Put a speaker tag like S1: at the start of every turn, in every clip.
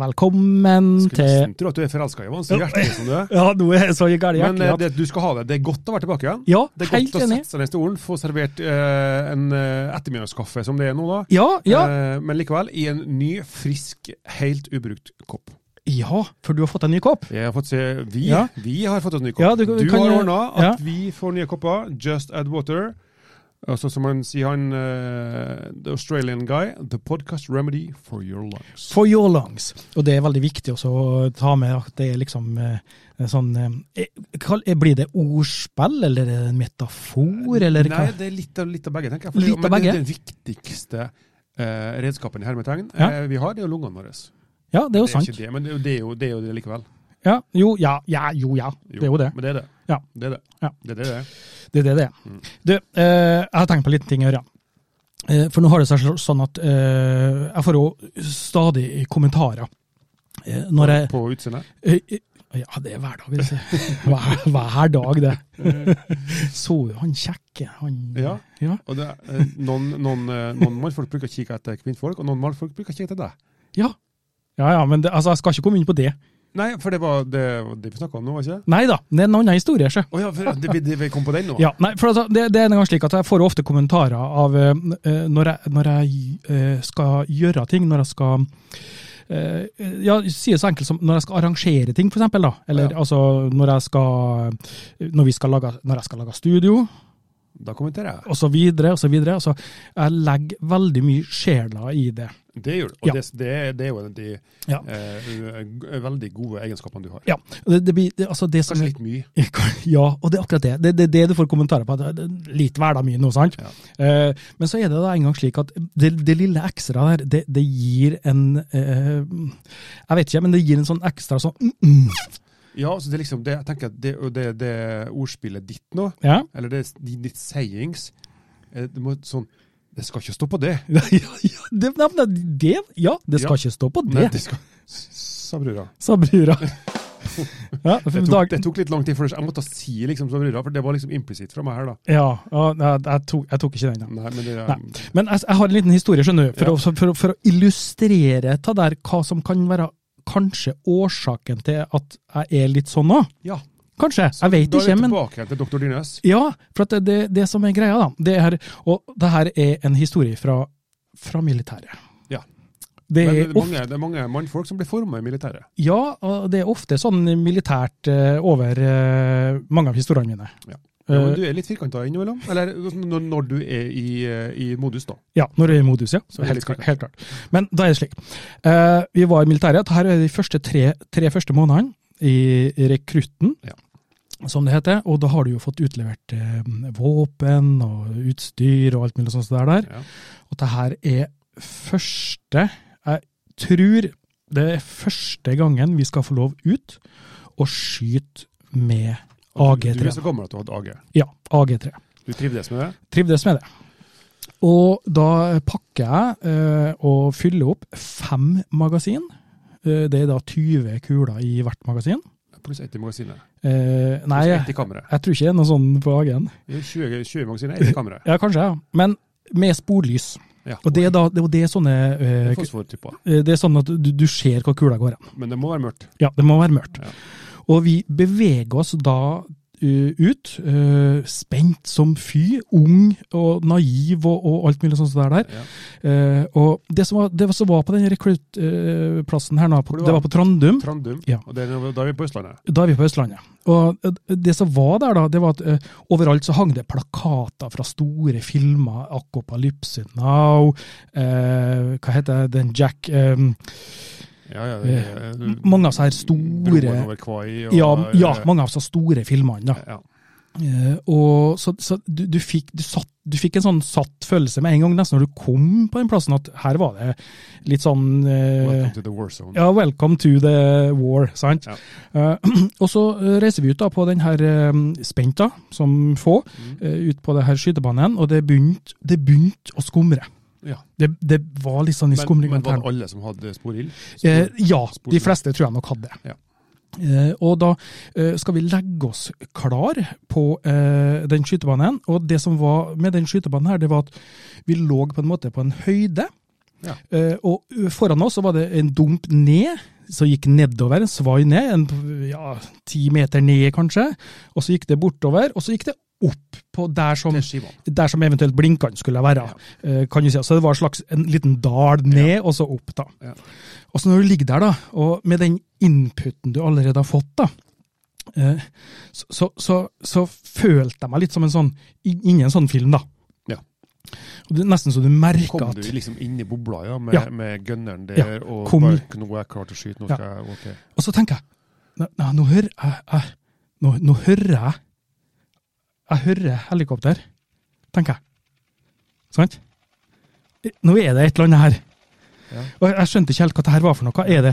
S1: velkommen til
S2: Skulle nesten tro at du er forelska i henne, så hjertelig som du er.
S1: Ja, nå er jeg så gæren i
S2: Men
S1: hjertet
S2: eh,
S1: at
S2: det, du skal ha det. Det er godt å være tilbake igjen.
S1: Ja,
S2: det er
S1: helt
S2: godt å
S1: enig.
S2: sette seg ned i stolen, få servert eh, en eh, ettermiddagskaffe som det er nå, da.
S1: Ja, ja.
S2: Eh, men likevel i en ny, frisk, helt ubrukt kopp.
S1: Ja, for du har fått en ny kopp.
S2: Jeg har fått se, vi,
S1: Ja.
S2: vi har fått oss ny kopp.
S1: Ja, du
S2: du,
S1: kan- kan-
S2: har ordna at
S1: ja.
S2: vi får nye kopper. Just add water. Og så som han sier han eh, The Australian guy, the podcast remedy for your lungs.
S1: For your lungs. Og det er veldig viktig også å ta med at det er liksom eh, en sånn eh, hva- Blir det ordspill, eller er det en metafor, eller hva?
S2: Nei, det er litt av, litt av begge, tenker jeg. Fordi-
S1: Litt av
S2: men det
S1: begge?
S2: er den viktigste eh, redskapen i hermetegn
S1: Ja.
S2: eh, vi har, det er jo lungene våre. Det
S1: Ja, det er jo
S2: er
S1: sant.
S2: ikke det, men det er jo det, er jo, det, er jo det likevel.
S1: Ja, jo, ja, ja, jo, ja. Det er jo det.
S2: Men det er det.
S1: Ja.
S2: Det er det.
S1: Ja.
S2: Det er det. det er.
S1: Det er det det er.
S2: Mm.
S1: Du, eh, jeg har tenkt på en liten ting, Ørjan. Eh, for nå har det seg sl- sånn at eh, jeg får jo stadig kommentarer. Eh, når jeg
S2: På utseendet.
S1: eh, eh, Ja, det er hver dag. det sier. Hver, hver dag, det. Så jo han kjekke, han
S2: Ja.
S1: ja.
S2: Og det, er, eh, noen, noen, eh, noen mannfolk bruker å kikke etter kvinnfolk, og noen mannfolk bruker å kikke etter deg.
S1: Ja, ja, ja men det, altså, jeg skal ikke komme inn på det.
S2: Nei, for det var det, det vi snakka om nå, var ikke det?
S1: Nei da, det er en annen historie. sjø.
S2: Å ja, for det, vi- vi kom på den nå.
S1: Ja, nei, for altså, det, det er en gang slik at jeg får ofte kommentarer av eh, eh, når jeg, når jeg eh, skal gjøre ting, når jeg skal eh, ja, si det så enkelt som når jeg skal arrangere ting, for eksempel, da. Eller
S2: Ja.
S1: altså når jeg skal når, vi skal lage, når jeg skal lage studio,
S2: Da kommenterer jeg.
S1: og så videre, og så videre. Altså, jeg legger veldig mye sjela i det.
S2: Det gjør du. Og
S1: Ja.
S2: det, det, er- det er jo en av de
S1: Ja.
S2: eh, g- veldig gode egenskapene du har.
S1: Ja, og det, det blir det, altså det som
S2: Kanskje litt mye.
S1: Ja, og det er akkurat det. Det er det, det du får kommentarer på. at det er Litt hverdag mye nå, sant?
S2: Ja.
S1: Eh, men så er det da en gang slik at det, det lille ekstra der, det, det gir en eh, Jeg vet ikke, men det gir en sånn ekstra sånn mm, mm.
S2: Ja, så det er liksom det, jeg tenker at det, og det, det ordspillet ditt nå,
S1: Ja.
S2: eller det, de- ditt sayings eh, det, må, sånn, det skal ikke stå på det.
S1: Ja, ja, det, nei, men det, ja, det skal ikke stå på det,
S2: Nei, det skal, sa brura.
S1: sa brura. ja,
S2: Det tok,
S1: dag,
S2: det tok litt lang tid, for jeg måtte si liksom sa brura, for det var liksom implisitt fra meg her, da.
S1: ja, ja, jeg, jeg, tok, jeg tok ikke den, da.
S2: Nei, men det,
S1: Nei. Men jeg, jeg har en liten historie, skjønner du, for,
S2: Mm. Ja.
S1: å, for, å- for å illustrere ta der hva som kan være kanskje årsaken til at jeg er litt sånn nå.
S2: Ja.
S1: Kanskje,
S2: Så
S1: jeg vet
S2: da er vi
S1: ikke, men
S2: tilbake igjen til doktor Dyrnes.
S1: ja, for at det, det, det som er greia, da, det er, og det her er en historie fra, fra militæret.
S2: Ja.
S1: Det
S2: Men det,
S1: er,
S2: er
S1: of,
S2: mange, det er mange mannfolk som blir forma i militæret.
S1: ja, og det er ofte sånn militært eh, over eh, mange av historiene mine.
S2: Ja. Ja,
S1: Eh,
S2: men du er litt firkanta innimellom. Eller når, når du er i, eh, i modus, da.
S1: Ja, når det er i modus, ja.
S2: Så er det
S1: helt,
S2: litt
S1: klart,
S2: kult.
S1: helt klart. Men da er det slik. Eh, vi var i militæret. Her er de første tre, tre første månedene i i rekrutten,
S2: Ja.
S1: som det heter. Og da har du jo fått utlevert eh, våpen og utstyr og alt mulig sånt der. der.
S2: Ja.
S1: Og det her er første Jeg tror det er første gangen vi skal få lov ut og skyte med
S2: Og du- Du
S1: AG3.
S2: er så gammel at du hadde AG.
S1: Ja, AG3
S2: Du trivdes med det?
S1: trivdes med det. Og da pakker jeg eh, og fyller opp fem magasin. Eh, det er da 20 kuler i hvert magasin.
S2: Pluss ett i magasinet.
S1: Eh, nei,
S2: Pluss ett
S1: jeg
S2: i kammeret.
S1: tror ikke det er noe sånn på AG-en.
S2: Det er 20, 20 magasiner, ett i kammeret.
S1: Ja, kanskje, ja. Men med sporlys.
S2: Ja,
S1: Og det er da det, og det er sånne eh, ku-
S2: Fosfortyper.
S1: eh, Det er sånn at du, du ser hvor kula går hen.
S2: Men det må være mørkt.
S1: Ja, det må være mørkt.
S2: Ja.
S1: Og vi beveger oss da eh, ut, eh, spent som fy, ung og naiv og, og alt mulig sånt der. der.
S2: Ja.
S1: Eh, og det som var, det som var på den rekruttplassen her nå, på,
S2: Hvor det
S1: det
S2: var?
S1: var på Trandum.
S2: Trandum.
S1: Ja.
S2: Og det er, da er vi på Østlandet.
S1: Da er vi på Østlandet. Og eh, det som var der, da, det var at eh, overalt så hang det plakater fra store filmer. Akopalypse Now, eh, hva heter den Jack eh,
S2: Ja, ja,
S1: Eh,
S2: Mm.
S1: Mange av disse her store
S2: Broen over Kvai. og-
S1: ja, ja, mange av disse store filmene. da.
S2: ja.
S1: Eh, og så, så du, du, fikk, du, satt, du fikk en sånn satt følelse med en gang, nesten når du kom på den plassen, at her var det litt sånn eh,
S2: Welcome to the war zone.
S1: ja, Welcome to the war, sant?
S2: Ja.
S1: Eh, og så eh, reiser vi ut da på den her eh, spent, da, som få,
S2: Mm.
S1: eh, ut på det her skytebanen, og det begynte det begynte å skumre.
S2: Ja.
S1: Det, det var litt sånn i
S2: Men,
S1: skumring.
S2: men var det alle som hadde sporild?
S1: Eh, ja,
S2: spor-
S1: de fleste tror jeg nok hadde.
S2: Ja.
S1: Eh, og da eh, skal vi legge oss klar på eh, den skytebanen. Og det som var med den skytebanen her, det var at vi lå på en måte på en høyde.
S2: Ja.
S1: Eh, og foran oss så var det en dump ned, som gikk nedover, en svai ned, en ja, ti meter ned kanskje. Og så gikk det bortover, og så gikk det opp på der som
S2: Til skivene.
S1: der som eventuelt blinkene skulle være. eh, kan du si. Så det var en slags en liten dal ned, og så opp. da.
S2: Ja.
S1: Og så når du ligger der, da, og med den inputen du allerede har fått, da, eh, så, så, så, så følte jeg meg litt som en sånn, inni en sånn film, da.
S2: Ja.
S1: Og det er nesten så du merker
S2: Kom du
S1: at
S2: liksom inn i bobla ja, med,
S1: Ja.
S2: med gunneren der
S1: Ja,
S2: og
S1: kom-
S2: bare Nå er jeg klar til å skyte, nå
S1: Ja.
S2: skal jeg OK.
S1: Og så tenker jeg Nei, nei, nå hører jeg, jeg nå, nå hører jeg Jeg hører helikopter, tenker jeg. Sant? Nå er det et eller annet her.
S2: Ja.
S1: Og jeg skjønte ikke helt hva det her var for noe. Er det,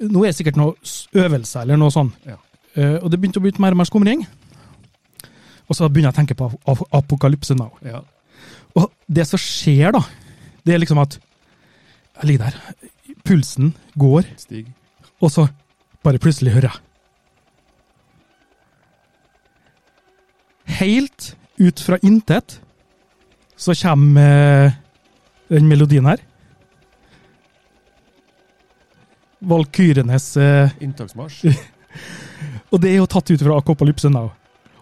S1: nå er det sikkert noe s- øvelse eller noe sånn.
S2: Ja.
S1: Eh, og det begynte å bli mer og mer skumring. Og så begynner jeg å tenke på ap- ap- apokalypse now.
S2: Ja.
S1: Og det som skjer da, det er liksom at jeg ligger der, pulsen går,
S2: Stig.
S1: og så bare plutselig hører jeg. Helt ut fra intet så kommer eh, den melodien her. Valkyrenes eh,
S2: Inntaksmarsj.
S1: Og det er jo tatt ut fra Akopalypse Now.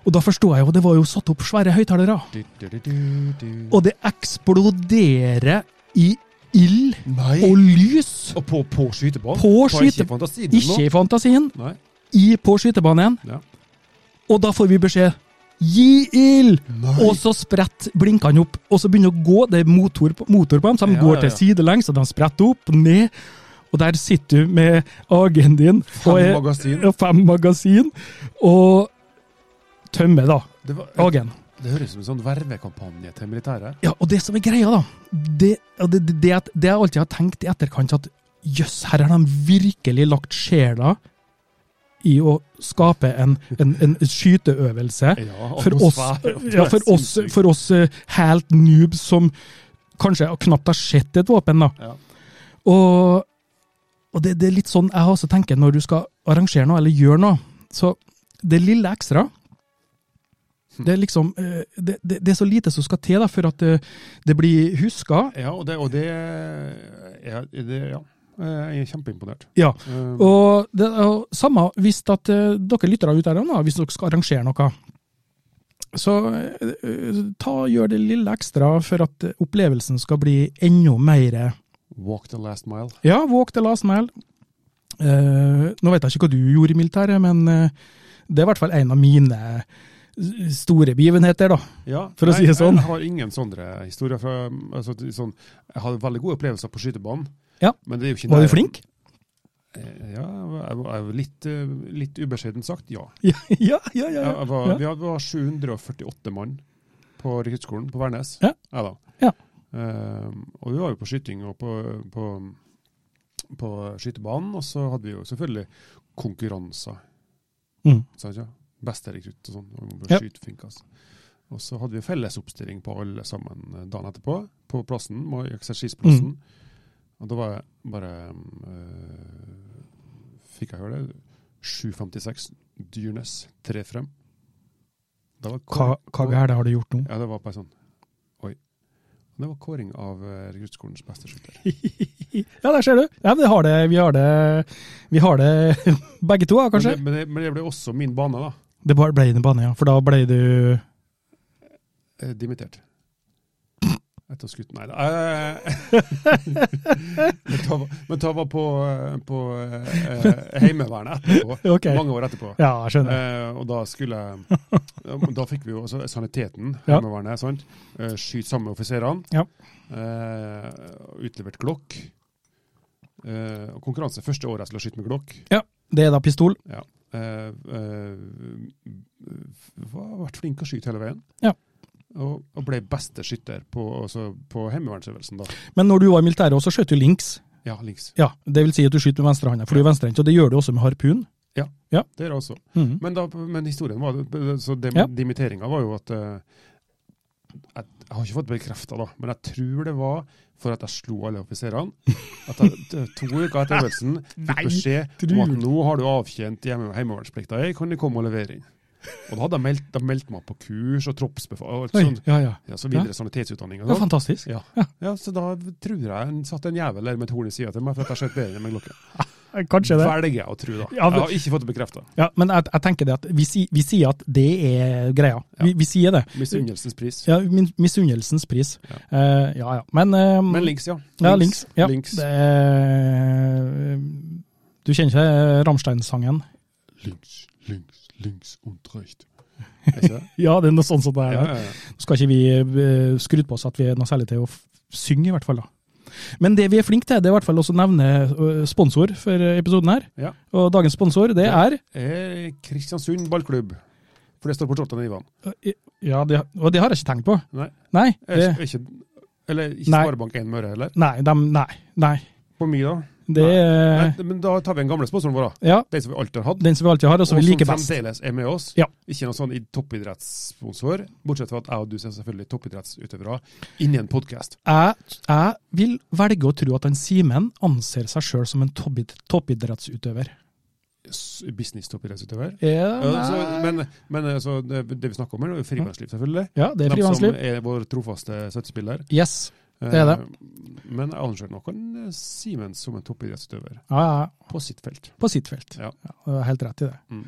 S1: Og da forstod jeg jo, det var jo satt opp svære høyttalere.
S2: Du, du, du, du, du.
S1: Og det eksploderer i ild
S2: Nei!
S1: og lys
S2: Og på, på skytebanen?
S1: På
S2: Ta ikke
S1: skyte-
S2: fantasien nå.
S1: Ikke i fantasien,
S2: Nei.
S1: i på skytebanen.
S2: Ja.
S1: Og da får vi beskjed Gi ild!
S2: Nei.
S1: Og så spretter blinkene opp, og så begynner å gå. Det er motor på, motor på dem, så de
S2: Ja,
S1: går
S2: ja,
S1: til
S2: ja.
S1: sidelengs, og de spretter opp, ned. Og der sitter du med AG-en din og
S2: Fem
S1: er,
S2: magasin.
S1: og fem magasin, og tømmer da
S2: Det, var,
S1: AG-en.
S2: det høres ut som en sånn vervekampanje til militæret.
S1: Ja, og det som er greia, da, det, og det, det, det, at- det jeg alltid har tenkt i etterkant, at jøss, her har de virkelig lagt sjela i å skape en, en, en skyteøvelse.
S2: Ja,
S1: For oss,
S2: atmosfære, det
S1: ja,
S2: er
S1: for oss,
S2: sinnssykt.
S1: for oss eh, helt noobs som kanskje knapt har sett et våpen, da.
S2: Ja.
S1: Og, og det, det er litt sånn jeg også tenker når du skal arrangere noe eller gjøre noe. Så det lille ekstra Det er liksom eh, Det, det, det er så lite som skal til da, for at eh, det blir huska.
S2: Ja, og det, og det, eh, ja, det ja. Eh, Jeg er kjempeimponert.
S1: Ja.
S2: Um,
S1: Og det er jo samme hvis at eh, dere lyttere ut der, nå, hvis dere skal arrangere noe. Så eh, eh, ta, gjør det lille ekstra for at eh, opplevelsen skal bli enda mer
S2: Walk the last mile.
S1: Ja, walk the last mile. Eh, nå vet jeg ikke hva du gjorde i militæret, men eh, det er i hvert fall en av mine s- store begivenheter, da.
S2: Ja,
S1: For å si det sånn.
S2: Jeg har ingen sånne historier. Fra, altså, til sånn, jeg hadde veldig gode opplevelser på skytebanen.
S1: Ja.
S2: Men det er jo ikke
S1: Var
S2: nær- Eh,
S1: du flink?
S2: Ja, jeg var, jeg var litt, eh, litt ubeskjedent sagt, ja.
S1: Ja, ja, ja. ja,
S2: Jeg, jeg var,
S1: ja.
S2: Vi hadde- var 748 mann på rekruttskolen på Værnes.
S1: Ja.
S2: da.
S1: Ja.
S2: Ehm, og vi var jo på skyting og på, på, på skytebanen, og så hadde vi jo selvfølgelig konkurranser.
S1: Mm.
S2: Sant, ja? Beste rekrutt og sånn. og man
S1: Ja.
S2: bør skyte flinkest. Og så hadde vi fellesoppstilling på alle sammen eh, dagen etterpå, på plassen, må-
S1: Mm.
S2: eksersisplassen. Og da var jeg bare eh, Fikk jeg høre det? 7.56, Dyrnes, tre frem. Da var
S1: Hva, hva gærent har du gjort nå?
S2: Ja, det var bare sånn Oi. Det var kåring av eh, rekruttsskolens beste skytter.
S1: Ja, der ser du. Ja, men det har det, vi har det, vi har det begge to, ja, kanskje.
S2: Men det, men, det, men det ble også min bane, da.
S1: Det bare ble din bane, ja. For da ble du
S2: Eh, Dimittert. Etter å ha skutt Nei da. Eh, men ta var- men ta var på, eh, på eh, eh, Heimevernet etterpå.
S1: Ok.
S2: Mange år etterpå.
S1: Ja, jeg skjønner.
S2: Eh, og da skulle ja, men Da fikk vi jo også saniteten,
S1: Ja.
S2: Heimevernet, sant. Eh, skyt sammen med offiserene.
S1: Ja.
S2: Eh, utlevert glokk. Eh, og konkurranse første året jeg skulle skyte med glokk.
S1: Ja, det er da pistol.
S2: Ja. eh, eh, var, vært flink til å skyte hele veien.
S1: Ja.
S2: Og, og ble beste skytter på, altså på heimevernsøvelsen, da.
S1: Men når du var i militæret også, skjøt du links.
S2: Ja, links.
S1: Ja, Det vil si at du skyter med venstrehånda, for du er venstrehendt. Og det gjør du også med harpun.
S2: Det er det også.
S1: Mhm.
S2: Men, da, men historien var Så dem,
S1: Ja.
S2: dimitteringa var jo at eh, jeg, jeg har ikke fått bekrefta, da, men jeg tror det var for at jeg slo alle offiserene. At jeg t- to uker etter øvelsen fikk
S1: Nei,
S2: beskjed
S1: tror
S2: om at
S1: du?
S2: nå har du avtjent hjemme- heimevernsplikta di, kan du komme og levere inn. Og da hadde jeg meldt, de meldt meg på kurs og troppsbefal og alt
S1: Oi,
S2: sånn.
S1: ja, ja.
S2: Ja, så videre sanitetsutdanning og
S1: Det var
S2: sånn.
S1: fantastisk.
S2: Ja. ja, så da tror jeg en satt en jævel der med et horn i sida til meg for at jeg skjøt bedre enn med klokke.
S1: Kanskje
S2: Velger jeg å tro, da.
S1: Ja,
S2: Jeg
S1: men-
S2: har ikke fått det bekrefta.
S1: Ja, Men jeg, jeg tenker det at vi, si, vi sier at det er greia. Vi, vi sier det.
S2: Misunnelsens pris.
S1: Ja, min- Misunnelsens pris. Ja. ja, ja. Men, eh,
S2: Men links, ja.
S1: Ja, links. Ja.
S2: Links.
S1: Det er, du kjenner ikke eh, Rammstein-sangen?
S2: links, links, links und recht. Er ikke det?
S1: Ja, det er noe sånt som det er.
S2: ja, ja, ja.
S1: Nå skal ikke vi eh, skryte på oss at vi er noe særlig til å f- synge, i hvert fall. da. Men det vi er flinke til, det er i hvert fall også å nevne eh, sponsor for eh, episoden her.
S2: Ja.
S1: Og dagens sponsor, det
S2: Ja.
S1: er
S2: Eh, Kristiansund ballklubb. For det står på skjorta til Ivan.
S1: eh, Ja, det, og det har jeg ikke tenkt på.
S2: Nei.
S1: Nei.
S2: Er,
S1: Det,
S2: er ikke, eller ikke
S1: Nei.
S2: Sparebank1 Møre heller.
S1: nei, dem, nei, nei.
S2: På mye, da.
S1: Det er
S2: Nei, men da tar vi den gamle sponsoren vår, da.
S1: Ja,
S2: Den som vi alltid har hatt.
S1: den som vi alltid har, og som vi liker
S2: som
S1: best.
S2: fremdeles er med oss.
S1: Ja.
S2: Ikke noen sånn i- toppidrettssponsor. Bortsett fra at jeg og du er selvfølgelig toppidrettsutøvere inni en podkast.
S1: Jeg, jeg vil velge å tro at han Simen anser seg sjøl som en toppid- toppidrettsutøver.
S2: Business-toppidrettsutøver. Ja,
S1: Ja,
S2: så-
S1: nei.
S2: men men altså, det, det vi snakker om her, er jo frivannsliv, selvfølgelig.
S1: ja, det er
S2: De som
S1: frivannsliv.
S2: er vår trofaste støttespiller.
S1: Yes. Det er det.
S2: Eh, Men jeg anser nok en eh, Simen som en toppidrettsutøver
S1: Ja, ja, ja.
S2: på sitt felt.
S1: På sitt felt.
S2: Ja.
S1: Du har helt rett i det.
S2: Mm.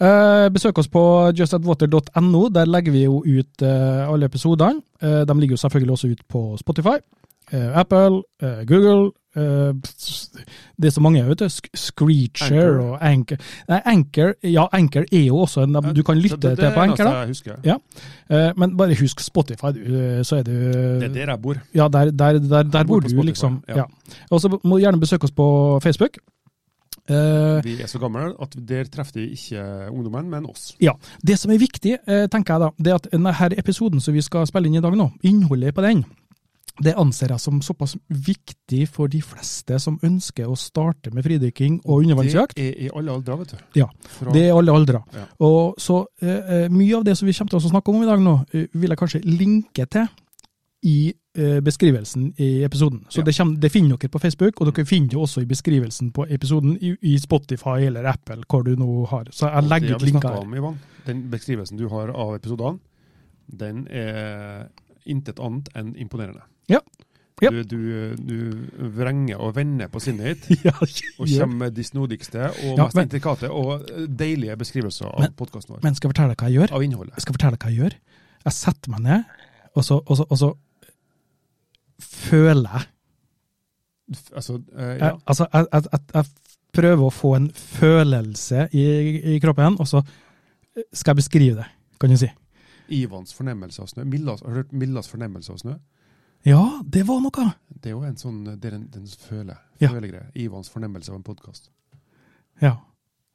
S1: Eh, besøk oss på justatwater.no. Der legger vi jo ut eh, alle episodene. Eh, de ligger jo selvfølgelig også ut på Spotify, eh, Apple, eh, Google eh, Det er så mange, vet du. Sk Screecher
S2: Anchor.
S1: og Anchor. Nei, Anchor, ja, Anchor er jo også en Du kan lytte
S2: det, det,
S1: til på Anchor, da.
S2: Det er det eneste jeg husker.
S1: Ja. Eh, men bare husk Spotify, du, eh, så er du
S2: Det er der jeg bor.
S1: Ja, der, der, der, der bor
S2: bor
S1: du,
S2: på Spotify,
S1: liksom.
S2: ja.
S1: Ja. Og så må du gjerne besøke oss på Facebook. Eh,
S2: Vi er så gamle at der treffer de ikke ungdommen, men oss.
S1: ja. Det som er viktig, eh, tenker jeg da, det er at denne episoden som vi skal spille inn i dag nå, innholdet på den, det anser jeg som såpass viktig for de fleste som ønsker å starte med fridykking og undervannsjakt.
S2: Det er i alle aldre, vet du.
S1: Ja,
S2: Fra,
S1: Det er alle aldre.
S2: Ja.
S1: Og så eh, eh, mye av det som vi kommer til å snakke om i dag nå, eh, vil jeg kanskje linke til i eh, beskrivelsen i episoden. Så
S2: Ja.
S1: det, kommer, det finner dere på Facebook, og dere finner det også i beskrivelsen på episoden i, i Spotify eller Apple, hvor du nå har. Så jeg legger ut
S2: Det har vi
S1: linker
S2: snakket
S1: her.
S2: om, Ivan. Den beskrivelsen du har av episodene, den er intet annet enn imponerende.
S1: Ja. Ja.
S2: Du, du, du vrenger og vender på sinnet ditt.
S1: Ja,
S2: Og
S1: gjør.
S2: kommer med de snodigste og
S1: Ja,
S2: mest
S1: men-
S2: intrikate og eh, deilige beskrivelser av
S1: Men-
S2: podkasten vår.
S1: Men skal jeg fortelle deg hva jeg gjør?
S2: Av innholdet.
S1: Jeg skal fortelle deg hva jeg gjør. Jeg setter meg ned, og så, og så, og så føler jeg
S2: F- Altså, eh, ja.
S1: Jeg, altså, jeg, jeg, jeg, jeg prøver å få en følelse i, i kroppen, og så skal jeg beskrive det, kan du si.
S2: Ivans fornemmelse av snø. Millas, har du hørt Millas fornemmelse av snø?
S1: Ja, det var noe!
S2: Det er jo en sånn eh, Det er en, den føle,
S1: Ja.
S2: følegreie. Ivans fornemmelse av en podkast.
S1: Ja.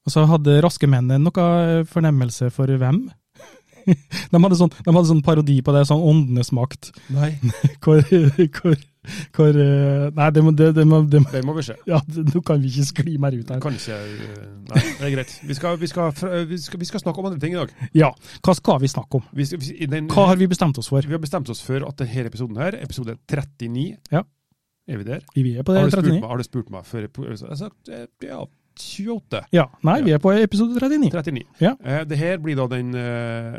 S1: Og så hadde Raske menn noe fornemmelse for hvem? De hadde sånn, de hadde sånn parodi på det, sånn Åndenes makt,
S2: Nei.
S1: hvor, hvor, hvor eh, Nei, det må, det, det må, det må
S2: Det må vi se.
S1: ja, det- Nå kan vi ikke skli mer ut her.
S2: Kanskje eh, Nei, det er greit. Vi skal, vi skal, fra- eh, vi skal, vi skal snakke om andre ting i dag.
S1: Ja, hva skal vi snakke om?
S2: Vi, skal- vi, i den,
S1: Hva har vi bestemt oss for?
S2: vi har bestemt oss for at denne episoden her, episode 39
S1: Ja.
S2: Er vi der?
S1: Vi er på
S2: Har
S1: det
S2: du spurt
S1: 39.
S2: meg, har du spurt meg før epo- Jeg har sagt eh, ja, 28.
S1: Ja, nei, vi er på episode 39.
S2: 39.
S1: Ja.
S2: Eh, det her blir da den eh,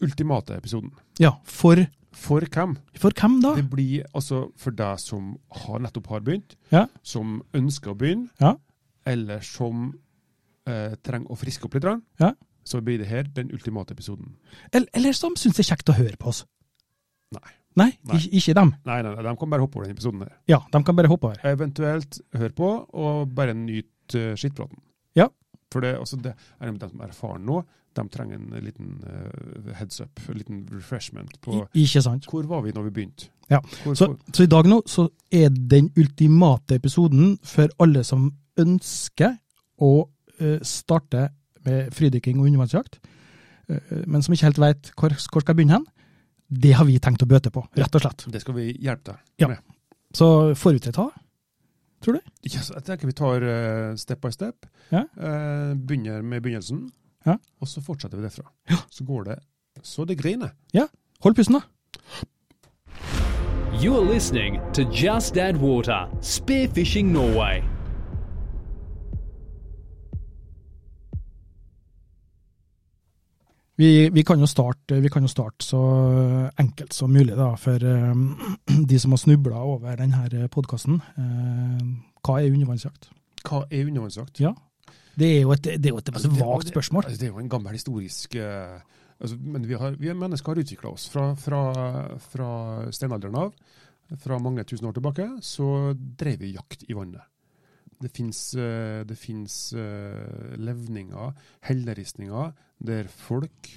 S2: ultimate episoden.
S1: Ja, for
S2: For hvem?
S1: For hvem da?
S2: Det blir altså for deg som har, nettopp har begynt,
S1: Ja.
S2: som ønsker å begynne,
S1: Ja.
S2: eller som eh, trenger å friske opp litt, grann,
S1: Ja.
S2: så blir det her den ultimate episoden.
S1: Eller, eller som syns det er kjekt å høre på oss?
S2: Nei.
S1: Nei,
S2: Nei.
S1: Ikke, ikke dem.
S2: Nei, nei, nei, de kan bare hoppe over den episoden her.
S1: Ja, de kan bare hoppe over.
S2: Eventuelt hør på, og bare nyt eh, skittpraten.
S1: Ja.
S2: For det, altså det er de som er erfaren nå, de trenger en liten eh, heads up, en liten refreshment på
S1: I, ikke sant?
S2: Hvor var vi når vi begynte?
S1: Ja.
S2: Hvor,
S1: Så, så i dag nå så er den ultimate episoden for alle som ønsker å eh, starte med fridykking og undervannsjakt, eh, men som ikke helt vet hvor, hvor skal begynne hen, det har vi tenkt å bøte på, rett og slett.
S2: Det skal vi hjelpe deg
S1: Så får vi til ta.
S2: Yes, jeg tenker vi tar eh, step by step.
S1: Ja.
S2: Eh, begynner med begynnelsen,
S1: Ja.
S2: og så fortsetter vi derfra. Så går det så det griner.
S1: Hold pusten, da.
S3: You are listening to Just Add Water Spearfishing Norway.
S1: Vi, vi, kan jo starte, vi kan jo starte så enkelt som mulig da, for eh, de som har snubla over denne podkasten. eh, hva er undervannsjakt?
S2: Hva er undervannsjakt?
S1: Ja. Det er jo et, det er jo et
S2: Altså,
S1: veldig
S2: det er jo-
S1: vagt spørsmål.
S2: Altså, det er jo en gammel historisk eh, altså, Men vi, har, vi er mennesker har utvikla oss fra, fra, fra steinalderen av. Fra mange tusen år tilbake så drev vi jakt i vannet. Det fins, eh, det fins eh, levninger, helleristninger, der folk,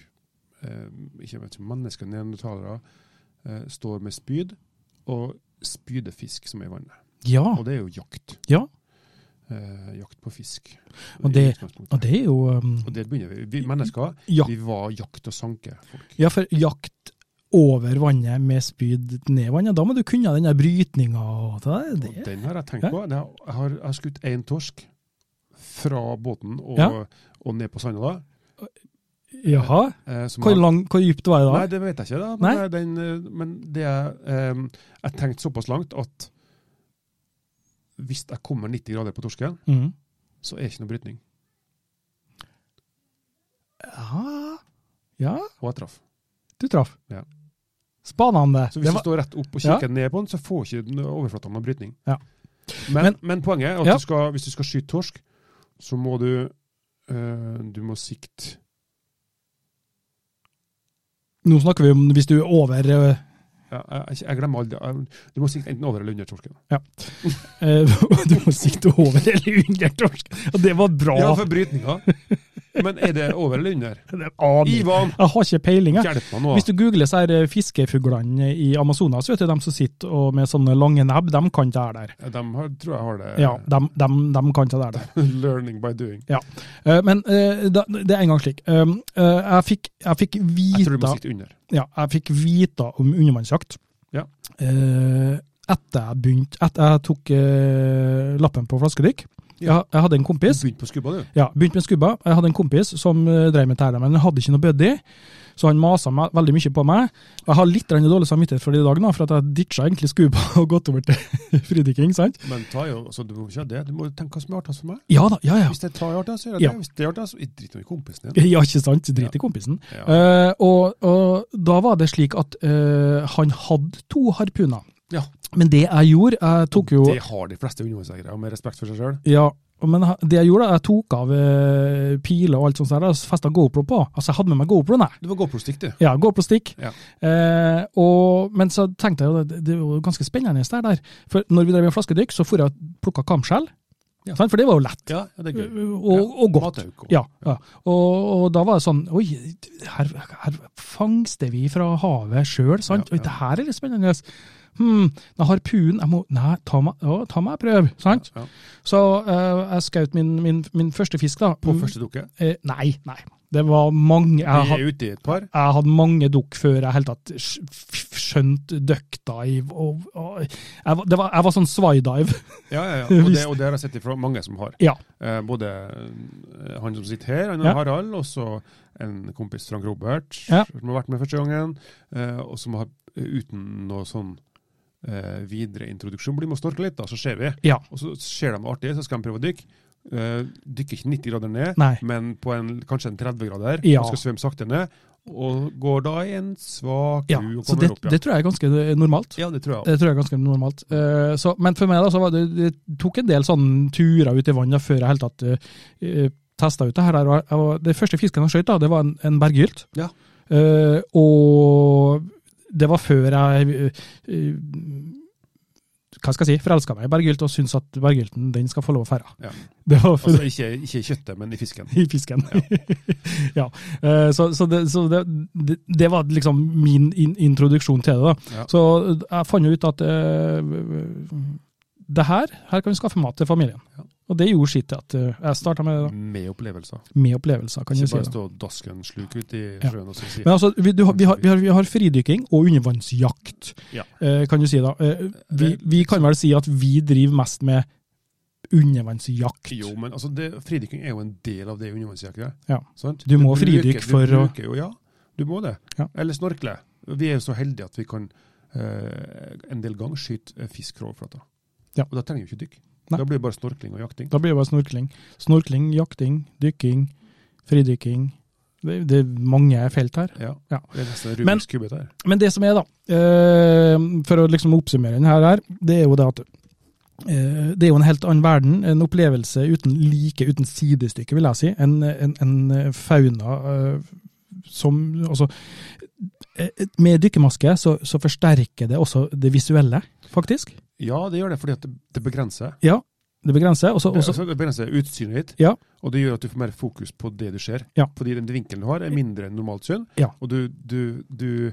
S2: eh, ikke vet, ikke, mennesker, neandertalere, eh, står med spyd og spyder fisk som er i vannet.
S1: Ja,
S2: Og det er jo jakt.
S1: Ah. Ja.
S2: Eh, jakt på fisk.
S1: Og
S2: i
S1: det-
S2: utgangspunktet.
S1: og det er jo um,
S2: Og der begynner vi. Vi mennesker
S1: jakt,
S2: vi var jakt- og sankefolk.
S1: ja, for jakt over vannet med spyd ned i vannet, da må du kunne den der brytninga og det,
S2: Og
S1: det.
S2: den har jeg tenkt
S1: Ja.
S2: på. Jeg har, jeg har- jeg har skutt én torsk fra båten og,
S1: Ja.
S2: og ned på sanda. da.
S1: Jaha.
S2: eh, som
S1: Hvor,
S2: har-
S1: lang, hvor dypt var det da?
S2: Nei, det vet jeg ikke. da. Men,
S1: Nei.
S2: det er den, eh, men det er, eh, jeg tenkte såpass langt at hvis jeg kommer 90 grader på torsken,
S1: Mm.
S2: så er det ikke noe brytning.
S1: Ja. ja,
S2: Og jeg traff.
S1: du traff.
S2: Ja.
S1: Spanende.
S2: Så hvis
S1: Det var-
S2: du står rett opp og
S1: Ja.
S2: kikker ned på den, så får ikke den overflaten noen brytning.
S1: Ja.
S2: Men, men, poenget er at
S1: Ja.
S2: du skal, hvis du skal skyte torsk, så må du eh, Du må sikte
S1: Nå snakker vi om hvis du er over eh,
S2: ja, jeg, jeg glemmer aldri jeg- Du må sikte enten over eller under torsken.
S1: eh, Du må sikte over eller under torsk. Og det var bra.
S2: Ja, for brytninga. Men er det over eller under?
S1: Det aner jeg.
S2: Ivan,
S1: jeg har ikke peiling. jeg.
S2: hjelp meg nå.
S1: Hvis du googler så her eh, fiskefuglene i Amazonas, vet du, de som sitter og med sånne lange nebb, de kan ikke det der.
S2: De har, tror jeg har det.
S1: Ja, de, de, de kan ikke det der.
S2: Learning by doing.
S1: Eh, Men eh, da- det er en gang slik. Um, eh, Jeg fikk, jeg fikk
S2: Jeg tror du må
S1: vite
S2: sikte under.
S1: ja, jeg fikk vite om undervannsjakt.
S2: Ja.
S1: Eh, etter jeg begynte, etter jeg tok eh, lappen på flaskedykk.
S2: Ja.
S1: Jeg, jeg hadde en
S2: Du
S1: kompis,
S2: begynte på skubba, du.
S1: ja, begynte med skubba. Jeg hadde en kompis som eh, drev med tæla, men han hadde ikke noe buddy. Så han masa meg veldig mye på meg. Og Jeg har litt grann dårlig samvittighet for det i dag, nå, for at jeg ditcha egentlig skubba og gått over til fridykking. sant?
S2: Men ta jo, altså, du må ikke gjøre det. Du må tenke hva som er artigst for meg.
S1: Ja da, ja ja.
S2: Hvis det tar artig, så gjør jeg
S1: Ja.
S2: det. Hvis det er artig, så jeg driter jeg i kompisen din.
S1: Ja, ikke sant? Drit i kompisen.
S2: Ja.
S1: Eh, og, og da var det slik at eh, han hadde to harpuner.
S2: Ja.
S1: Men det jeg gjorde, jeg tok jo
S2: Det har de fleste undervannsjegere, og med respekt for seg sjøl.
S1: Ja, men ha- det jeg gjorde, da, jeg tok av eh, piler og alt sånt, der, og festa GoPro på. Altså, jeg hadde med meg GoPro, nei.
S2: Du må gå på stikk, du.
S1: Ja, GoPro-stikk.
S2: Ja.
S1: Eh, og, men så tenkte jeg jo, det, det er jo ganske spennende det der. For når vi drev med flaskedykk, så for jeg og plukka kamskjell.
S2: Ja.
S1: Sant? For det var jo lett.
S2: Ja, det er gøy.
S1: Øh, Og, og godt.
S2: Matauk og-
S1: Ja, ja. Og, og da var det sånn Oi, her, her fangster vi fra havet sjøl, sant?
S2: Ja, ja.
S1: Oi, det her er litt spennende. Hm, den harpunen jeg må, Nei, ta meg, å, ta meg og prøv, sant?
S2: Ja.
S1: Så eh, jeg skjøt min, min, min første fisk, da.
S2: På
S1: Mm,
S2: første dukke.
S1: eh, nei, nei. Det var mange jeg,
S2: Vi
S1: had,
S2: er ute i et par.
S1: jeg hadde mange dukk før jeg helt tatt sk- f- skjønte døkta i og, og, jeg, var- det var, jeg var sånn swidive.
S2: Ja, ja, ja. Og, det, og det har jeg sett ifra mange som har.
S1: Ja.
S2: Eh, både eh, han som sitter her, han
S1: Ja.
S2: Harald, og så en kompis Frank Robert,
S1: Ja.
S2: som har vært med første gangen, eh, og som har eh, uten noe sånn eh, videre introduksjon blir med å snorke litt, da, så ser vi.
S1: Ja.
S2: Og så ser de artig, så skal de prøve å dykke. Eh, dykker ikke 90 grader ned,
S1: Nei.
S2: men på en, kanskje en 30 grader.
S1: Ja.
S2: Og skal svømme sakte ned, og går da i en svak
S1: Ja,
S2: ku og
S1: så
S2: kommer
S1: det,
S2: opp igjen.
S1: det tror jeg er ganske normalt.
S2: Ja, det tror jeg.
S1: Det tror jeg er ganske normalt. Eh, så, men for meg da, så var det, det tok en del sånne turer ut i vannet før jeg helt tatt uh, testa ut det her. Der, og, jeg- og det første fisken jeg skjøt, da, det var en, en berggylt.
S2: Ja.
S1: Eh, og det var før jeg eh, hva skal jeg si, forelska meg i berggylt og syntes at berggylten den skal få lov å ferde.
S2: Ja.
S1: Det var for,
S2: Altså ikke, ikke i kjøttet, men i fisken.
S1: i fisken. Ja. eh, Så, så, det, så det, det, det var liksom min in introduksjon til det. da.
S2: Ja.
S1: Så jeg fant jo ut at eh, det her, her kan vi skaffe mat til familien.
S2: Ja. Mm.
S1: Og det gjorde sitt til at eh, jeg starta med det,
S2: Med opplevelser.
S1: da. Med opplevelser, kan du
S2: Ikke
S1: si.
S2: bare
S1: Da.
S2: stå dasken sluk ut i
S1: Ja.
S2: sjøen og så si
S1: Men altså, vi, du, har- vi, har, vi, har, vi har fridykking og undervannsjakt,
S2: Ja.
S1: eh, kan du si da. Eh, vi, vi kan vel si at vi driver mest med undervannsjakt.
S2: Jo, men altså, det, fridykking er jo en del av det undervannsjakta.
S1: Ja.
S2: Sant?
S1: Du må
S2: bruker-
S1: fridykke for
S2: du
S1: å-
S2: bruker jo, Ja, du må det.
S1: Ja.
S2: Eller snorkle. Vi er jo så heldige at vi kan eh, en del ganger skyte eh, fisk fra overflata.
S1: Ja.
S2: Og da trenger vi ikke dykk.
S1: Nei.
S2: Da blir det bare snorkling og jakting.
S1: Da blir det bare snorkling. Snorkling, jakting, dykking, fridykking. Det, det er mange felt her.
S2: Ja.
S1: Ja.
S2: Det er nesten en
S1: Men-
S2: Rubiks kube der.
S1: Men det som er, da, eh, for å liksom oppsummere denne her, det er jo det at eh, det er jo en helt annen verden. En opplevelse uten like, uten sidestykke, vil jeg si. En, en, en fauna eh, som Altså, eh, med dykkermaske så, så forsterker det også det visuelle, faktisk.
S2: Ja, det gjør det, fordi at det, det begrenser.
S1: Ja, det begrenser. og så-
S2: Det,
S1: og så-
S2: altså, det begrenser utsynet ditt,
S1: Ja.
S2: og det gjør at du får mer fokus på det du ser.
S1: Ja.
S2: Fordi den vinkelen du har, er mindre enn normalt syn,
S1: Ja.
S2: og du, du, du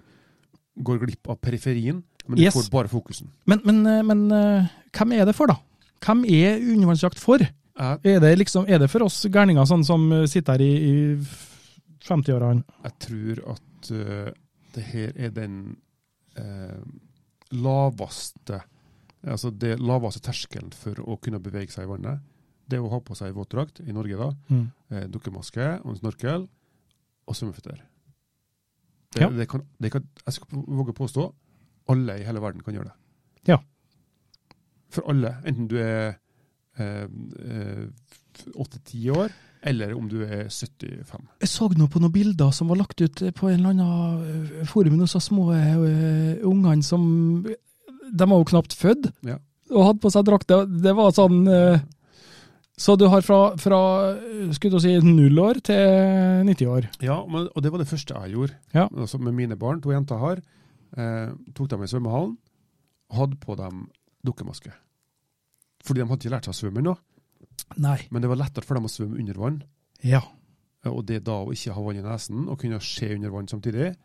S2: går glipp av periferien, men du
S1: Yes.
S2: får bare fokusen.
S1: Men, men, eh, men eh, hvem er det for, da? Hvem er undervannsjakt for?
S2: Jeg,
S1: Er det, liksom, er det for oss gærninger sånn som eh, sitter her i, i 50-årene?
S2: jeg tror at uh, det her er den eh, laveste Altså det laveste terskelen for å kunne bevege seg i vannet. Det å ha på seg våtdrakt, i Norge da,
S1: Mm.
S2: eh, dukkemaske og en snorkel og svømmeføtter. Det,
S1: Ja.
S2: det kan, det kan, jeg skal våge å påstå alle i hele verden kan gjøre det.
S1: Ja.
S2: For alle, enten du er eh, eh, 8-10 år, eller om du er 75.
S1: Jeg så nå på noen bilder som var lagt ut på en eller annen eh, forum med noen små eh, ungene som De var jo knapt født
S2: Ja.
S1: og hadde på seg drakt. Det, det var sånn eh, Så du har fra, fra eh, skulle jeg si, null år til 90 år.
S2: Ja, men, og det var det første jeg gjorde.
S1: Ja.
S2: Altså med mine barn, to jenter har, eh, tok dem i svømmehallen, hadde på dem dukkemaske. Fordi de hadde ikke lært seg å svømme nå,
S1: Nei.
S2: men det var lettere for dem å svømme under vann.
S1: Ja.
S2: Eh, Og det da å ikke ha vann i nesen og kunne se under vann samtidig,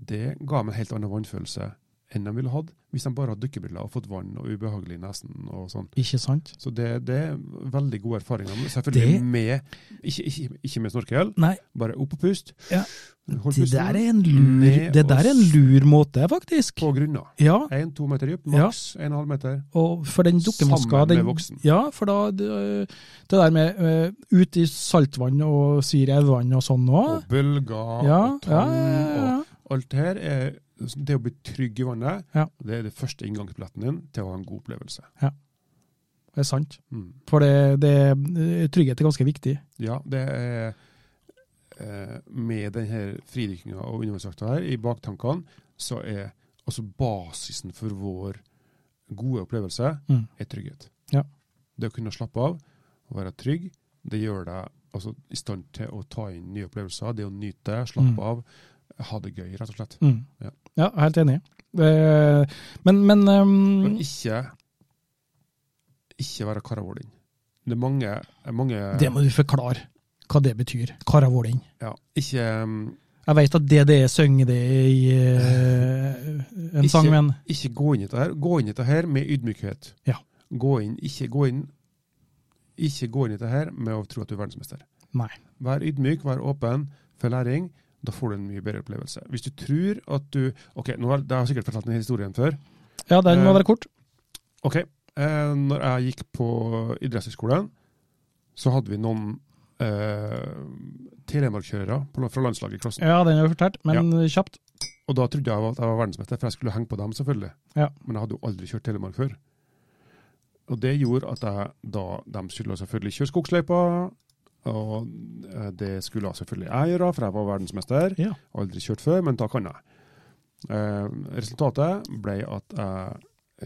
S2: det ga dem en helt annen vannfølelse enn de ville hatt hvis de bare hadde dykkebriller og fått vann og ubehagelig i nesen og sånn.
S1: Ikke sant?
S2: Så det, det er veldig gode erfaringer. men Selvfølgelig
S1: Det-
S2: med ikke, ikke, ikke med snorkel,
S1: Nei,
S2: bare opp og pust.
S1: Ja.
S2: Hold
S1: det
S2: pusten.
S1: der er en lur,
S2: Ned
S1: det der er en
S2: og s-
S1: lur måte, faktisk.
S2: På grunna.
S1: Ja,
S2: Én-to meter dyp,
S1: Ja.
S2: maks en halv meter.
S1: og for den dukkemaska
S2: Sammen med
S1: den-
S2: voksen.
S1: Ja, for da det, det der med eh, ut i saltvann og syr i elvvann og sånn òg.
S2: Og bølger
S1: Ja, ja,
S2: og tang
S1: ja, ja, ja.
S2: og alt det her. Er, det å bli trygg i vannet,
S1: Ja.
S2: det er det første inngangsbilletten din til å ha en god opplevelse.
S1: Det er sant.
S2: Mm.
S1: For det, det, trygghet er ganske viktig.
S2: Ja, det er eh, Med denne fridykkinga og undervannsjakta her i baktankene, så er altså basisen for vår gode opplevelse
S1: Mm.
S2: er trygghet.
S1: Ja.
S2: Det å kunne slappe av og være trygg, det gjør deg altså, i stand til å ta inn nye opplevelser. Det å nyte, slappe
S1: Mm.
S2: av, ha det gøy, rett og slett.
S1: Mm.
S2: Ja.
S1: Ja. jeg er helt enig. Eh, Men, men
S2: Men
S1: ehm,
S2: ikke ikke være karavåling. Det er mange, mange
S1: Det må du forklare hva det betyr. Karavåling.
S2: ja, Ikke um,
S1: Jeg vet at det det er, synger det i eh, en
S2: Ikke-
S1: sang, men
S2: ikke gå inn i dette her. Gå inn i dette her med ydmykhet.
S1: Ja.
S2: Gå inn, ikke gå inn ikke gå inn i dette her med å tro at du er verdensmester.
S1: Nei.
S2: Vær ydmyk, vær åpen for læring. Da får du en mye bedre opplevelse. Hvis du tror at du Ok, nå har, det har jeg sikkert fortalt denne historien før.
S1: Ja, den må
S2: Eh,
S1: være kort.
S2: Ok, eh, når jeg gikk på idrettshøyskolen, så hadde vi noen eh, telemarkkjørere på- fra landslaget i klassen.
S1: Ja, den har jeg fortalt, men kjapt.
S2: Og da trodde jeg at jeg var verdensmester, for jeg skulle henge på dem, selvfølgelig.
S1: Ja.
S2: Men jeg hadde jo aldri kjørt Telemark før. Og det gjorde at jeg da De skylda selvfølgelig kjøre skogsløypa, og eh, det skulle jeg selvfølgelig jeg gjøre, for jeg var verdensmester.
S1: Ja.
S2: Aldri kjørt før, men da kan jeg. Eh, resultatet ble at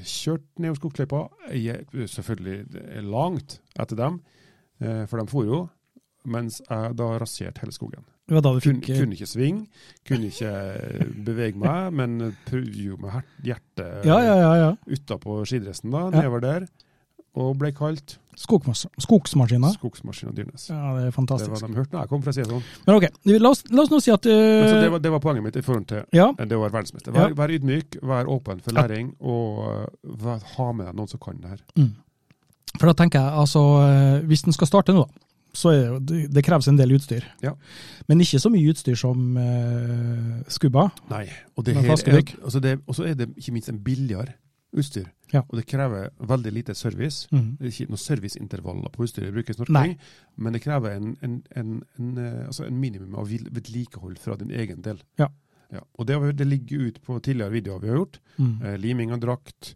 S2: jeg kjørte ned skogsløypa, jeg, selvfølgelig langt etter dem, eh, for de for jo, mens jeg da raserte hele skogen.
S1: Det var da du
S2: Kun,
S1: fikk eh,
S2: kunne ikke sving, kunne ikke eh, bevege meg, men eh, prøvde jo med her- hjertet
S1: Ja, ja, ja. ja.
S2: utapå skidressen da,
S1: Ja.
S2: nedover der, og ble kalt
S1: Skogmas skogsmaskiner.
S2: skogsmaskinen Dyrnes.
S1: Ja, det er
S2: Det var
S1: fantastisk.
S2: de hørte når jeg kom, for å si det sånn.
S1: Men ok, la oss, la oss nå si at
S2: Men så
S1: eh,
S2: det, var, det var poenget mitt i forhold til
S1: Ja,
S2: eh, det å være verdensmester.
S1: Ja.
S2: Vær, vær ydmyk, vær åpen for
S1: Ja.
S2: læring, og eh, vær, ha med deg noen som kan det her.
S1: mm. For da tenker jeg, altså, eh, hvis den skal starte nå, da, så er det, jo- det- det kreves en del utstyr.
S2: Ja.
S1: Men ikke så mye utstyr som eh, skubba.
S2: Nei. Og det
S1: Men
S2: her
S1: flaske
S2: er,
S1: røyk.
S2: altså det, og så er det ikke minst en billigere utstyr.
S1: Ja.
S2: Og det krever veldig lite service.
S1: Mhm.
S2: Det er ikke noen serviceintervaller på utstyret det brukes, når
S1: Nei.
S2: ting, men det krever en, en, en, en, eh, altså en minimum av vil- vedlikehold fra din egen del.
S1: Ja.
S2: Ja, og det, har vi- det ligger ut på tidligere videoer vi har gjort.
S1: Mm.
S2: Eh, liming av drakt,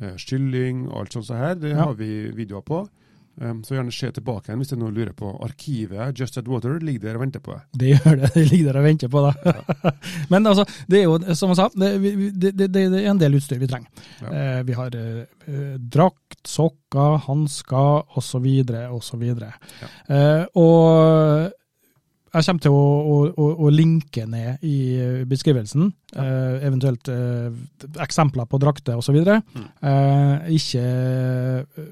S2: eh, skylling og alt sånt så her, det
S1: Ja.
S2: har vi videoer på. Um, så gjerne se tilbake igjen hvis det er noe du lurer på. Arkivet Just At Water ligger der og venter på deg.
S1: Det gjør det. Det ligger der og venter på det. Men altså, det er jo, som jeg sa, det, vi- det, det, det er en del utstyr vi trenger.
S2: Ja.
S1: Eh, vi har eh, eh, drakt, sokker, hansker osv. osv. videre. Eh, og jeg kommer til å, å, å, å linke ned i eh, beskrivelsen, eh, eventuelt eh, eksempler på drakter osv.
S2: Mm.
S1: Eh, ikke eh,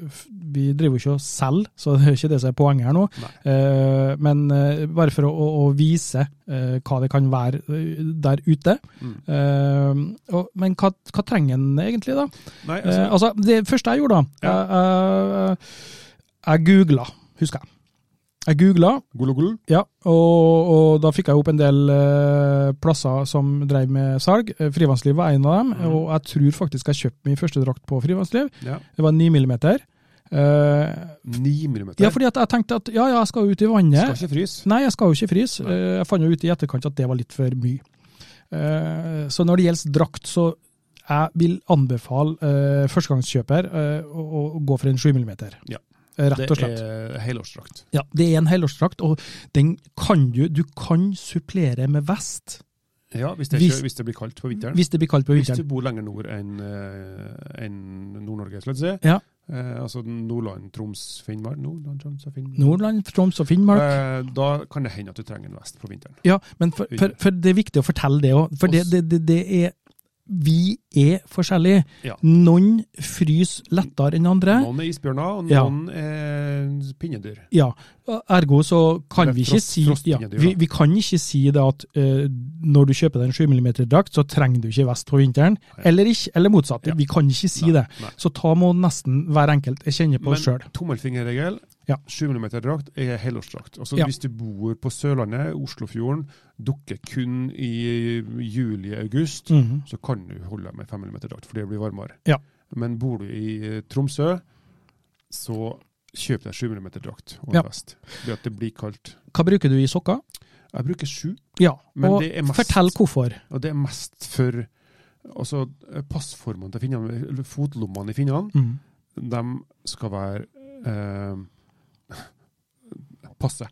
S1: Vi driver jo ikke og selger, så det er ikke det som er poenget her nå. Eh, men eh, bare for å, å, å vise eh, hva det kan være eh, der ute.
S2: Mm.
S1: Eh, og, men hva, hva trenger en egentlig, da?
S2: Nei, altså,
S1: Eh, altså, det første jeg gjorde, da Jeg, jeg, jeg googla, husker jeg. Jeg googla,
S2: Golo golo.
S1: ja, og, og da fikk jeg opp en del eh, plasser som drev med salg. Eh, Frivannsliv var en av dem,
S2: Mhm.
S1: og jeg tror faktisk jeg kjøpte min første drakt på Frivannsliv.
S2: Ja.
S1: Det var 9 millimeter. Eh,
S2: 9 millimeter.
S1: ja, fordi at jeg tenkte at ja, ja, jeg skal jo ut i
S2: Skal
S1: vannet.
S2: ikke fryse.
S1: Nei, jeg skal jo ikke fryse.
S2: Nei.
S1: Eh, Jeg fant jo ut i etterkant at det var litt for mye. Eh, Så når det gjelder drakt, så jeg vil anbefale eh, førstegangskjøper eh, å, å gå for en 7 mm.
S2: Ja.
S1: Rett og slett.
S2: Det er helårsdrakt.
S1: Ja, det er en helårsdrakt, og den kan du, du kan supplere med vest
S2: Ja, hvis det,
S1: Hvis-
S2: ikke, hvis det blir kaldt på vinteren.
S1: hvis det blir kaldt på
S2: Hvis du
S1: vinteren.
S2: bor lenger nord enn eh, enn Nord-Norge, skal vi si.
S1: Ja.
S2: Eh, altså Nordland, Troms, Finnmark. Nordland, Troms og Finnmark.
S1: Nordland, Troms og Finnmark.
S2: Eh, da kan det hende at du trenger en vest på vinteren.
S1: Ja, men for, for, for det er viktig å fortelle det òg, for det, det, det, det er Vi er forskjellige.
S2: Ja.
S1: Noen fryser lettere enn andre.
S2: Noen er isbjørner, og
S1: Ja.
S2: noen er pinnedyr.
S1: Ja, ergo så kan
S2: Eller
S1: vi ikke
S2: frost-
S1: si ja,
S2: frostpinnedyr,
S1: vi,
S2: da.
S1: vi kan ikke si det at eh, når du kjøper deg en 7 mm-drakt, så trenger du ikke vest på vinteren.
S2: Nei.
S1: Eller ikke, eller motsatt.
S2: Ja.
S1: Vi kan ikke si
S2: Nei,
S1: det.
S2: nei.
S1: Så ta må nesten hver enkelt kjenne på
S2: Men
S1: sjøl.
S2: tommelfingerregel,
S1: Ja.
S2: 7 mm drakt er helårsdrakt. Altså
S1: Ja.
S2: Hvis du bor på Sørlandet, Oslofjorden, dukker kun i juli-august,
S1: Mhm.
S2: så kan du holde deg med 5 mm drakt, for det blir varmere.
S1: Ja.
S2: Men bor du i eh, Tromsø, så kjøp deg 7 mm drakt og en
S1: Ja.
S2: vest. Det at det blir kaldt.
S1: Hva bruker du i sokker?
S2: Jeg bruker 7,
S1: Ja,
S2: Men
S1: og
S2: det er mest-
S1: fortell hvorfor.
S2: og det er mest for altså, eh, passformene til finnene, eller fotlommene i finnene.
S1: Mhm.
S2: de skal være eh, passe.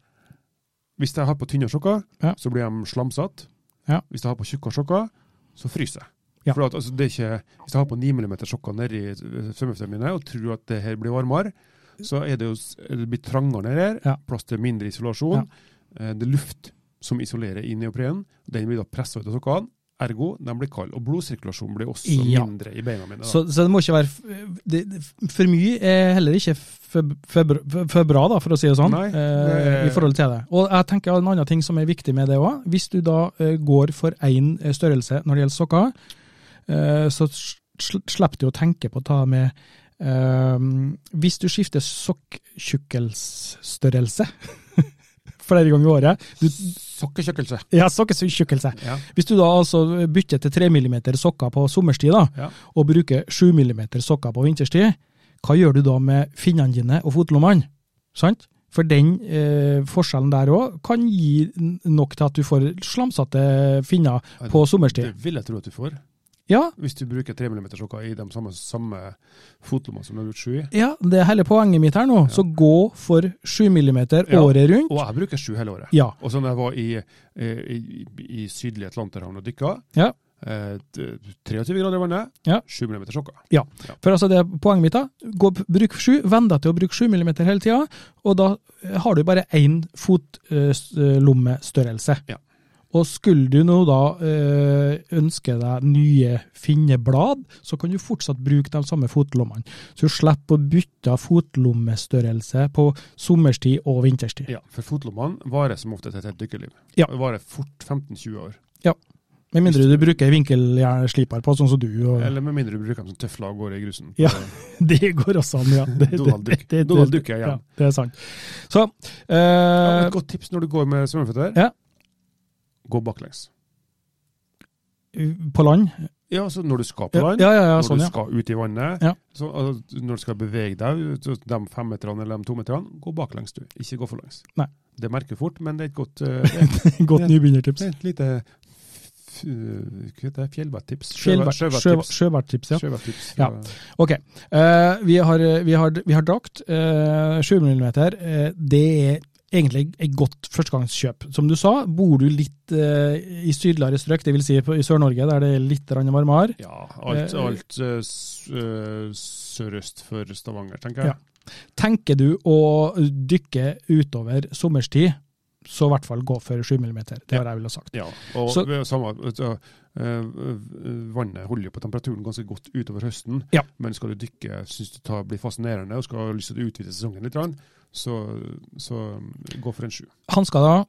S2: Hvis jeg har på tynne sokker,
S1: Ja.
S2: så blir de slamsete.
S1: Ja.
S2: Hvis jeg har på tjukke sokker, så fryser jeg.
S1: Ja.
S2: For at, altså, det er ikke, hvis jeg har på 9 mm sokker nedi svømmeføttene mine og tror at det her blir varmere, så er det jo s- det blir trangere nedi her.
S1: Ja.
S2: Plass til mindre isolasjon. Eh, Det er luft som isolerer i neoprenen. Den blir da pressa ut av sokkene. Ergo, de blir kalde. Og blodsirkulasjonen blir også
S1: Ja.
S2: mindre i beina mine. da.
S1: Så, så det må ikke være f- det, det- For mye er heller ikke for, for, br- for, for bra, da, for å si det sånn,
S2: Nei, det
S1: eh,
S2: er-
S1: i forhold til det. Og jeg tenker En annen ting som er viktig med det òg, hvis du da eh, går for én eh, størrelse når det gjelder sokker, eh, så sl- sl- slipper du å tenke på å ta med eh, Hvis du skifter sokktjukkelsstørrelse flere ganger i året du,
S2: Sokketjukkelse.
S1: Ja, sokketjukkelse.
S2: Ja.
S1: Hvis du da altså bytter til 3 mm sokker på sommerstid, da,
S2: Ja.
S1: og bruker 7 mm sokker på vinterstid, hva gjør du da med finnene dine og fotlommene? Sant? For den eh, forskjellen der òg kan gi n- nok til at du får slamsete finner
S2: Ja,
S1: på sommerstid.
S2: Det vil jeg tro at du får,
S1: Ja,
S2: hvis du bruker 3 mm sokker i de samme, samme fotlommene som du har gjort sju i.
S1: ja, det er hele poenget mitt her nå. Så gå for 7 mm
S2: Ja.
S1: året rundt.
S2: Og jeg bruker sju hele året.
S1: Ja.
S2: Og så når jeg var i, eh, i, i sydlige Atlanterhavn og dykka,
S1: ja.
S2: eh, t- 23 grader i vannet,
S1: Ja.
S2: 7 mm sokker.
S1: For altså det er poenget mitt da, gå, bruk 7, venn deg til å bruke 7 mm hele tida, og da har du bare én eh, fotlommestørrelse.
S2: Ja.
S1: Og skulle du nå da eh, ønske deg nye finneblad, så kan du fortsatt bruke de samme fotlommene. Så du slipper å bytte fotlommestørrelse på sommerstid og vinterstid.
S2: Ja, for fotlommene varer som oftest et helt dykkerliv.
S1: Ja.
S2: Det varer fort 15-20 år.
S1: Med mindre du bruker vinkelsliper på, sånn som du. Og,
S2: Eller med mindre du bruker dem som tøfler og går i grusen. eh,
S1: Ja. det går også an, ja. Det,
S2: Donald Duck.
S1: det-
S2: Donald Duck er igjen.
S1: Ja, det er sant. Så
S2: Ja, men
S1: eh,
S2: Et godt tips når du går med svømmeføtter,
S1: Ja.
S2: gå baklengs.
S1: På land?
S2: Ja, så når du skal på
S1: Ja,
S2: land,
S1: ja, ja, ja
S2: når
S1: sånn,
S2: du
S1: ja.
S2: skal ut i vannet,
S1: Ja.
S2: så, altså, når du skal bevege deg, så de femmeterne eller de tometerne, gå baklengs du, ikke gå forlengs.
S1: Nei.
S2: Det merker du fort, men det er et godt eh, det er
S1: Godt nybegynnertips.
S2: et lite f- hva heter det, fjellvettips.
S1: Fjellver- sjø-
S2: Sjøvettips.
S1: Sjøverttips, ja.
S2: Sjøvettips.
S1: Ja. Ok. Eh, vi, har, vi, har, vi har drakt. eh, 7 mm. eh, det er egentlig et godt førstegangskjøp. Som du sa, bor du litt eh, i sydligere strøk, dvs. Si på- i Sør-Norge, der det er litt grann varmere,
S2: Ja, alt,
S1: Eh,
S2: alt eh, s- eh, sørøst for Stavanger, tenker
S1: Ja.
S2: jeg.
S1: tenker du å dykke utover sommerstid, så i hvert fall gå for 7 mm. Det har jeg vel sagt.
S2: Ja, og
S1: Så-
S2: ved samme, altså, eh, Vannet holder jo på temperaturen ganske godt utover høsten,
S1: Ja.
S2: men skal du dykke, syns du tar, blir fascinerende og skal ha lyst til å utvide sesongen litt, grann, så, så eh, gå for en sju.
S1: Hansker da?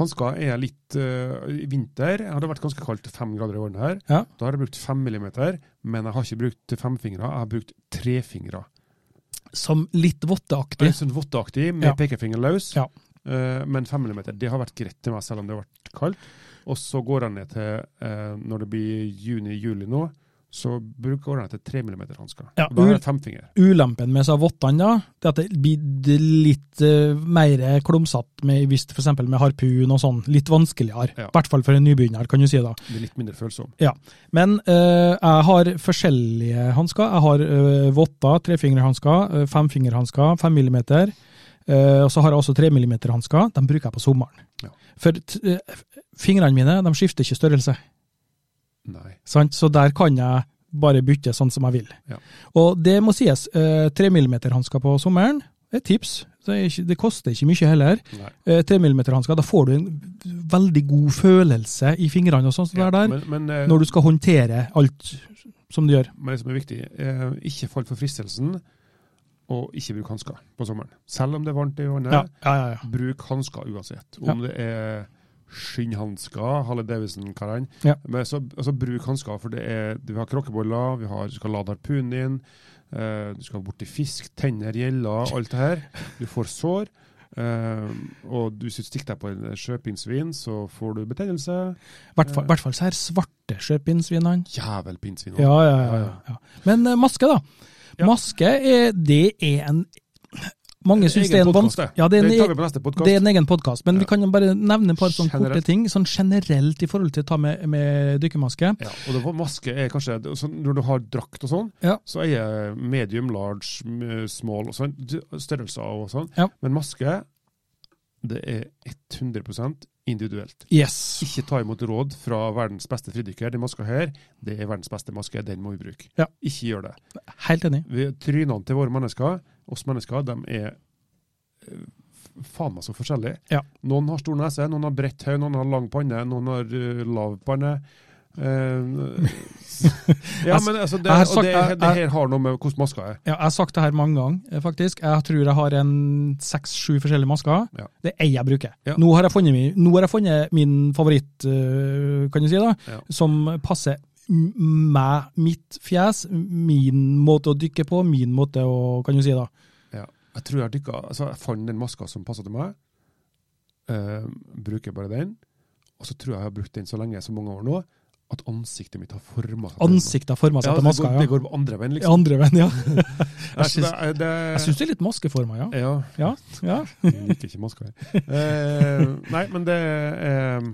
S2: Hansker er litt eh, i vinter. Det har vært ganske kaldt, fem grader i vannet her.
S1: Ja.
S2: Da har jeg brukt fem millimeter, men jeg har ikke brukt femfingre, jeg har brukt trefingre.
S1: Som litt votteaktig.
S2: Litt sånn votteaktig, med
S1: Ja.
S2: pekefingeren løs.
S1: Ja.
S2: Eh, men fem millimeter, det har vært greit til meg, selv om det har vært kaldt. Og så går jeg ned til, eh, når det blir juni-juli nå, så bruk- går jeg ned til tre millimeter hansker.
S1: Ja,
S2: da har jeg femfinger.
S1: Ulempen med disse vottene, da, det er at det blir d- litt eh, mer klumsete med, hvis det for eksempel med harpun og sånn. Litt vanskeligere. I
S2: Ja.
S1: hvert fall for en nybegynner, kan du si da.
S2: Blir litt mindre følsom.
S1: Men eh, jeg har forskjellige hansker. Jeg har eh, votter, trefingerhansker, eh, femfingerhansker, fem millimeter. eh, og så har jeg også tre millimeter-hansker. De bruker jeg på sommeren.
S2: Ja.
S1: For t eh, fingrene mine de skifter ikke størrelse.
S2: Nei.
S1: Sant? Så der kan jeg bare bytte sånn som jeg vil.
S2: Ja.
S1: Og det må sies, eh, 3 mm-hansker på sommeren er et tips. Det, er ikke, det koster ikke mye heller.
S2: Nei.
S1: Eh, 3 mm-hansker, da får du en veldig god følelse i fingrene og sånt som det er der,
S2: Men, men, eh,
S1: når du skal håndtere alt som du gjør.
S2: men det som er viktig, eh, ikke fall for fristelsen, og ikke bruk hansker på sommeren. Selv om det er varmt i vannet,
S1: Ja, ja, ja. ja.
S2: bruk hansker uansett. Om det er skinnhansker, Halle Davidson-karene.
S1: Ja.
S2: Men så, altså, bruk hansker, for det er, vi har krokkeboller, vi har, du skal lade harpunen din, eh, du skal borti fisk, tenner, gjeller, alt det her. Du får sår. eh, og du hvis du stikker deg på en sjøpinnsvin, så får du betennelse.
S1: I hvert fall- i hvert fall så er svarte sjøpinnsvinene.
S2: Jævel pinnsvin.
S1: Ja, ja, ja,
S2: Ja,
S1: ja,
S2: ja.
S1: ja. Men eh, maske, da.
S2: Ja.
S1: Maske, er, det er en Mange syns det er en
S2: podcast,
S1: vanskelig ja, det er en-
S2: det tar vi på neste podkast.
S1: Det er en egen podkast, men
S2: Ja.
S1: vi kan jo bare nevne et par sånne korte
S2: Generelt.
S1: ting. Sånn generelt i forhold til å ta med, med dykkermaske.
S2: Ja, og det var maske er kanskje det- så Når du har drakt og sånn,
S1: Ja.
S2: så er jeg medium, large, m- small og sånn. d- Størrelser og sånn.
S1: Ja.
S2: Men maske, det er 100 individuelt.
S1: Yes.
S2: Ikke ta imot råd fra verdens beste fridykker. Den maska her, det er verdens beste maske. Den må vi bruke.
S1: Ja.
S2: Ikke gjør det.
S1: Helt enig.
S2: Vi, trynene til våre mennesker, oss mennesker, de er eh, f- faen meg så forskjellige.
S1: Ja.
S2: Noen har stor nese, noen har bredt hode, noen har lang panne, noen har eh, lav panne. Eh, ja, men altså, det,
S1: Jeg har
S2: og
S1: sagt-
S2: det,
S1: jeg-
S2: det her har noe med hvordan maska er.
S1: Ja, jeg har sagt det her mange ganger, eh, faktisk. Jeg tror jeg har en seks-sju forskjellige masker.
S2: Ja.
S1: Det er ei jeg bruker.
S2: Ja.
S1: Nå, har jeg funnet min, nå har jeg funnet min favoritt, eh, kan du si, da,
S2: Ja.
S1: som passer m- meg, mitt fjes, min måte å dykke på, min måte å Kan du si, da.
S2: Ja. Jeg tror jeg dykka, altså jeg fant den maska som passa til meg. Eh, bruker bare den. Og så tror jeg jeg har brukt den så lenge, så mange år nå, at ansiktet mitt har forma seg. til den.
S1: Ansiktet former seg
S2: Ja,
S1: etter
S2: det går,
S1: maska.
S2: det
S1: Ja.
S2: går andre veien, liksom.
S1: Andre veien, ja.
S2: Nei, så
S1: syns-
S2: det, det,
S1: Jeg syns det er litt maskeforma, ja.
S2: ja.
S1: Ja, ja.
S2: Jeg liker ikke maska. jeg. Eh, nei, men det er, eh,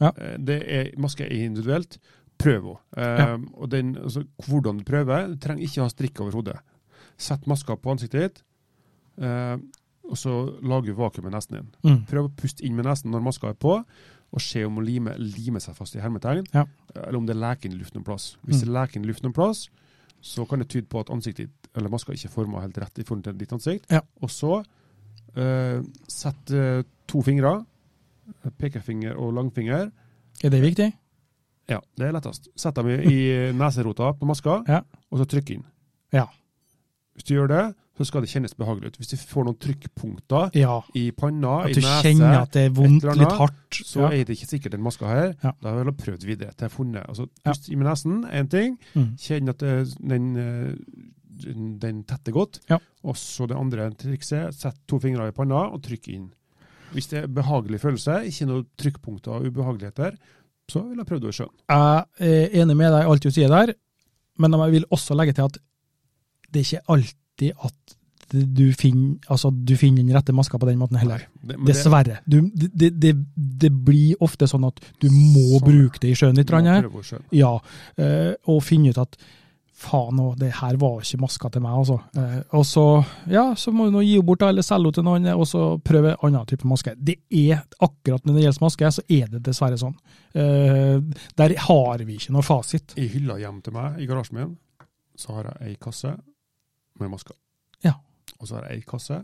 S1: Ja.
S2: det er Maske er individuelt. Prøv henne. Eh,
S1: Ja.
S2: Og den, altså, hvordan du prøver, du trenger ikke ha strikk over hodet. Sett maska på ansiktet ditt, eh, og så lager du vakuum med nesen din.
S1: Mm.
S2: Prøv å puste inn med nesen når maska er på, og se om hun limer lime seg fast i hermetegn,
S1: Ja. Mm.
S2: eller om det er leken i luft noen plass. Hvis det er leken i luft noen plass, så kan det tyde på at ansiktet ditt, eller maska ikke er forma helt rett i forhold til ditt ansikt.
S1: Ja.
S2: Og så eh, sett eh, to fingre, pekefinger og langfinger,
S1: Er det viktig?
S2: ja, det er lettest. Sett dem i, i neserota på maska,
S1: Ja.
S2: og så trykk inn.
S1: Ja.
S2: Hvis du gjør det, så skal det kjennes behagelig ut. Hvis du får noen trykkpunkter
S1: Ja.
S2: i panna,
S1: At
S2: i
S1: du
S2: nese,
S1: kjenner at det er
S2: et
S1: vondt,
S2: eller
S1: litt
S2: annet,
S1: hardt.
S2: så
S1: ja.
S2: er det ikke sikkert den maska her.
S1: Ja.
S2: Da har jeg vel prøvd videre til jeg har funnet altså,
S1: Ja.
S2: Pust inn med nesen, én ting.
S1: Mm.
S2: Kjenn at eh, den, eh, den, den tetter godt.
S1: Ja.
S2: Og så det andre trikset, sett to fingre i panna og trykk inn. Hvis det er behagelig følelse, ikke noe trykkpunkter og ubehageligheter, så vil jeg prøve det sjøl.
S1: Jeg er enig med deg i alt du sier der, men jeg vil også legge til at det er ikke alltid at du finner, altså, du finner den rette maska på den måten heller. Dessverre. Du, det, det, det blir ofte sånn at du må
S2: Sånn.
S1: bruke det i sjøen litt. Rand, her.
S2: Prøve det selv.
S1: Ja, eh, og finne ut at faen òg, det her var ikke maska til meg, altså. Eh, og så, ja, så må du nå gi henne bort, da, eller selge henne til noen, og så prøve en annen type maske. Det er akkurat når det gjelder maske, så er det dessverre sånn. Eh, der har vi ikke noe fasit.
S2: I hylla hjem til meg, i garasjen min, så har jeg ei kasse med masker.
S1: Ja.
S2: Og så har jeg ei kasse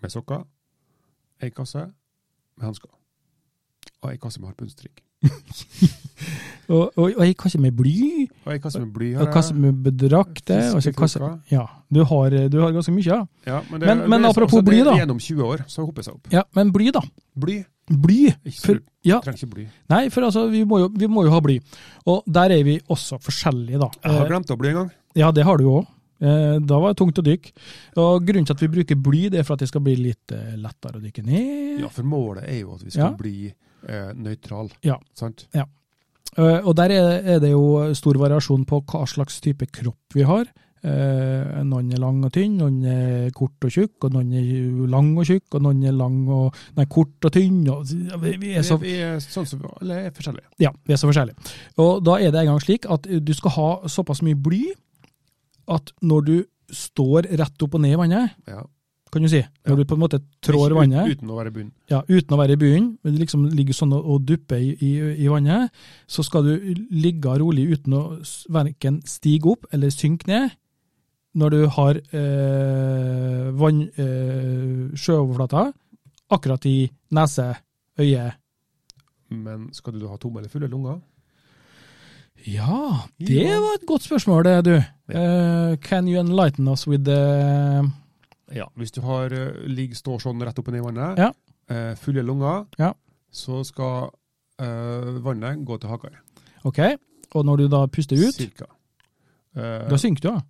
S2: med sokker, ei kasse med hansker. Og ei kasse med harpunstrikk.
S1: Og, og, og jeg kan ikke med bly,
S2: Og ei kasse med bly. har
S1: og kasse
S2: jeg.
S1: med bedrakter, og så kasse
S2: Fiskekroker.
S1: Ja, du har, du har ganske mye, ja.
S2: Ja, men, det,
S1: Men- men
S2: det er-
S1: apropos
S2: altså, det
S1: bly,
S2: er
S1: da.
S2: Gjennom 20 år så hopper seg opp.
S1: ja. Men bly, da.
S2: Bly.
S1: Bly.
S2: Ikke så
S1: For,
S2: lurt.
S1: ja,
S2: Trenger ikke bly.
S1: nei, for altså, vi må, jo, vi må jo ha bly. Og der er vi også forskjellige, da.
S2: Jeg
S1: Eh,
S2: har glemt å bly en gang.
S1: Ja, det har du òg. Da var det tungt å dykke. Og Grunnen til at vi bruker bly, det er for at det skal bli litt eh, lettere å dykke ned.
S2: Ja, for målet er jo at vi
S1: Ja.
S2: skal bli eh, nøytral.
S1: Ja.
S2: Sant?
S1: Eh, Og Der er er det jo stor variasjon på hva slags type kropp vi har. Eh, Noen er lang og tynn, noen er kort og tjukk, og noen er jo lang og tjukk, og noen er lang og, nei, kort og tynn. Og, ja, vi, vi er så
S2: vi, vi er sånn som vi alle er forskjellige.
S1: Ja, vi er så forskjellige. Og da er det en gang slik at du skal ha såpass mye bly at når du står rett opp og ned i vannet,
S2: Ja.
S1: kan du si, når du på en måte trår
S2: Ikke ut-
S1: vannet
S2: Uten å være bunn.
S1: ja, uten å være i byen, men du liksom ligger sånn og, og dupper i, i, i vannet, så skal du ligge rolig uten å s- verken stige opp eller synke ned når du har eh, vann, eh, sjøoverflata akkurat i nese, øye.
S2: Men skal du da ha tomme eller fulle lunger?
S1: Ja, det var et godt spørsmål, det, du. Eh, can you enlighten us with the
S2: Ja, hvis du har eh, ligg, står sånn rett opp og ned i vannet,
S1: Ja.
S2: eh, fulle lunger,
S1: Ja.
S2: så skal eh, vannet gå til haka.
S1: Ok, og når du da puster ut,
S2: Cirka. Eh,
S1: da synker du, ja.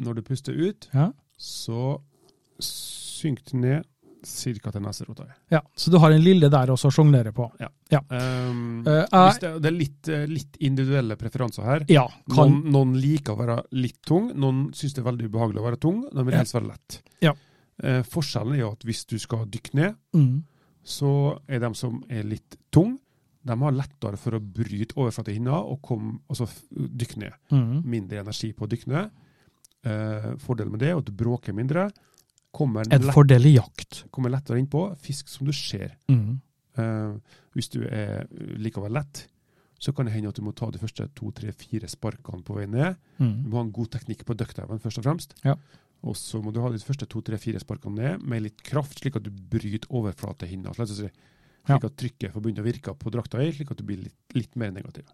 S2: når du puster ut,
S1: ja.
S2: så synker det ned cirka til neserota.
S1: Ja, Så du har en lille der også å sjonglere på.
S2: Um,
S1: Eh, jeg-
S2: hvis det, det er litt, eh, litt individuelle preferanser her.
S1: ja, kan
S2: Noen, noen liker å være litt tung, noen syns det er veldig ubehagelig å være tung, de vil
S1: Ja.
S2: helst være lett.
S1: Ja.
S2: Eh, forskjellen er jo at hvis du skal dykke ned,
S1: mm.
S2: så er de som er litt tung, de har lettere for å bryte overflatehinna og kom, altså f- dykke ned.
S1: Mm.
S2: Mindre energi på å dykke ned. Eh, fordelen med det er at du bråker mindre, kommer,
S1: En
S2: lett,
S1: fordel i jakt.
S2: kommer lettere innpå, fisk som du ser.
S1: Mm.
S2: Eh, hvis du er likevel lett, så kan det hende at du må ta de første to, tre, fire sparkene på vei ned. Du
S1: Mm.
S2: må ha en god teknikk på duckdiven, først og fremst.
S1: Ja.
S2: Og så må du ha de første to, tre, fire sparkene ned med litt kraft, slik at du bryter overflatehinna. Slik, å si. slik at trykket får begynne å virke på drakta di, slik at du blir litt, litt mer negativ.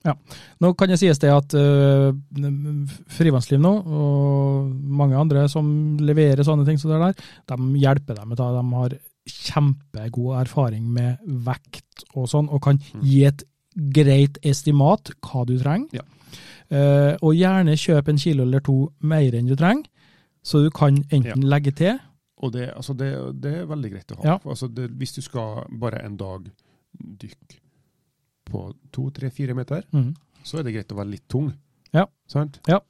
S1: Nå kan det sies det at uh, frivannsliv nå, og mange andre som leverer sånne ting, som det der, de hjelper dem. Da. De har kjempegod erfaring med vekt og sånn, og kan
S2: Mm.
S1: gi et greit estimat hva du trenger.
S2: Ja.
S1: Eh, og gjerne kjøp en kilo eller to mer enn du trenger, så du kan enten legge til
S2: Og det, altså det, det er veldig greit å ha.
S1: Ja.
S2: Altså det, hvis du skal bare en dag dykke på to, tre, fire meter,
S1: mm,
S2: så er det greit å være litt tung.
S1: Ja.
S2: Sant?
S1: Ja.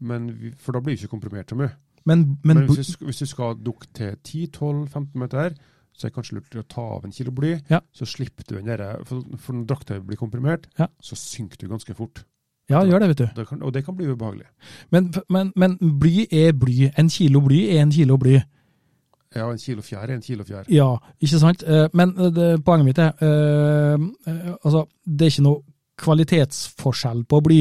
S2: Men vi, for da blir du ikke komprimert så mye.
S1: men, men,
S2: Men hvis du, sk- hvis du skal dukke til 10-12-15 meter, så er det kanskje lurt å ta av en kilo bly.
S1: Ja.
S2: Så slipper du den der, for, for når drakta blir komprimert,
S1: Ja.
S2: så synker du ganske fort.
S1: Ja, gjør det, vet du.
S2: Det kan, og det kan bli ubehagelig.
S1: Men, men, men bly er bly. En kilo bly er en kilo bly.
S2: Ja, en kilo fjær er en kilo fjær.
S1: Ja, ikke sant? Eh, Men eh, det, poenget mitt er eh, eh, altså, det er ikke noe kvalitetsforskjell på bly,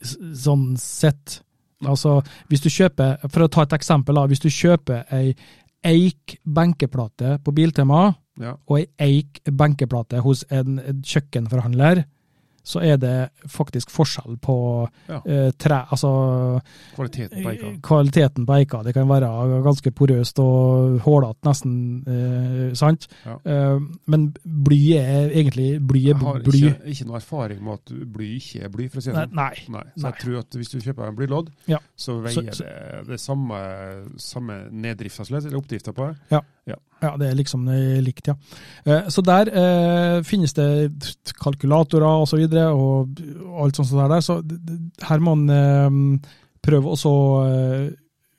S1: s- sånn sett. Altså, hvis du kjøper, For å ta et eksempel, da, hvis du kjøper ei eik benkeplate på Biltema
S2: Ja.
S1: og ei eik benkeplate hos en, en kjøkkenforhandler, så er det faktisk forskjell på
S2: Ja.
S1: eh, tre, altså
S2: Kvaliteten på eika.
S1: Eh, Kvaliteten på eika. Det kan være ganske porøst og hålete, nesten. Eh, sant?
S2: Ja.
S1: Eh, men bly er egentlig bly.
S2: Jeg
S1: Er
S2: har
S1: bly.
S2: ikke, ikke noe erfaring med at bly ikke er bly, for å si det
S1: Nei,
S2: sånn.
S1: nei.
S2: Nei. Så
S1: Nei.
S2: jeg tror at hvis du kjøper en blylodd,
S1: Ja.
S2: så
S1: Så-
S2: veier
S1: så-
S2: det det samme, samme neddrifta, eller oppdrifta på det.
S1: Ja, det er liksom eh, likt, ja. Eh, så der eh, finnes det t- kalkulatorer og så videre, og alt sånt som det er der. Så d- d- her må man eh, prøve å så eh,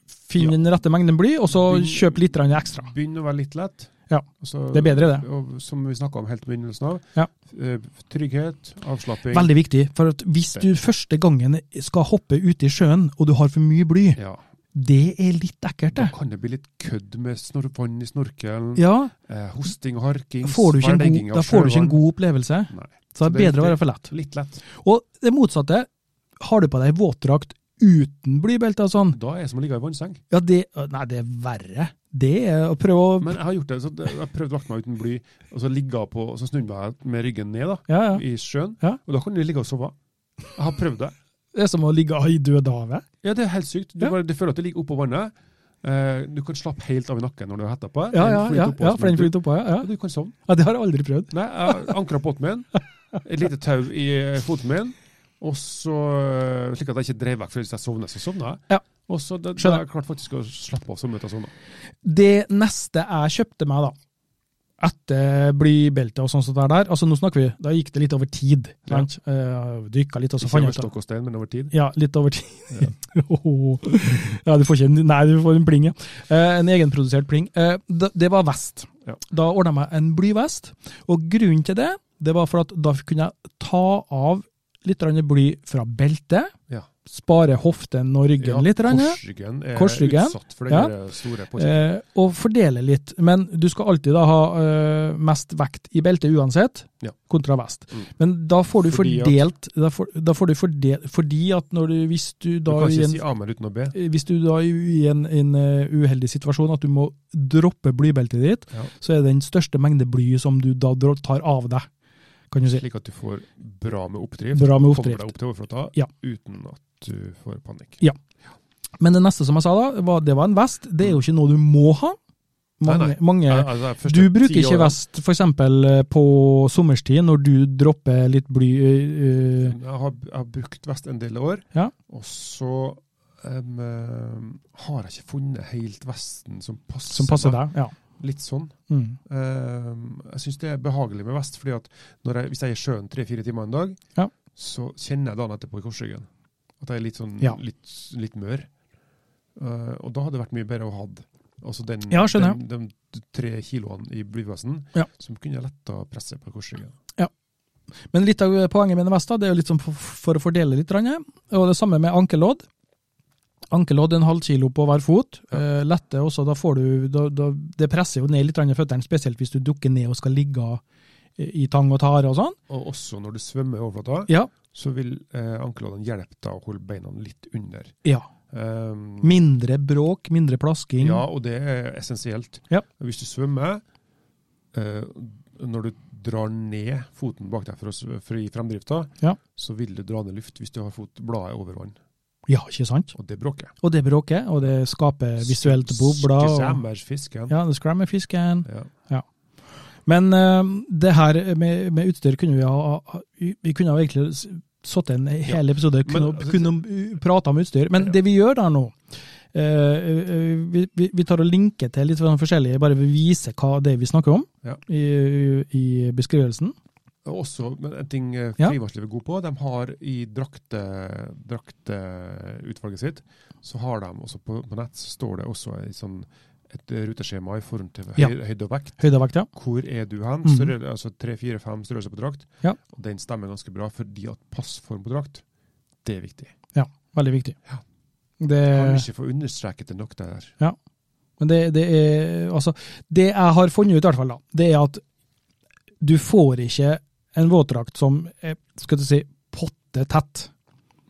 S1: finne
S2: Ja.
S1: den rette mengden bly, og så
S2: Begynn-
S1: kjøpe litt grann ekstra.
S2: Begynn å være litt lett.
S1: Ja.
S2: Og så-
S1: Det er bedre, det.
S2: Og som vi snakka om helt på begynnelsen av,
S1: Ja.
S2: eh, trygghet, avslapping
S1: Veldig viktig, for at hvis du første gangen skal hoppe ute i sjøen, og du har for mye bly,
S2: Ja,
S1: det er litt ekkelt,
S2: Da
S1: det.
S2: kan det bli litt kødd med snor vann i snorkelen,
S1: Ja,
S2: eh, hosting og harking.
S1: får du ikke en god,
S2: svelging av
S1: da får du ikke en
S2: sjøvann.
S1: god opplevelse.
S2: Nei.
S1: Så det
S2: Så
S1: er
S2: det er
S1: bedre å være for lett.
S2: Litt lett.
S1: Og det motsatte, har du på deg våtdrakt uten blybelte og sånn,
S2: Da er det som å ligge i vannseng.
S1: ja det Nei, det er verre. Det er å prøve å
S2: Men jeg har gjort det, så jeg har prøvd å vakte meg uten bly, og så ligge på, og så snudde jeg meg med ryggen ned da,
S1: Ja, ja.
S2: i sjøen.
S1: Ja.
S2: Og da kan du ligge og sove. Jeg har prøvd det.
S1: Det er som å ligge i Dødehavet.
S2: Ja, det er helt sykt. Du,
S1: Ja.
S2: bare, du føler at du ligger oppå vannet. Eh, du kan slappe helt av i nakken når du har hetta på.
S1: Ja,
S2: Den
S1: ja,
S2: flyter
S1: ja,
S2: oppå
S1: ja,
S2: som
S1: for den
S2: en duk.
S1: flyter oppå, ja,
S2: Ja,
S1: ja.
S2: du kan sovne.
S1: ja. Det har jeg aldri prøvd.
S2: Nei, jeg ankra båten min, et lite tau i eh, foten min, og så eh, slik at jeg ikke drev vekk, for hvis jeg sovner, så sovner jeg.
S1: Ja.
S2: Og så da, da
S1: Skjønner.
S2: jeg klarte faktisk å slappe av som møte og sovne.
S1: Det neste jeg kjøpte meg, da, etter blybelte og sånn som det er der altså Nå snakker vi, da gikk det litt over tid.
S2: Ja.
S1: sant? Eh, Dykka litt, og så
S2: Ikke
S1: fant
S2: over
S1: jeg ut at-
S2: stokk og stein, men over tid.
S1: Ja, litt over tid. Åh. ja, du får ikke en Nei, du får en pling, ja. Eh, en egenprodusert pling. Eh, da- det var vest.
S2: Ja.
S1: Da ordna jeg meg en blyvest, og grunnen til det, det var for at da kunne jeg ta av litt grann bly fra beltet,
S2: Ja.
S1: spare hoften og ryggen litt. grann,
S2: korsryggen er
S1: Korsryggen.
S2: utsatt for den
S1: Ja.
S2: der store påkjenningen.
S1: Eh, og fordele litt. Men du skal alltid da ha eh, mest vekt i beltet uansett,
S2: Ja.
S1: kontra vest.
S2: Mm.
S1: Men da får du
S2: Fordi at-
S1: fordelt da får, da får du fordel, Fordi at når du, hvis du
S2: Du
S1: da
S2: kan
S1: i
S2: ikke
S1: en,
S2: si amen uten å be.
S1: eh, hvis du da i i en, en eh, uheldig situasjon at du må droppe blybeltet ditt,
S2: Ja.
S1: så er det den største mengde bly som du da dro- tar av deg, kan du si.
S2: Slik at du får bra med oppdrift.
S1: Bra med
S2: Kommer
S1: oppdrift.
S2: deg opp til overflata
S1: Ja.
S2: uten at du får panikk.
S1: Men det neste som jeg sa da, var, det var en vest. Det er jo ikke noe du må ha.
S2: Nei,
S1: Mange,
S2: nei.
S1: mange
S2: Ja, altså, de første
S1: Du bruker
S2: ti
S1: ikke
S2: årene-
S1: vest f.eks. på sommerstid, når du dropper litt bly øh, øh,
S2: Jeg har, jeg har brukt vest en del år,
S1: Ja.
S2: og så em, eh, har jeg ikke funnet helt vesten som passer,
S1: som passer
S2: meg.
S1: deg? Ja.
S2: Litt sånn.
S1: Mm.
S2: Em, jeg syns det er behagelig med vest, fordi at når jeg, hvis jeg er i sjøen tre-fire timer en dag,
S1: Ja.
S2: så kjenner jeg dagen etterpå i korsryggen at jeg er litt, sånn,
S1: Ja.
S2: litt, litt mør. Eh, og da hadde det vært mye bedre å ha altså den,
S1: Ja, skjønner
S2: den, de tre kiloene i blyvesten
S1: Ja.
S2: som kunne letta presset på korsryggen.
S1: Men litt av poenget med en vest da, det er jo litt sånn for, for å fordele litt. grann, ja. Og det samme med ankelodd. Ankelodd en halv kilo på hver fot.
S2: Ja.
S1: Eh, lette også, da får du, da, da, Det presser jo ned litt grann i føttene, spesielt hvis du dukker ned og skal ligge eh, i tang og tare og sånn.
S2: Og også når du svømmer i overflata,
S1: Ja.
S2: så vil eh, ankelodden hjelpe deg å holde beina litt under.
S1: ja.
S2: Ehm,
S1: Mindre bråk, mindre plasking.
S2: ja, og det er essensielt.
S1: Ja.
S2: Hvis du svømmer, eh, når du drar ned foten bak deg for å sv- for å gi fremdrifta,
S1: Ja.
S2: så vil du dra ned luft hvis du har fot bladet over vann,
S1: Ja, ikke sant?
S2: og det bråker.
S1: Og det bråker, og det skaper visuelt bobler. og-
S2: Skrammer fisken.
S1: Ja, det skrammer fisken.
S2: Ja.
S1: Men eh, det her med, med utstyr kunne vi ha ha- Vi kunne ha egentlig s- satt en hel episode
S2: Men,
S1: kunne,
S2: altså,
S1: kunne uh, prate om utstyr. Men
S2: Ja.
S1: det vi gjør der nå eh, eh, vi, vi, vi tar og linker til litt sånn forskjellige, bare vi viser hva det er vi snakker om
S2: Ja.
S1: i, i beskrivelsen.
S2: Og Også, men en ting eh,
S1: Ja.
S2: frivannslivet er god på, de har i drakte- drakteutvalget sitt, så har de også på, på nett, så står det også ei sånn, et ruteskjema i forhold til høy,
S1: Ja.
S2: høyde og vekt.
S1: Høyde og vekt, ja.
S2: Hvor er du hen?
S1: Mhm.
S2: Større, altså tre, fire, fem størrelser på drakt.
S1: Ja.
S2: Og den stemmer ganske bra, fordi at passform på drakt, det er viktig.
S1: Veldig viktig.
S2: Ja.
S1: Det,
S2: Kan vi ikke få understreket det nok der?
S1: men det, det er Altså, det jeg har funnet ut, i hvert fall, da, det er at du får ikke en våtdrakt som er, skal du si, pottetett.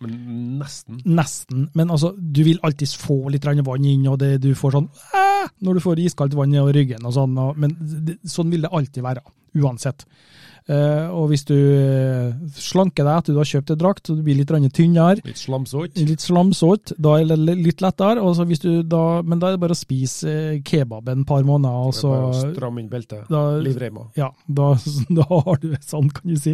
S2: Men nesten.
S1: Nesten. Men altså, du vil alltids få litt grann vann inn, og det, du får sånn «Æ!» når du får iskaldt vann nedover ryggen og sånn. Og, men det, sånn vil det alltid være. Uansett. Eh, og hvis du eh, slanker deg etter du har kjøpt en drakt, så du blir litt grann tynnere,
S2: Litt slamsått.
S1: litt slamsått, da er det l- litt lettere. Og så hvis du da, men da er det bare å spise eh, kebab en par måneder, og så
S2: Stramme inn beltet.
S1: da,
S2: Livreima.
S1: ja, da, da har du det sånn, kan du si.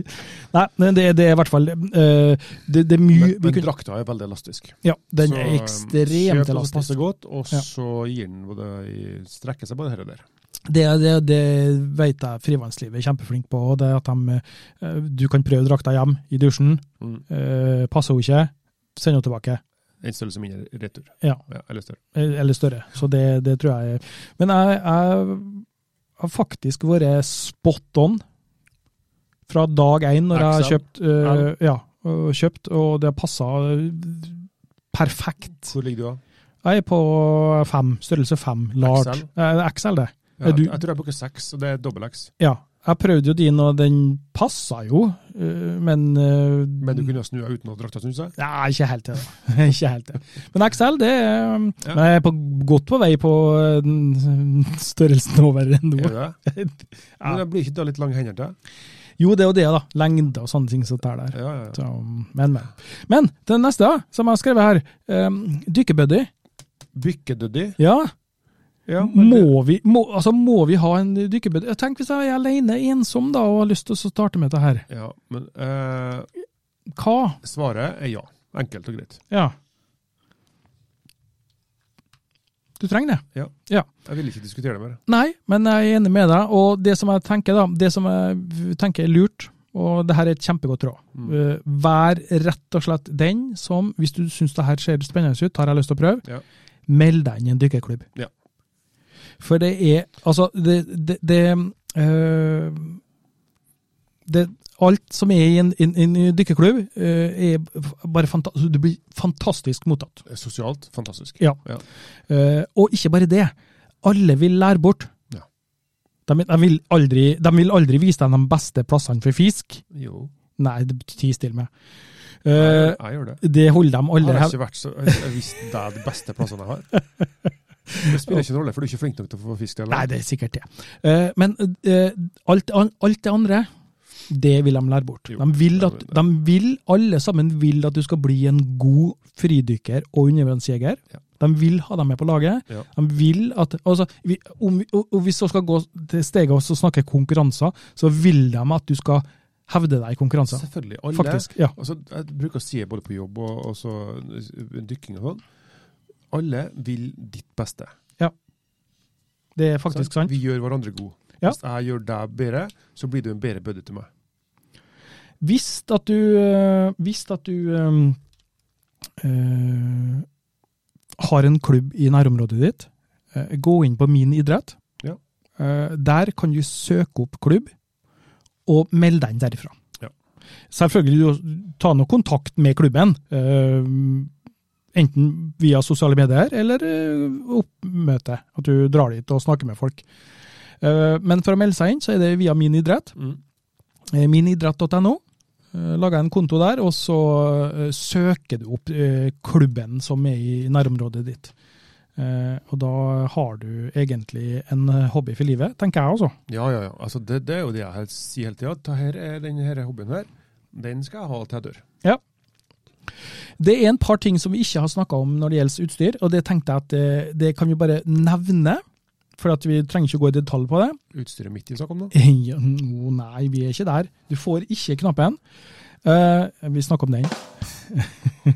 S1: Nei, men det, det er i hvert fall eh, Det, det er mye
S2: Men,
S1: vi
S2: men
S1: kunne-
S2: drakta er veldig elastisk.
S1: Ja, den
S2: Så,
S1: er
S2: eh,
S1: ekstremt
S2: Kjøp det som passer
S1: elastisk.
S2: godt, og
S1: Ja.
S2: så gir den både i strekker seg bare her og der.
S1: Det, det, det vet jeg frivannslivet er kjempeflink på. og Det er at de, eh, du kan prøve drakta hjem i dusjen.
S2: Mm.
S1: Eh, passer hun ikke, send henne tilbake.
S2: En størrelse mindre retur.
S1: Ja.
S2: eller større.
S1: Eller større. Så det, det tror jeg er Men jeg, jeg har faktisk vært spot on fra dag én når jeg har
S2: Excel.
S1: kjøpt, øh, ja, og kjøpt, og det har passa perfekt.
S2: Hvor ligger du da?
S1: Jeg er på fem, størrelse fem, large.
S2: Excel?
S1: Eh, XL, det.
S2: Ja,
S1: Er du-
S2: Jeg tror jeg bruker seks, og det er dobbel X.
S1: Ja. Jeg prøvde jo din, og den passa jo, øh, men øh,
S2: Men du kunne jo snu deg uten at drakta snudde seg.
S1: Nei, ikke helt til. da. ikke helt til. Men XL, det er, um,
S2: Ja.
S1: men jeg er på, godt på vei på eh, den størrelsen over nå.
S2: Er du det?
S1: Ja.
S2: Men det blir ikke da litt lange hender til?
S1: Jo, det er jo det, da. Lengde og sånne ting som tar der.
S2: Ja, ja, ja.
S1: Så, men, men. Men den neste, da, som jeg har skrevet her, um, dykkebuddy.
S2: Bykkedøddi.
S1: Ja,
S2: Ja, men det-
S1: må vi, må, altså, må vi ha en dykkebuddy? Ja, Tenk hvis jeg er alene, ensom, da, og har lyst til å starte med dette her.
S2: ja, men eh,
S1: Hva?
S2: svaret er ja. Enkelt og greit.
S1: Ja. Du trenger det.
S2: Jeg vil ikke diskutere det mer.
S1: Nei, men jeg er enig med deg. Og det som jeg tenker da, det som jeg tenker er lurt, og det her er et kjempegodt råd,
S2: Mm.
S1: Eh, vær rett og slett den som, hvis du syns det her ser spennende ut, har jeg lyst til å prøve,
S2: Ja.
S1: meld deg inn i en dykkerklubb.
S2: Ja.
S1: For det er Altså, det, det, det eh, det, alt som er i en, en, en dykkerklubb, eh, er bare fanta du blir fantastisk mottatt.
S2: Sosialt fantastisk.
S1: Ja.
S2: Ja.
S1: Eh, og ikke bare det. Alle vil lære bort.
S2: Ja.
S1: De, de, vil aldri, de vil aldri vise deg de beste plassene for fisk.
S2: Jo,
S1: Nei, det betyr ti stille med.
S2: jeg,
S1: Eh,
S2: jeg gjør det.
S1: det holder de
S2: Jeg
S1: aldri
S2: har
S1: hev...
S2: ikke vært så, jeg har visst det er de beste plassene jeg har. Det spiller ikke noen rolle, for du er ikke flink nok til å få fisk. Eller?
S1: Nei, det er sikkert det. Eh, men eh, alt, an- alt det andre, det vil de lære bort.
S2: Jo,
S1: de, vil at,
S2: det er
S1: de vil, alle sammen vil at du skal bli en god fridykker og undervannsjeger.
S2: Ja.
S1: De vil ha deg med på laget.
S2: Ja.
S1: De vil at altså, vi, om, vi- og, og Hvis vi skal gå til steget og så snakke konkurranser, så vil de at du skal hevde deg i konkurranser.
S2: Selvfølgelig. Alle,
S1: Altså, Faktisk. Ja.
S2: Altså, jeg bruker å si det både på jobb og, og så dykking og sånn. Alle vil ditt beste.
S1: Det er faktisk sant.
S2: Vi gjør hverandre gode.
S1: Ja.
S2: Hvis jeg gjør deg bedre, så blir du en bedre bødde til meg.
S1: Hvis at du øh, Hvis at du ehm, øhm, øh, har en klubb i nærområdet ditt, øh, gå inn på Min idrett.
S2: Ja.
S1: Øh, der kan du søke opp klubb, og melde deg inn derifra.
S2: Ja.
S1: Selvfølgelig, du, ta nå kontakt med klubben. øh, enten via sosiale medier eller øh, oppmøte. At du drar dit og snakker med folk. Eh, men for å melde seg inn, så er det via Min idrett eh, minidrett.no. eh, Lager en konto der, og så eh, søker du opp eh, klubben som er i nærområdet ditt. Eh, Og da har du egentlig en eh, hobby for livet, tenker jeg altså.
S2: Ja, ja, ja. Altså, det, det er jo det jeg helt- sier hele tida. Denne hobbyen her, den skal jeg ha til jeg dør.
S1: Det er en par ting som vi ikke har snakka om når det gjelder utstyr, og det tenkte jeg at eh, det kan vi bare nevne. For at vi trenger ikke å gå i detalj på det.
S2: Utstyret mitt vi snakker om nå.
S1: Ja, no, nei, vi er ikke der. Du får ikke knappen. Eh, vi snakker om den.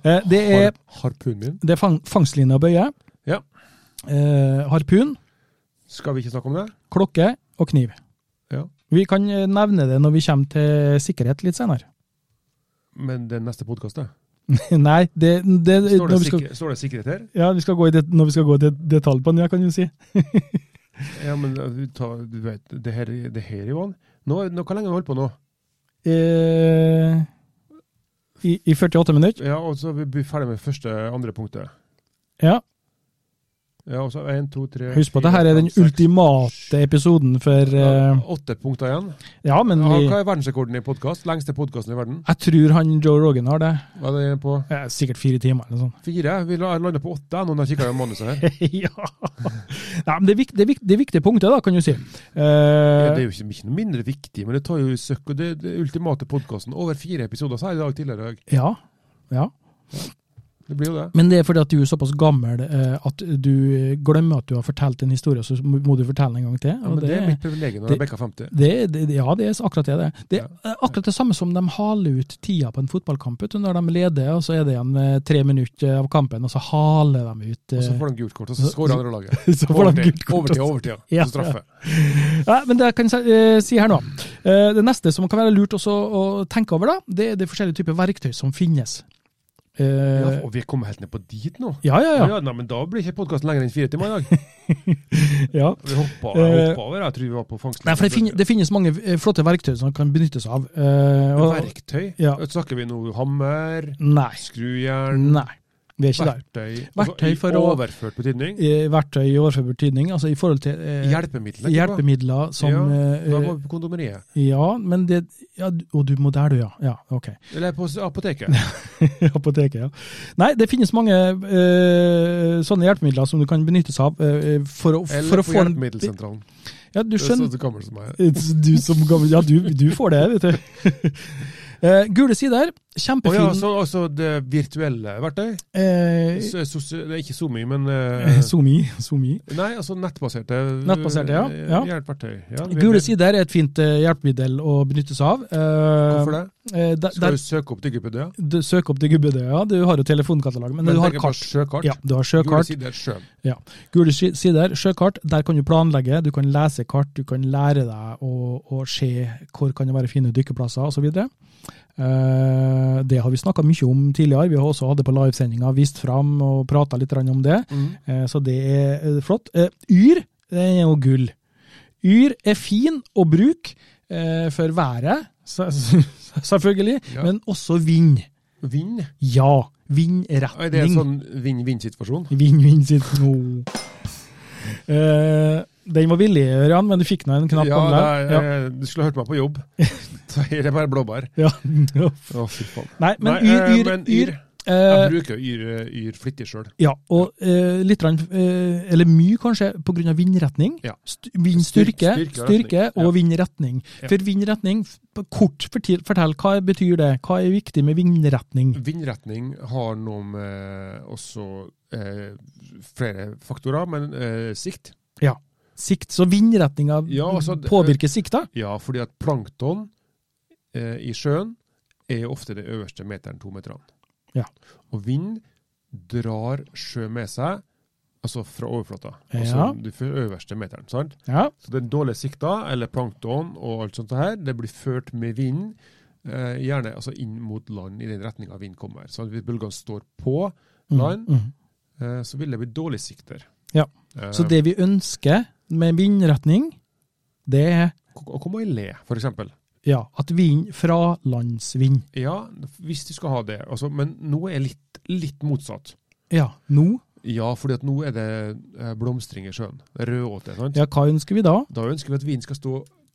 S1: Eh, det er
S2: Har, harpunen min.
S1: Det er fang, fangstlinje og bøye.
S2: Ja.
S1: Eh, harpun,
S2: Skal vi ikke snakke om det?
S1: klokke og kniv.
S2: Ja.
S1: Vi kan eh, nevne det når vi kommer til sikkerhet litt senere.
S2: Men det er neste podkast, det.
S1: Nei, det, det,
S2: Står det,
S1: når, vi skal,
S2: sikre- står det sikkerhet her?
S1: ja, vi skal gå i det, når vi skal gå i det, detalj på den, ja, kan du si.
S2: Ja, men eh, vi tar, du vet, det her, det her Johan. Nå, nå, hvor lenge har vi holdt på nå?
S1: Eh, i, I 48 minutter.
S2: Ja, og så vi blir ferdig med første, andre punktet.
S1: Ja.
S2: Ja, og så en, to, tre,
S1: Husk på,
S2: fire,
S1: det her er
S2: fem,
S1: den
S2: seks,
S1: ultimate episoden for
S2: Ja,
S1: eh,
S2: Åtte punkter igjen.
S1: Ja, men
S2: Ja,
S1: vi,
S2: hva er verdensrekorden i podkast? Lengste podkasten i verden?
S1: jeg tror han Joe Rogan har det.
S2: Hva er det på?
S1: Eh, Sikkert fire timer eller noe sånt.
S2: Fire? Vi la- jeg lander på åtte nå når jeg kikker i manuset her.
S1: ja. Nei, men det er, vikt, det, er vikt, det er viktige punkter, da, kan du si.
S2: Ja, Det
S1: Eh,
S2: er jo ikke, ikke noe mindre viktig, men det tar jo søkk. Og det, det ultimate podkasten. Over fire episoder, sa jeg i dag tidligere.
S1: ja. ja.
S2: Det blir jo det.
S1: Men det er fordi at du er såpass gammel eh, at du glemmer at du har fortalt en historie, så må du fortelle den en gang til.
S2: Ja,
S1: og
S2: men det er
S1: det-
S2: mitt privilegium når jeg bikker 50.
S1: Det, det, det- ja, det er akkurat det. Det, det
S2: Ja.
S1: er akkurat det samme som de haler ut tida på en fotballkamp. Vet du, når de leder, og så er det igjen eh, tre minutter av kampen, og så haler de ut
S2: Og så
S1: eh,
S2: får de gult kort, og så scorer andre laget.
S1: så får de gult
S2: Overtid,
S1: kort.
S2: overtid,
S1: også.
S2: overtid.
S1: Ja.
S2: Så straffe.
S1: Nei, men det jeg kan si- eh, si her nå. Eh, Det neste som kan være lurt også å tenke over, da, det er de forskjellige typer verktøy som finnes.
S2: Ja,
S1: Eh,
S2: og vi er kommet helt ned på dit nå.
S1: Ja, ja,
S2: Ja,
S1: ja.
S2: nei, men Da blir ikke podkasten lenger enn fire timer i dag.
S1: ja.
S2: Vi hoppa,
S1: Eh,
S2: hoppa over, jeg tror vi var på fangst.
S1: Nei, for det, finnes, det finnes mange eh, flotte verktøy som kan benyttes av. eh, og-
S2: Verktøy?
S1: Ja.
S2: Da Snakker vi nå hammer,
S1: Nei.
S2: skrujern,
S1: Nei. Vi er ikke der.
S2: verktøy
S1: Verktøy
S2: altså, i
S1: for å-
S2: Overført betydning?
S1: Eh, Verktøy i overført betydning, altså i forhold til eh,
S2: Hjelpemidler? ikke sant?
S1: Hjelpemidler som
S2: Ja,
S1: eh,
S2: Da må vi på kondomeriet.
S1: Ja, men det ja, du- Og du må der, du, ja. Ja, ok.
S2: Eller på s- apoteket.
S1: Apoteket, ja. Nei, det finnes mange eh, sånne hjelpemidler som du kan benytte seg av eh, for å,
S2: Eller
S1: for å
S2: på
S1: få en-
S2: hjelpemiddelsentralen.
S1: Ja, du
S2: Det er så
S1: skjønner.
S2: så gammel som jeg er.
S1: Du som gammel Ja, du, du får det, vet du. Eh, gule sider,
S2: Å
S1: kjempefin
S2: ja, så altså det virtuelle verktøy?
S1: eh,
S2: S- sosi- det er ikke SoMe, men eh,
S1: Zoomi. Zoomi.
S2: Nei, altså nettbaserte
S1: Nettbaserte, ja,
S2: eh,
S1: ja.
S2: hjelpeverktøy. Ja, vi-
S1: Gule sider er et fint eh, hjelpemiddel å benytte seg av. Eh,
S2: Hvorfor det?
S1: eh, der,
S2: Skal
S1: der,
S2: du søke opp DigiPedia?
S1: du søker opp til Gubbedøya, du har jo telefonkatalog, men, du har
S2: tenker på
S1: kart.
S2: Sjøkart.
S1: Ja, du har
S2: Gule
S1: sjøkart.
S2: sider, sjø.
S1: Gule sky- sider, sjøkart, der kan du planlegge, du kan lese kart, du kan lære deg å, å se hvor kan det være fine dykkeplasser osv. Eh, det har vi snakka mye om tidligere, vi har også hatt det på livesendinga, vist fram og prata litt grann om det.
S2: Mm.
S1: Eh, så det er eh, flott. Eh, yr det er jo gull. Yr er fin å bruke eh, for været, se- selvfølgelig,
S2: Ja.
S1: men også vind.
S2: Vind?
S1: Ja,
S2: Er det en
S1: vindretning.
S2: sånn vinn-vinn-situasjon?
S1: Vinn-vinn sitt nå. Eh, den var villig, Ørjan, men du fikk nå en knapp
S2: Ja,
S1: om
S2: det
S1: deg.
S2: er, eh, du skulle ha hørt meg på jobb. Så er det bare blåbær.
S1: Ja. Ja.
S2: Å, fy faen.
S1: Nei, men
S2: Nei,
S1: yr,
S2: eh,
S1: yr,
S2: men
S1: yr.
S2: Jeg
S1: Eh,
S2: bruker jo yr, eh, yr flittig sjøl.
S1: ja, og eh, litt, grann, eh, eller mye kanskje, på grunn av vindretning.
S2: Ja.
S1: St vindstyrke,
S2: Styrke- styrke og
S1: styrke
S2: retning. Ja.
S1: og vindretning.
S2: Ja.
S1: For vindretning, f- på kort fortell, fortell, hva betyr det? Hva er viktig med vindretning?
S2: Vindretning har noe med også eh, flere faktorer, men eh, sikt.
S1: Sikt, så vindretninga
S2: Ja, altså, det-
S1: påvirker sikta?
S2: Ja, fordi at plankton eh, i sjøen er jo ofte den øverste meteren, to meterne.
S1: Ja.
S2: Og vind drar sjø med seg, altså fra overflata.
S1: Ja.
S2: Altså den øverste meteren, sant?
S1: Ja.
S2: Så den dårlige sikta, eller plankton og alt sånt her, det blir ført med vinden, eh, gjerne altså inn mot land i den retninga vinden kommer. Så hvis bølgene står på land,
S1: Mm.
S2: eh, så vil det bli dårlig sikt der.
S1: Ja.
S2: Eh,
S1: Så det vi ønsker med vindretning, det er
S2: Å komme i le, for eksempel.
S1: ja, at vind fra landsvind.
S2: Ja, hvis du skal ha det. Altså, men nå er litt, litt motsatt.
S1: Ja, nå?
S2: Ja, fordi at nå er det eh, blomstring i sjøen. Det er Rødåte. sant?
S1: Ja, hva ønsker vi da?
S2: Da ønsker vi at vinen skal stå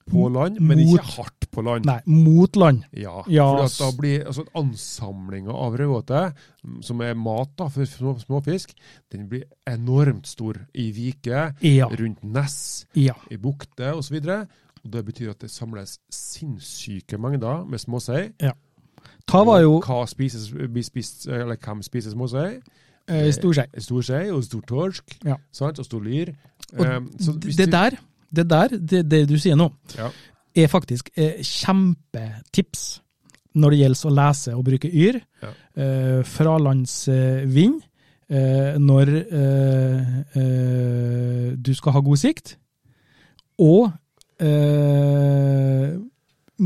S2: på land, men
S1: Mot-
S2: ikke hardt på land.
S1: Nei, mot land.
S2: Ja,
S1: Ja,
S2: fordi
S1: s-
S2: at da blir altså, ansamlinga av rødåte, mm, som er mat da, for små, småfisk, den blir enormt stor i viker,
S1: Ja.
S2: rundt ness,
S1: Ja.
S2: i bukter osv. Det betyr at det samles sinnssyke mengder med småsei.
S1: Ta var jo
S2: Hva spises, blir spist, eh, eller hvem spiser småsei?
S1: eh, storsei.
S2: Stor sei og stor torsk
S1: Ja.
S2: sant? og stor lyr.
S1: Og
S2: Ehm, så hvis
S1: Det
S2: du-
S1: der, det der, det, det du sier nå,
S2: Ja.
S1: er faktisk eh, kjempetips når det gjelder å lese og bruke yr.
S2: Ja.
S1: Eh, Fralandsvind. Eh, når eh, eh, du skal ha god sikt. Og eh,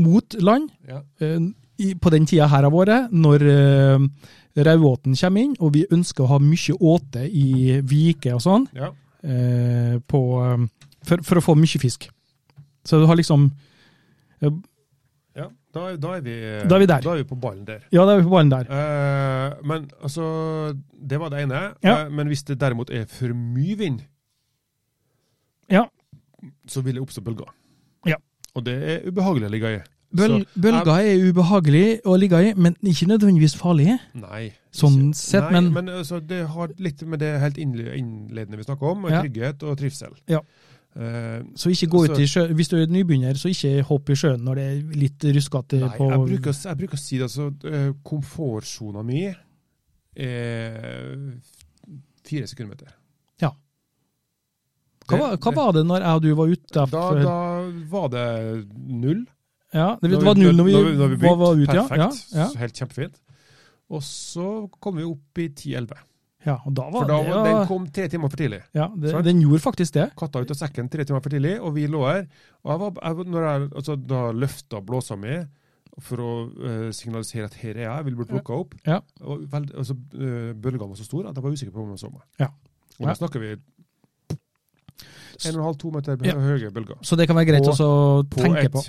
S1: mot land.
S2: Ja.
S1: Eh, i, på den tida her av året, når eh, raudåten kommer inn, og vi ønsker å ha mye åte i viker og sånn,
S2: Ja.
S1: eh, på, eh, for, for å få mye fisk. Så du har liksom eh,
S2: Ja. Da, er- da, er vi, eh,
S1: Da er vi der.
S2: Da er vi på ballen der.
S1: Ja, da er vi på ballen der.
S2: Eh, men altså Det var det ene.
S1: Ja.
S2: Eh, men hvis det derimot er for mye vind,
S1: Ja.
S2: så vil det oppstå bølger.
S1: Ja.
S2: Og det er ubehagelig å ligge i.
S1: Bøl,
S2: Så-
S1: bølger er ubehagelig å ligge i, men ikke nødvendigvis farlige.
S2: Nei.
S1: Sånn
S2: ikke-
S1: sett,
S2: Nei,
S1: men-
S2: altså, det har litt med det helt innle- innledende vi snakker om,
S1: Ja.
S2: trygghet og trivsel.
S1: Ja.
S2: Eh,
S1: Så ikke gå ut
S2: Så-
S1: i sjøen. Hvis du er nybegynner, så ikke hopp i sjøen når det er litt ruskete
S2: nei,
S1: på
S2: jeg, bruker, å s- jeg bruker å si det, altså eh, Komfortsona mi er fire sekundmeter.
S1: hva, var- hva var det når jeg og du var ute?
S2: Da,
S1: der før?
S2: da var det null.
S1: ja, det, det var null når vi, var, var ute, ja. ja,
S2: Perfekt.
S1: ja.
S2: Så Helt kjempefint. Og så kom vi opp i 10-11.
S1: Ja, og da var
S2: For da
S1: det
S2: var, den kom tre timer for tidlig.
S1: ja, det,
S2: Sant?
S1: Den gjorde faktisk det.
S2: katta ut av sekken tre timer for tidlig, og vi lå her. Og jeg var, jeg, var- når jeg altså, da løfta blåsa mi for å eh, signalisere at her er jeg, jeg vil bli plukka opp.
S1: Ja.
S2: Og vel, altså, eh, bølgene var så store at jeg var usikker på om jeg så meg.
S1: Ja.
S2: Og
S1: Ja.
S2: da snakker vi 1,5-2 meter bø-
S1: Ja.
S2: høye bølger.
S1: Så det kan være greit
S2: På-
S1: også å
S2: På
S1: tenke
S2: et
S1: på.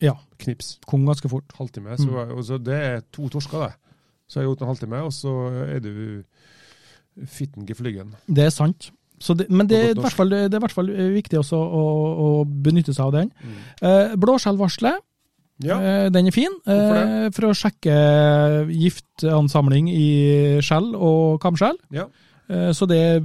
S1: Ja.
S2: knips.
S1: Kom ganske fort.
S2: Halvtime. Så,
S1: Mm.
S2: var- og så det er to torsker, det. Så jeg har gjort en halvtime, og så er du fitten geflyggen.
S1: Det er sant. Så det, men det er,
S2: På godt
S1: i hvert fall, det er i hvert fall eh, viktig også å, å benytte seg av den. Eh, Blåskjellvarselet,
S2: Ja.
S1: eh, den er fin.
S2: Hvorfor
S1: eh, for å sjekke giftansamling i skjell og kamskjell.
S2: ja.
S1: Eh, så det,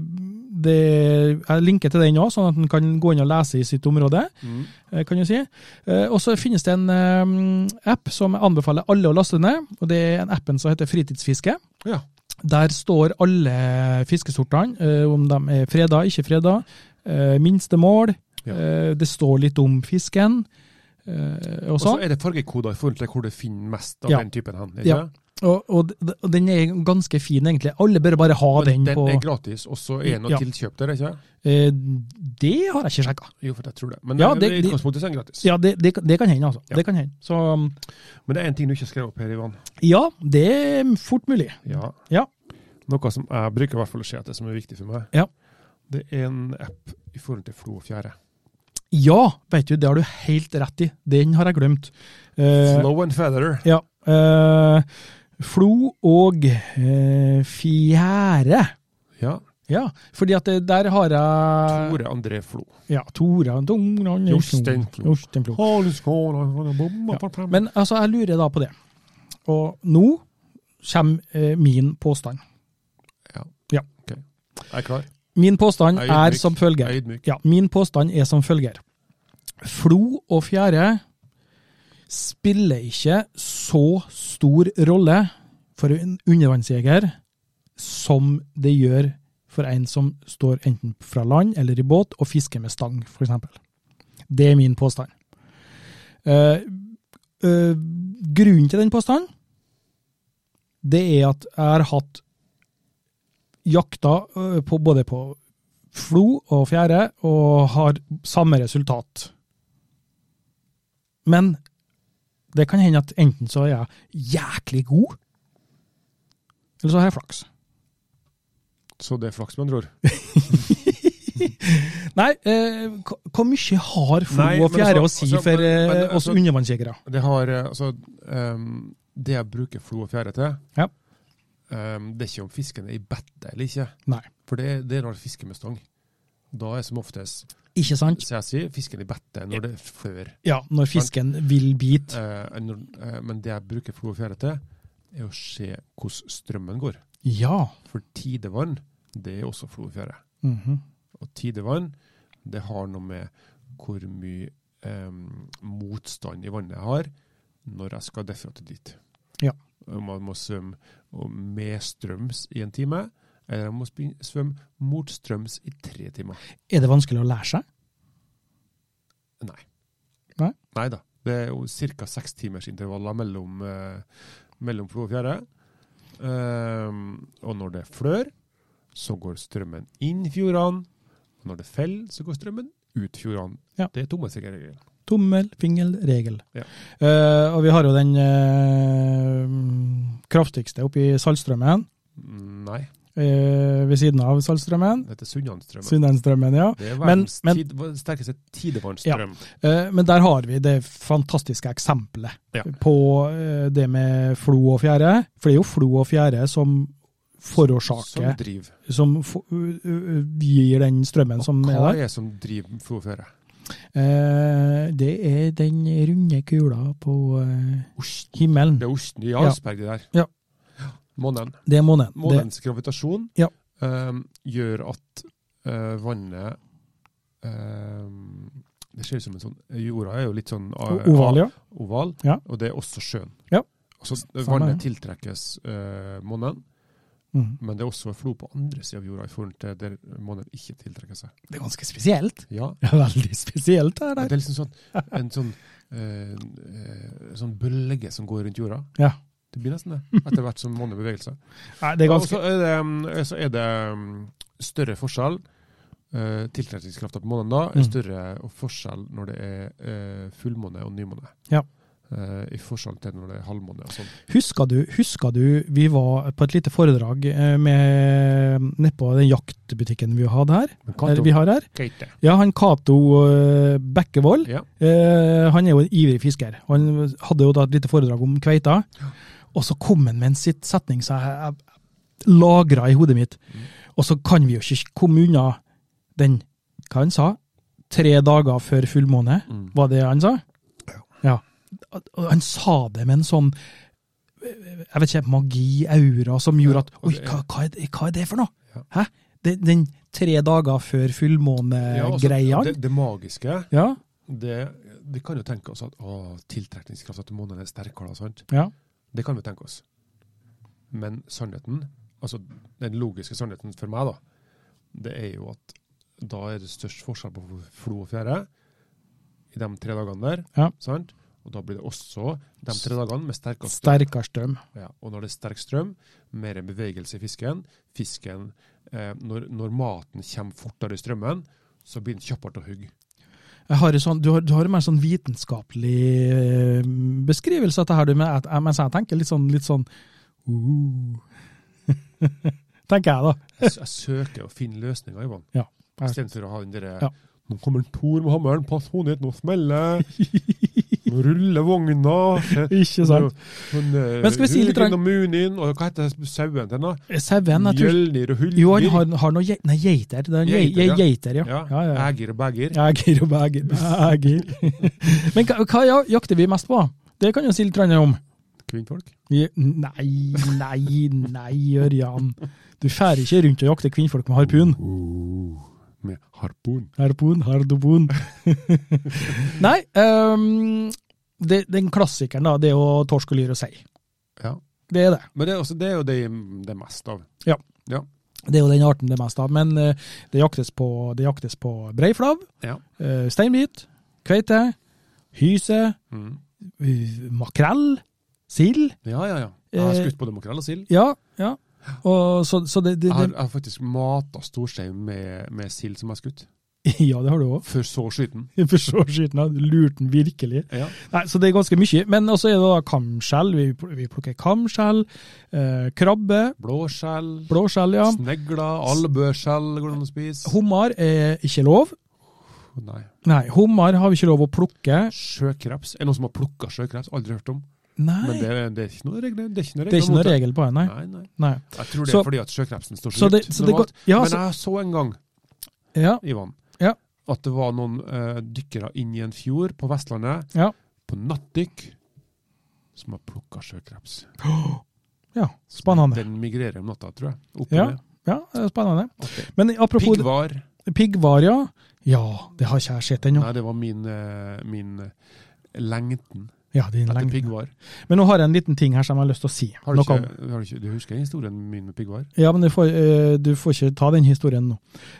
S1: det Jeg linker til den òg, sånn at en kan gå inn og lese i sitt område.
S2: Mm.
S1: eh, kan du si. Eh, Og så finnes det en eh, app som jeg anbefaler alle å laste ned. og Det er en appen som heter Fritidsfiske.
S2: Ja.
S1: Der står alle fiskesortene, eh, om de er freda, ikke freda, eh, minste mål.
S2: Ja.
S1: eh, Det står litt om fisken. eh, Og
S2: Og så
S1: sånn.
S2: er det fargekoder i forhold til hvor du finner mest av
S1: Ja.
S2: den typen hen.
S1: Ja. Og, og, d- og den er ganske fin, egentlig. Alle bør bare ha den,
S2: Men den
S1: på
S2: er gratis, og så er den å
S1: Ja.
S2: tilkjøpe der, ikke
S1: Eh, Det har jeg ikke sjekka.
S2: Jo, for jeg tror det. Men
S1: Ja,
S2: eh,
S1: det-
S2: i utgangspunktet så er den gratis.
S1: Ja, det, det, det kan hende, altså.
S2: Ja.
S1: Det kan hende. Så um,
S2: Men det er én ting du ikke skrev opp her, Ivan.
S1: ja, det er fort mulig.
S2: Ja.
S1: Ja.
S2: Noe som jeg bruker i hvert fall å se etter, som er viktig for meg.
S1: Ja.
S2: Det er en app i forhold til flo og fjære.
S1: Ja, vet du, det har du helt rett i. Den har jeg glemt. Eh,
S2: Flow and feather.
S1: ja. Eh, flo og eh, fjære.
S2: Ja.
S1: Ja, fordi at det, der har jeg
S2: Tore André Flo.
S1: Ja, Tore. Tore-
S2: Jostein Flo.
S1: Jostein Flo.
S2: Ja. Men
S1: Men altså, jeg lurer da på det. Og nå kommer eh, min påstand.
S2: Jeg er klar.
S1: Min påstand
S2: Jeg
S1: er
S2: ydmyk.
S1: som følger.
S2: Jeg er ydmyk.
S1: Ja, min påstand er som følger. Flo og fjære spiller ikke så stor rolle for en undervannsjeger som det gjør for en som står enten fra land eller i båt og fisker med stang, f.eks. Det er min påstand. Eh, eh, grunnen til den påstanden, det er at jeg har hatt jakta eh, på, både på flo og fjære og har samme resultat. Men det kan hende at enten så er jeg jæklig god, eller så har jeg flaks.
S2: Så det er flaks, med andre ord.
S1: Nei, eh, hva- hvor mye har flo
S2: Nei,
S1: og
S2: men
S1: fjære
S2: altså-
S1: å si
S2: altså,
S1: for eh,
S2: men- men
S1: oss
S2: altså-
S1: undervannsjegere?
S2: Det har eh, Altså, ehm, det jeg bruker flo og fjære til,
S1: Ja.
S2: ehm, det er ikke om fisken er i bettet eller ikke.
S1: Nei.
S2: For det, det er når du fisker med stang. Da er som oftest
S1: Ikke sant?
S2: så jeg sier, fisken i bettet når det er før.
S1: Ja, når fisken vil bite.
S2: Eh, enn når- eh, men det jeg bruker flo og fjære til, er å se hvordan strømmen går.
S1: Ja.
S2: For tidevann, det er også flo og fjære.
S1: Mhm.
S2: Og tidevann, det har noe med hvor mye em, motstand i vannet jeg har når jeg skal derfra til dit.
S1: Ja.
S2: Om Man må svømme og med strøms i en time, eller man må spin- svømme mot strøms i tre timer.
S1: Er det vanskelig å lære seg?
S2: Nei.
S1: Nei?
S2: da. Det er jo ca. seks timers intervaller mellom, eh, mellom flo og fjære. Ehm, og når det flør, så går strømmen inn fjordene. Og når det faller, så går strømmen ut fjordene.
S1: Ja.
S2: Det er tommelfingerregelen.
S1: Tommel, fingel, regel.
S2: Ja.
S1: Eh, og vi har jo den eh, kraftigste oppe i Saltstrømmen.
S2: Mm, Nei.
S1: eh, ved siden av Saltstraumen.
S2: Det heter Sunnanstrømmen.
S1: Sunnenstrømmen, ja.
S2: Det er
S1: Men-
S2: verdens
S1: men-
S2: tid, vår sterkeste tidevannsstrøm.
S1: Eh, Men der har vi det fantastiske eksempelet
S2: Ja.
S1: på eh, det med flo og fjære. For det er jo flo og fjære som
S2: Som
S1: forårsaker,
S2: driver.
S1: som, fo- u- u- u- gir den strømmen som er
S2: Hva
S1: der.
S2: er det som driver flodføre?
S1: Eh, Det er den runde kula på eh, himmelen.
S2: Det er osten i
S1: Ja.
S2: Jarlsberg, det der.
S1: Ja.
S2: Månen.
S1: Det er månen. Det,
S2: Månens gravitasjon
S1: Ja.
S2: ehm, gjør at eh, vannet ehm, Det ser ut som en sånn Jorda er jo litt sånn
S1: o-
S2: eh,
S1: oval, ja.
S2: oval,
S1: Ja.
S2: og det er også sjøen.
S1: Ja.
S2: Så eh,
S1: Samme
S2: vannet tiltrekkes uh, månen,
S1: Mm.
S2: men det er også en flo på andre sida av jorda i forhold til der månen ikke tiltrekker seg.
S1: Det er ganske spesielt.
S2: Ja,
S1: Det er veldig spesielt det her.
S2: Det
S1: der.
S2: er liksom sånn, en sånn, eh, eh, sånn bølge som går rundt jorda.
S1: Ja.
S2: Det blir nesten det, etter hvert som månen beveger seg.
S1: Nei, det altså, er ganske...
S2: Og så er det, mm, så er det mm, større forskjell. Uh, Tiltrekningskrafta på månen da er
S1: Mm.
S2: større forskjell når det er eh, fullmåne og nymåne.
S1: Ja.
S2: Eh, I forskjell til når det er halvmåne og sånn.
S1: Husker du, husker du vi var på et lite foredrag eh, med nedpå den jaktbutikken vi hadde her?
S2: Men
S1: Eller vi har her?
S2: Kato.
S1: Ja, han Cato eh, Bekkevold,
S2: Ja.
S1: eh, han er jo en ivrig fisker. og Han hadde jo da et lite foredrag om kveita, og så kom han med en sitt setning som jeg lagra i hodet mitt.
S2: Mm.
S1: Og så kan vi jo ikke komme unna den, hva han sa, tre dager før fullmåne,
S2: Mm.
S1: var det han sa? Ja. Og Han sa det med en sånn jeg vet ikke, magi, aura, som gjorde at
S2: Ja, og
S1: Oi,
S2: det er-
S1: hva, hva, er, det- hva er det for noe?
S2: Ja.
S1: Hæ? Den, den tre dager før
S2: Ja, altså,
S1: fullmånegreia?
S2: det, det magiske,
S1: Ja,
S2: det, vi kan jo tenke oss at å, tiltrekningskrafta til månen er sterkere. og sånt.
S1: ja.
S2: Det kan vi tenke oss. Men sannheten, altså den logiske sannheten for meg, da, det er jo at da er det størst forskjell på flo og fjære i de tre dagene der.
S1: Ja.
S2: sant? Og da blir det også de tre dagene med sterkest strøm.
S1: Sterkere strøm.
S2: Ja, og når det er sterk strøm, mer bevegelse i fisken. Fisken, eh, når, når maten kommer fortere i strømmen, så blir den kjappere til å hugge.
S1: Jeg har en sånn, du, har, du har en mer sånn vitenskapelig eh, beskrivelse av dette, her, du, men jeg, mens jeg tenker litt sånn, litt sånn uh. Tenker jeg, da.
S2: Jeg, s- jeg søker å finne løsninger, Ivan.
S1: Ja.
S2: Istedenfor å ha den derre
S1: Ja.
S2: Nå kommer Tor med hammeren, pass hodet ditt, nå smeller det! Nå ruller vogna!
S1: Ikke sant? Men
S2: Men
S1: skal vi si litt rann-
S2: og Munin, og hva heter sauen til den, da?
S1: Eh, Sauen, jeg tror
S2: Mjølnir og Hulvin.
S1: Jo, han har, har noe geit- Nei, geiter. Det er en gei-
S2: Geiter, ja.
S1: Geiter, ja.
S2: ja.
S1: ja, ja, ja.
S2: Ægir og Bægir.
S1: Eger og beger. Eger. Men hva, hva ja- jakter vi mest på? Det kan jo si litt grann om.
S2: Kvinnfolk.
S1: Vi- Nei, nei, nei, Ørjan. Du færer ikke rundt og jakter kvinnfolk med harpun.
S2: Uh, med harpun.
S1: Harpun, hardobun. Nei, ehm, det, den klassikeren da, det er jo torsk og lyr og sei.
S2: Ja.
S1: Det er det.
S2: Men det er, også, det er jo det det er mest av.
S1: Det er jo den arten det er mest av. Men eh, det jaktes på, det jaktes på breiflav,
S2: Ja.
S1: eh, steinbit, kveite, hyse,
S2: Mm.
S1: eh, makrell, sild.
S2: ja, ja, ja. Jeg har
S1: Eh,
S2: skutt både makrell og sild.
S1: Ja, ja. Og så, så det, det,
S2: Jeg har,
S1: det
S2: jeg har faktisk mata storskei med, med sild som jeg har skutt.
S1: Ja, det har du òg.
S2: Før så skyten.
S1: For så skyten av lurte den virkelig.
S2: Ja.
S1: Nei, Så det er ganske mye. Men også er det da kamskjell. Vi, pl- vi plukker kamskjell, eh, krabbe,
S2: Blåskjell,
S1: blåskjell, ja.
S2: snegler, albøskjell går det an å spise.
S1: Hummer er ikke lov.
S2: Å, Nei.
S1: Nei, hummer har vi ikke lov å plukke.
S2: Sjøkreps. Er det noen som har plukka sjøkreps? Aldri hørt om. Men
S1: Nei,
S2: det,
S1: det,
S2: er- det er ikke noe regler. Det er ikke noe,
S1: er ikke noe
S2: mot det.
S1: regel på det, nei.
S2: Nei, nei.
S1: nei.
S2: Jeg tror det er
S1: Så-
S2: fordi at sjøkrepsen står
S1: Så
S2: så
S1: det-
S2: dypt.
S1: så det
S2: normalt.
S1: går- ja,
S2: Men
S1: så-
S2: jeg så en gang,
S1: Ja,
S2: Ivan,
S1: Ja.
S2: at det var noen eh, dykkere inn i en fjord på Vestlandet,
S1: Ja.
S2: på nattdykk, som har plukka sjøkreps.
S1: ja. Spennende.
S2: Den migrerer om natta, tror jeg. Opp
S1: Ja.
S2: og ned.
S1: Ja, det er spennende.
S2: Ok.
S1: Men apropos
S2: Piggvar.
S1: piggvar, ja. Ja, det har ikke jeg sett ennå.
S2: Nei, det var min, eh, min eh, lengten
S1: Ja, din
S2: etter
S1: lengde.
S2: piggvar.
S1: Men nå har jeg en liten ting her som jeg har lyst til å si.
S2: Har du,
S1: Noe om-
S2: ikke, har du ikke Du husker historien min med piggvar?
S1: Ja, men du får, eh, du får ikke ta den historien nå.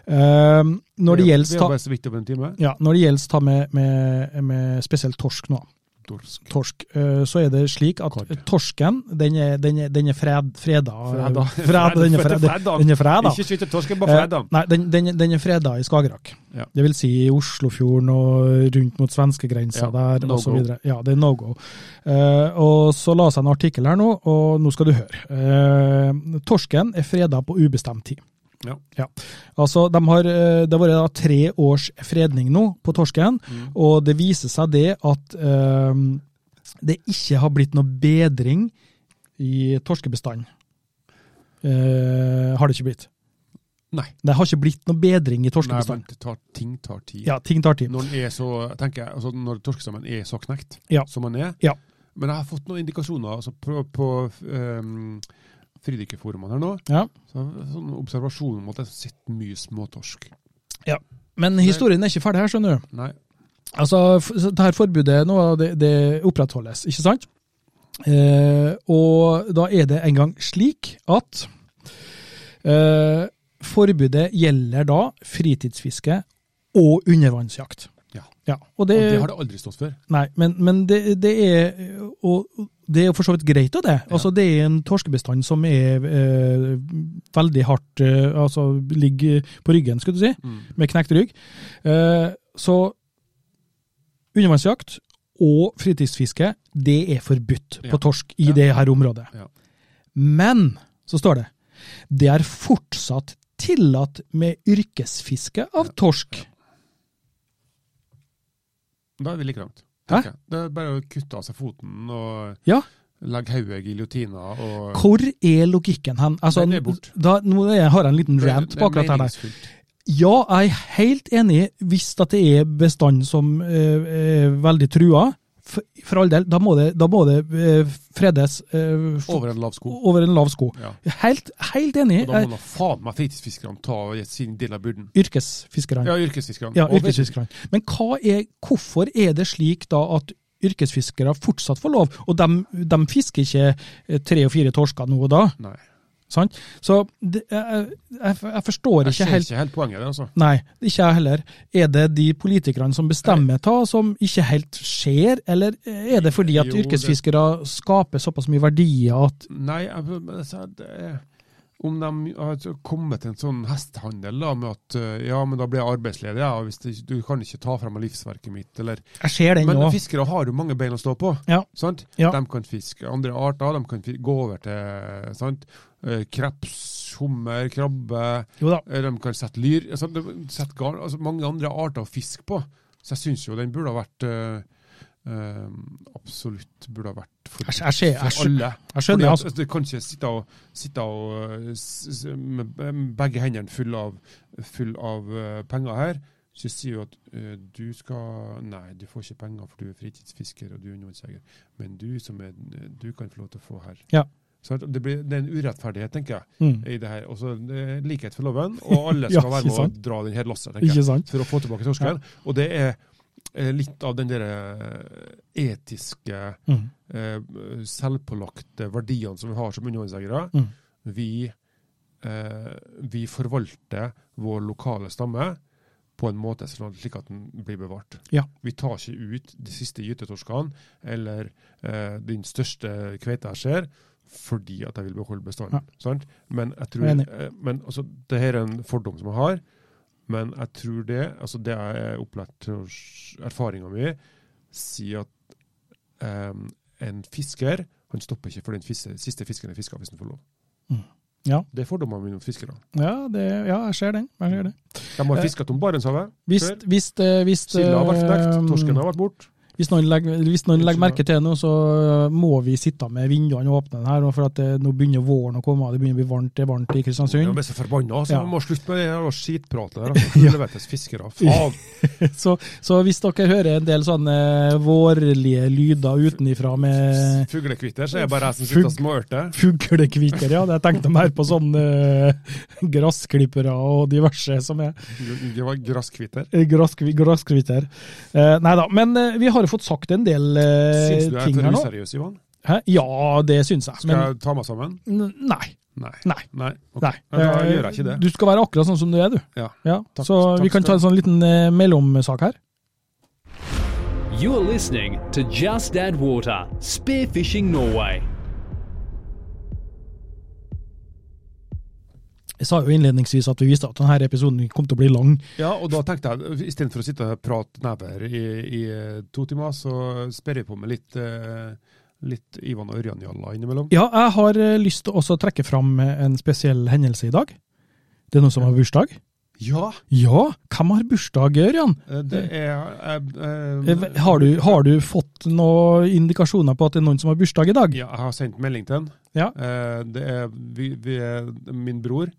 S1: Eh, når det
S2: Vi er-
S1: gjelder
S2: Vi er
S1: ta,
S2: bare så vidt over en time.
S1: ja, når det gjelder ta med, med, med spesielt torsk nå,
S2: Torsk.
S1: torsk, eh, så er det slik at
S2: Kort.
S1: torsken, den er, den er, den er fred, freda.
S2: Freda.
S1: Fred, den er
S2: Freda.
S1: freda. Den er freda.
S2: Ikke skyte torsken, bare fred, da.
S1: Eh, Nei, den, den, den er freda i Skagerrak.
S2: Ja.
S1: Det vil si i Oslofjorden og rundt mot svenskegrensa
S2: Ja,
S1: der
S2: no
S1: og så
S2: go.
S1: videre. Ja, det er no go. Eh, og så la seg en artikkel her nå, og nå skal du høre. Eh, torsken er freda på ubestemt tid.
S2: Ja.
S1: Altså, de har, eh, det har vært da tre års fredning nå på torsken,
S2: Mm.
S1: og det viser seg det at eh, det ikke har blitt noe bedring i torskebestanden. Eh, har det ikke blitt.
S2: Nei.
S1: Det har ikke blitt noe bedring i
S2: Nei, men
S1: torskebestanden.
S2: det tar, ting tar tid.
S1: Ja, ting tar tid.
S2: Når, den er så, tenker jeg, altså når torskestammen er så knekt
S1: Ja.
S2: som den er
S1: Ja.
S2: Men jeg har fått noen indikasjoner altså på, på ehm, fridykkerforumene her nå.
S1: Ja.
S2: Så jeg har sånn observasjon om at jeg sitter mye småtorsk.
S1: Men historien er ikke ferdig her, skjønner du.
S2: Nei.
S1: Altså, f- så det her forbudet nå, det, det opprettholdes, ikke sant? Eh, og da er det en gang slik at eh, forbudet gjelder da fritidsfiske og undervannsjakt.
S2: Ja.
S1: og
S2: Og
S1: det,
S2: det har det aldri stått før.
S1: Nei, men, men det, det er og det er jo for så vidt greit, da, det. Altså, det er en torskebestand som er eh, veldig hardt eh, Altså ligger på ryggen, skulle du si med knekt rygg. Eh, Så undervannsjakt og fritidsfiske, det er forbudt
S2: Ja.
S1: på torsk i
S2: Ja.
S1: det her området.
S2: Ja.
S1: Men, så står det, det er fortsatt tillatt med yrkesfiske av torsk.
S2: Da er vi like langt.
S1: Hæ?
S2: tenker jeg. Det er bare å kutte av seg foten og
S1: Ja.
S2: legge hodet i giljotina. og-
S1: Hvor er logikken hen? Altså,
S2: Den er bort.
S1: da, nå er jeg- har jeg en liten
S2: Det er-
S1: rant
S2: det
S1: på
S2: er
S1: akkurat her. der.
S2: meningsfullt.
S1: Ja, jeg er helt enig hvis at det er bestand som eh, er veldig trua. For, for all del, da må det, da må det eh, fredes eh, for-
S2: Over en lav sko.
S1: over en lav sko.
S2: Ja.
S1: Helt, helt enig.
S2: Og da
S1: Jeg-
S2: må da faen meg fritidsfiskerne ta sin del av byrden.
S1: Yrkesfiskerne.
S2: Ja, yrkesfiskerne.
S1: Ja,
S2: Og-
S1: yrkesfiskerne. Men hva er, hvorfor er det slik da at yrkesfiskere fortsatt får lov, og de, de fisker ikke eh, tre og fire torsker nå og da?
S2: Nei.
S1: Sant? Så det, jeg, jeg, jeg forstår ikke
S2: Jeg ser
S1: helt
S2: ikke helt poenget der, altså.
S1: Nei, ikke jeg heller. Er det de politikerne som bestemmer ta, som ikke helt ser, eller er det fordi at
S2: Jo, det-
S1: yrkesfiskere skaper såpass mye verdier at
S2: Nei, jeg, men altså, det er, om de har kommet til en sånn hestehandel da, med at eh, ja, men da blir jeg arbeidsledig, ja, hvis det, du kan ikke ta frem livsverket mitt, eller
S1: Jeg ser den
S2: Men
S1: nå.
S2: fiskere har jo mange bein å stå på.
S1: Ja.
S2: Sant?
S1: Ja.
S2: De kan fiske andre arter, de kan fi- gå over til sant? Eh, kreps, hummer, krabbe.
S1: Jo da.
S2: eh, De kan sette lyr. sant? De kan Sette garn, altså mange andre arter å fiske på. Så jeg syns jo den burde ha vært eh, eh, Absolutt burde ha vært for,
S1: Jeg, jeg, ser- jeg,
S2: for
S1: skjønner,
S2: alle.
S1: jeg
S2: Fordi
S1: skjønner.
S2: at,
S1: Altså.
S2: altså, du kan ikke sitte og, sitte og eh, s- s- med be- med begge hendene full av, full av eh, penger her. Så sier du at eh, du skal Nei, du får ikke penger, for du er fritidsfisker og du er undervannsjeger. Men du som er Du kan få lov til å få her.
S1: Ja.
S2: Så at det, blir, det er en urettferdighet, tenker jeg,
S1: Mm.
S2: i det her. Og så eh, likhet for loven, og alle
S1: Ja,
S2: skal være
S1: ikke
S2: med
S1: sant?
S2: og dra den her lasset, tenker jeg
S1: Ikke sant?
S2: for å få tilbake torsken. Og det er eh, litt av den der eh, etiske,
S1: Mm.
S2: eh, selvpålagte verdiene som vi har som undervannsjegere.
S1: Mm.
S2: Vi, eh, vi forvalter vår lokale stamme på en måte sånn at- slik at den blir bevart.
S1: Ja.
S2: Vi tar ikke ut de siste gytetorskene eller eh, den største kveita jeg ser, fordi at jeg vil beholde bestanden. Sant? Men jeg tror,
S1: Jeg er enig.
S2: eh, men altså, det her er en fordom som jeg har, men jeg tror det, altså det jeg er opplært til å- erfaringa mi, sier at eh, en fisker han stopper ikke for den fis- siste fisken er fiska, hvis han får lov.
S1: Mm. Ja.
S2: Det er fordommene mine om fiskere.
S1: Ja, det, ja, jeg ser den. Jeg ser det. Eh.
S2: De har fiska om Barentshavet.
S1: Hvis,
S2: før.
S1: hvis, eh, hvis,
S2: Silda har vært knekt,
S1: eh,
S2: torsken har vært borte.
S1: Hvis noen legger, hvis noen legger
S2: Unnskyld meg.
S1: merke til det nå, så eh, må vi sitte med vinduene åpne her, nå, for at det, nå begynner våren å komme, det begynner å bli varmt, det er varmt i
S2: Jeg
S1: Kristiansund.
S2: ble så forbanna, så
S1: Ja.
S2: vi må slutte med det her skitpratet der. Altså. Helvetes fiskere. Faen!
S1: Så, så hvis dere hører en del sånne vårlige lyder utenifra med
S2: Fuglekvitter, så er det bare jeg som sitter og
S1: Eh, Fugl-
S2: småørter.
S1: fuglekvitter, ja, det tenkte jeg mer på sånne eh, gressklippere og diverse som er
S2: Det var Grasskvitter.
S1: eh, gresskvi- gresskvitter. Eh, nei da, men eh, vi har jo fått sagt en del eh,
S2: Syns du jeg
S1: ting
S2: er
S1: her nå.
S2: for useriøs, Ivan?
S1: Hæ? Ja, det syns jeg.
S2: Skal
S1: Men
S2: jeg ta meg sammen?
S1: n- nei.
S2: Nei.
S1: Nei.
S2: Nei. ok.
S1: Nei. Eh,
S2: Ja, Da gjør jeg ikke det.
S1: Du skal være akkurat sånn som du er, du.
S2: Ja.
S1: Ja,
S2: Takk-
S1: så
S2: takk
S1: vi kan ta
S2: skal
S1: en sånn liten eh, mellomsak her.
S3: You are listening to Just Add Water, Spearfishing Norway.
S1: Jeg sa jo innledningsvis at vi visste at denne episoden kom til å bli lang.
S2: Ja, og da tenkte jeg, istedenfor å sitte og prate never i, i eh, to timer, så sperrer jeg på med litt, eh, litt Ivan og Ørjan-jalla innimellom.
S1: Ja, jeg har eh, lyst til også å trekke fram eh, en spesiell hendelse i dag. Det er noen som har bursdag.
S2: Ja!
S1: Ja, hvem har bursdag, Ørjan?
S2: eh, Det er eh, eh,
S1: Eh, Har du, har du fått noen indikasjoner på at det er noen som har bursdag i dag?
S2: Ja, jeg har sendt melding til han.
S1: Ja.
S2: Eh, Det er, vi, vi er min bror.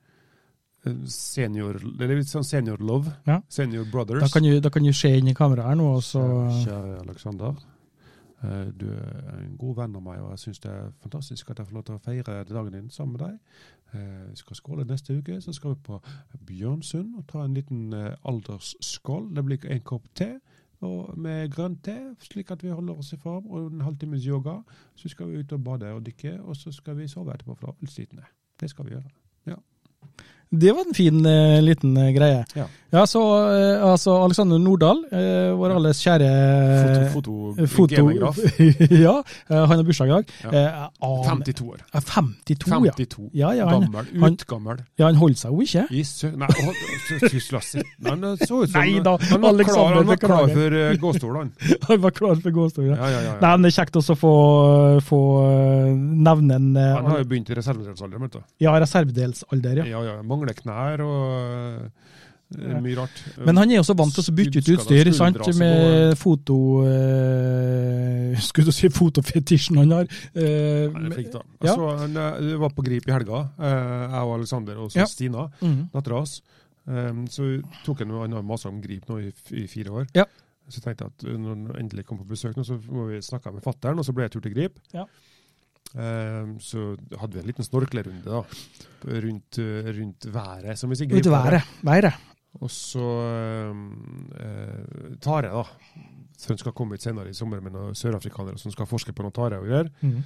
S2: eh, Senior, det er litt sånn senior love.
S1: Ja.
S2: Senior brothers.
S1: Da kan du, da kan du se inn i kameraet her nå, og så
S2: Kjære- Kjære Alexander. eh, Du er en god venn av meg, og jeg syns det er fantastisk at jeg får lov til å feire dagen din sammen med deg. Eh, Vi skal skåle neste uke, så skal vi på Bjørnsund og ta en liten eh, aldersskål. Det blir en kopp te og med grønn te, slik at vi holder oss i form, og en halvtimes yoga. Så skal vi ut og bade og dykke, og så skal vi sove etterpå, for da er vi slitne. Det skal vi gjøre.
S1: Det var en fin eh, liten eh, greie.
S2: Ja.
S1: så eh, altså Alexander Nordahl, eh, vår alles kjære
S2: Foto,
S1: eh,
S2: foto, genograf.
S1: ja, eh, han har bursdag i dag.
S2: Ja.
S1: Eh, jeg aner-
S2: 52 år.
S1: Ja, 52, ja.
S2: 52.
S1: Ja, ja, han,
S2: Gammel.
S1: han-
S2: Utgammel.
S1: ja, han holder seg jo ikke.
S2: Isø... Nei, å, å, tusla sitten. Han så ut som
S1: Nei da,
S2: han var
S1: Alexander,
S2: klar, han var
S1: beklager.
S2: klar for uh, gåstolen.
S1: Han var klar for gåstolen.
S2: Ja, ja,
S1: Nei,
S2: ja, ja.
S1: men det er kjekt også å få, få eh, nevne en eh,
S2: Han har jo begynt i reservedelsalderen, vet du.
S1: ja, reservedelsalder, ja.
S2: Ja, ja, mangler knær og eh, mye rart.
S1: Men han er også vant til å bytte ut
S2: Skuddskader,
S1: utstyr, sant,
S2: skulderdrasing
S1: med foto... Eh, skulle du si fotofetisjen han har? Eh,
S2: Han er flink, da.
S1: Ja.
S2: Så han eh, var på Grip i helga, eh, jeg og Alexander og så
S1: Ja.
S2: Stina,
S1: Mhm.
S2: dattera hans. Um, så tok han han har masa om Grip nå i, f- i fire år.
S1: Ja.
S2: Så tenkte jeg at eh, når han endelig kom på besøk, nå, så må vi snakke med fattern, og så ble jeg tur til Grip.
S1: Ja.
S2: Um, så hadde vi en liten snorklerunde da, rundt, uh, rundt været, som vi sier.
S1: Vet du været? Været.
S2: Og så um, eh, tare, da. Så han skal komme hit senere i sommer med noen sørafrikanere som skal forske på noen tare og greier.
S1: Mm.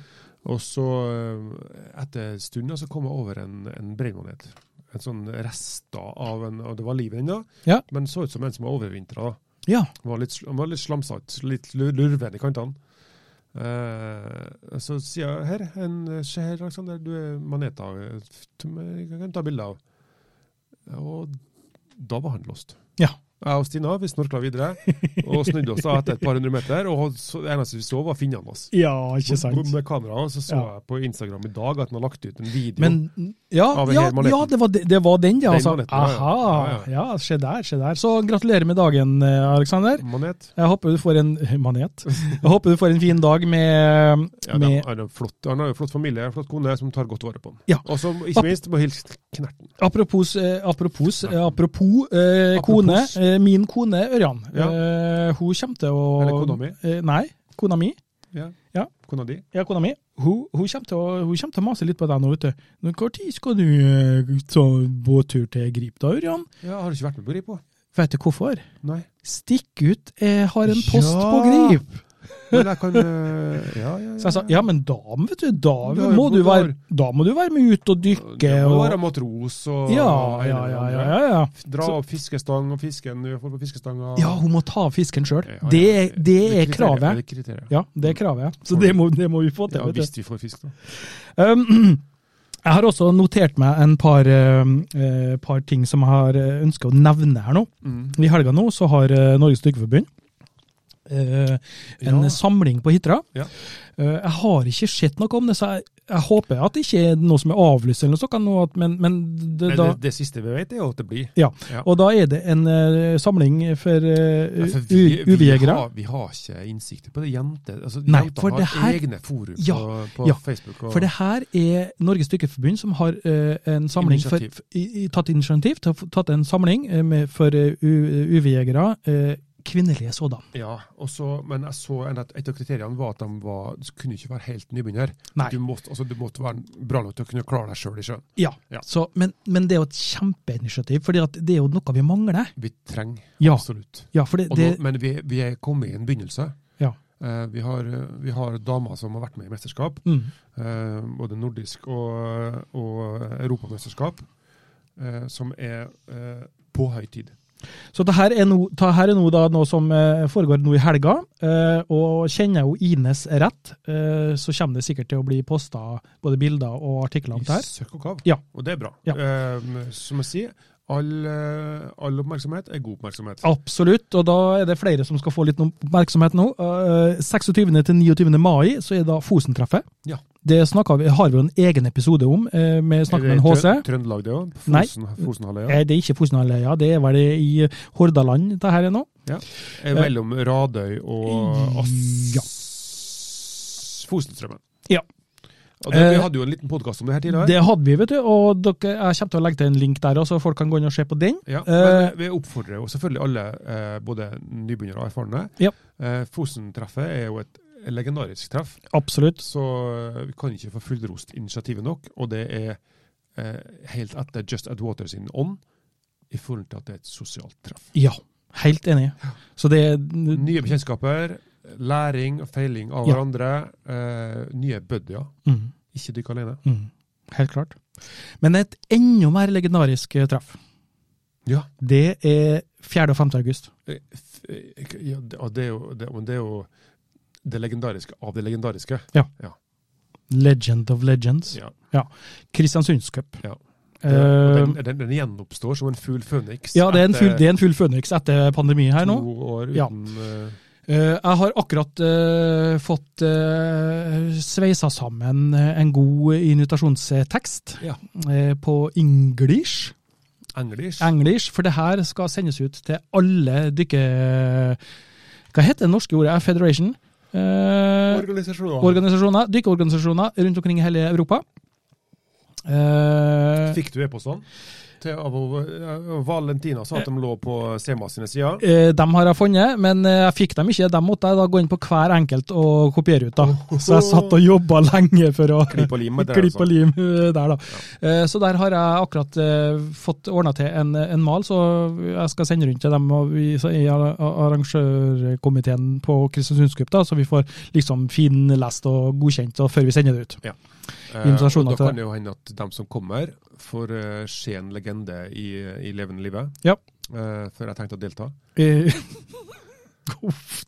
S2: Og så, eh, etter stunden, så kom jeg over en, en brennmanet. En sånn rest da, av en, og det var liv i den da,
S1: Ja.
S2: men så ut som en som var overvintra da.
S1: Ja.
S2: Den var litt, sl- den var litt slamsatt, litt lu- lurven i kantene. Eh, så sier jeg her, en, se her, Alexander, du er maneta, eh, t- jeg kan ta bilde av. Og da var han låst.
S1: Ja.
S2: Jeg og Stina vi snorkla videre og snudde oss da etter et par hundre meter. Og så, det eneste vi så, var finnene hans.
S1: ja, ikke
S2: Med
S1: sant.
S2: med kamera, og så så
S1: Ja.
S2: jeg på Instagram i dag at han har lagt ut en video.
S1: Men ja,
S2: Av den
S1: ja,
S2: her maneten.
S1: ja det, var, det, det var den, ja.
S2: Den
S1: Altså.
S2: maneten, ja, ja.
S1: Aha.
S2: Ja,
S1: Ja, se der, se der. Så gratulerer med dagen, eh, Alexander.
S2: Manet.
S1: Jeg håper du får en manet. Jeg håper du får en fin dag med,
S2: Ja, de,
S1: med
S2: han, er flott, han har jo flott familie, flott kone som tar godt vare på han.
S1: Ja.
S2: Og som ikke minst må hilse Knerten.
S1: Apropos, eh, apropos, eh, apropos, eh, kone.
S2: Apropos.
S1: Eh, min kone Ørjan,
S2: Ja.
S1: eh, hun kommer til å
S2: Eller kona mi.
S1: Eh, nei, kona mi.
S2: Ja.
S1: Ja.
S2: Kona di.
S1: Ja, kona mi. Hun, hun, kommer til å, hun kommer til å mase litt på deg nå, vet du. Nå, Når tid skal du eh, ta båttur til Grip da, Ørjan?
S2: Ja, har du ikke vært med på Grip òg?
S1: Vet du hvorfor?
S2: Nei.
S1: Stikk ut, jeg har en post
S2: Ja.
S1: på Grip.
S2: Men jeg kan øh, Ja, ja, ja.
S1: Så jeg sa, ja, men da, vet du, da,
S2: Du har jo
S1: må, du
S2: bodd
S1: være,
S2: der.
S1: da må du være med ut og dykke.
S2: Det må
S1: Og,
S2: være matros og
S1: ja, ja, ja, ja, ja, ja.
S2: Dra opp fiskestang og fisken du får på fiskestanga.
S1: Ja, hun må ta av fisken sjøl.
S2: Ja, ja, ja.
S1: Det, er- det er
S2: kriteriet,
S1: kravet.
S2: Det er kriteriet.
S1: Ja, det er kravet. Så det må, det må vi få til.
S2: Ja,
S1: vet du.
S2: hvis vi får fisk, da.
S1: Um, jeg har også notert meg en par, um, eh, par ting som jeg har eh, ønsket å nevne her nå.
S2: Mm.
S1: I helga nå så har eh, Norges Dykkerforbund eh, en
S2: Ja.
S1: samling på Hitra.
S2: Ja.
S1: Eh, jeg har ikke sett noe om det, så jeg, jeg håper at det ikke er noe som er avlyst, eller noe sånt, nå at- men, men det,
S2: Men
S1: da,
S2: det, det siste vi vet, er jo at det blir.
S1: ja.
S2: Ja.
S1: Og da er det en eh, samling for
S2: Ja,
S1: uh,
S2: for Altså, vi, vi,
S1: uvjegere.
S2: har, vi har ikke innsikt på det. Jenter altså,
S1: Nei,
S2: jenter
S1: for
S2: har
S1: det her-
S2: egne forum
S1: Ja,
S2: på, på
S1: ja.
S2: Facebook. Og,
S1: For det her er Norges Dykkerforbund som har eh, en samling for,
S2: Initiativ.
S1: f- i, i- tatt initiativ til å få- tatt en samling eh, med, for eh, u- UV-jegere, eh, kvinnelige sådan.
S2: ja, og så- men jeg så en at et av kriteriene var at de var, du kunne ikke være helt nybegynner.
S1: Nei.
S2: Du måtte, altså, du måtte være bra nok til å kunne klare deg sjøl i sjøen.
S1: Ja,
S2: Ja.
S1: Så, men, men det er jo et kjempeinitiativ, for det er jo noe vi mangler.
S2: Vi trenger
S1: Ja,
S2: absolutt.
S1: ja for det,
S2: Og
S1: det
S2: nå, men vi, vi er kommet i en begynnelse.
S1: ja.
S2: Eh, vi, har, vi har damer som har vært med i mesterskap.
S1: Mm.
S2: eh, både nordisk og, og europamesterskap, eh, som er eh, på høy tid.
S1: Så det her er noe, det her er noe, da, noe som eh, foregår nå i helga. eh, Og kjenner jeg jo Ines rett, eh, så kommer det sikkert til å bli posta både bilder og artikler om det
S2: I
S1: her.
S2: søkk og kav.
S1: Ja.
S2: Og det er bra.
S1: Ja.
S2: Eh, som jeg sier, all, eh, all oppmerksomhet er god oppmerksomhet.
S1: Absolutt, og da er det flere som skal få litt oppmerksomhet nå. Eh, 26. til 29. mai så er da Fosen-treffet.
S2: Ja.
S1: Det snakket vi, har vi jo en egen episode om. eh, Vi snakker med en
S2: Er det
S1: HC.
S2: Trø- Trøndelag det òg?
S1: Nei.
S2: Fosen, Fosenhalvøya?
S1: Eh, Det er ikke Fosenhalvøya, det er vel det i Hordaland det her er nå.
S2: Er Mellom Radøy og Ass...
S1: Ja.
S2: Fosenstrømmen.
S1: Ja.
S2: Og det,
S1: Eh,
S2: vi hadde jo en liten podkast om det her tidligere.
S1: Det hadde vi, vet du, og dere, jeg kommer til å legge til en link der, også, så folk kan gå inn og se på den.
S2: Ja,
S1: Eh,
S2: men vi oppfordrer jo selvfølgelig alle, eh, både nybegynnere og erfarne.
S1: Ja.
S2: Eh, Fosen-treffet er jo et legendarisk treff,
S1: Absolutt.
S2: så eh, vi kan ikke få fullrost initiativet nok. Og det er eh, helt etter Just At Water sin ånd, i forhold til at det er et sosialt treff.
S1: Ja, helt enig. Så det er mm,
S2: Nye bekjentskaper, læring og feiling av
S1: Ja.
S2: hverandre, eh, nye buddier. Ikke dykk alene.
S1: mm, Helt klart. Men et enda mer legendarisk eh, treff,
S2: Ja.
S1: det er 4. og 5. august.
S2: Eh, f- eh, ja det, og det, er jo, det, men det er jo det legendariske av det legendariske.
S1: Legend of Legends.
S2: Ja.
S1: Kristiansundscup.
S2: Ja. Det, og
S1: Eh,
S2: den, den, den gjenoppstår som en fugl føniks.
S1: Ja, det er en full,
S2: etter
S1: det er en full føniks etter pandemien her nå.
S2: To år
S1: Ja.
S2: uten eh,
S1: Eh, Jeg har akkurat eh, fått eh, sveisa sammen eh, en god invitasjonstekst
S2: Ja.
S1: eh, på English.
S2: English.
S1: English, for det her skal sendes ut til alle dykke... Hva heter det norske ordet? Federation? Eh,
S2: Organisasjoner.
S1: organisasjoner, dykkeorganisasjoner rundt omkring i hele Europa. Eh,
S2: Fikk du e-postene? Til- av- av- Valentina sa at de lå på Sema sine sider.
S1: Eh, dem har jeg funnet, men eh, jeg fikk dem ikke. Dem måtte jeg da gå inn på hver enkelt og kopiere ut. da. Så jeg satt og jobba lenge for å
S2: Oh. Klipp og lim med det,
S1: klipp og
S2: altså.
S1: lim eh, der, da. Eh, Så der har jeg akkurat eh, fått ordna til en, en mal, så jeg skal sende rundt til dem og vi, så i ar- arrangørkomiteen på Kristiansundscup, da, så vi får liksom finlest og godkjent og før vi sender det ut.
S2: Eh,
S1: invitasjoner
S2: og da
S1: til-
S2: kan det jo hende at de som kommer, får eh, se en legende i, i levende livet.
S1: Ja.
S2: Eh, før jeg tenkte å delta.
S1: Eh, Uff.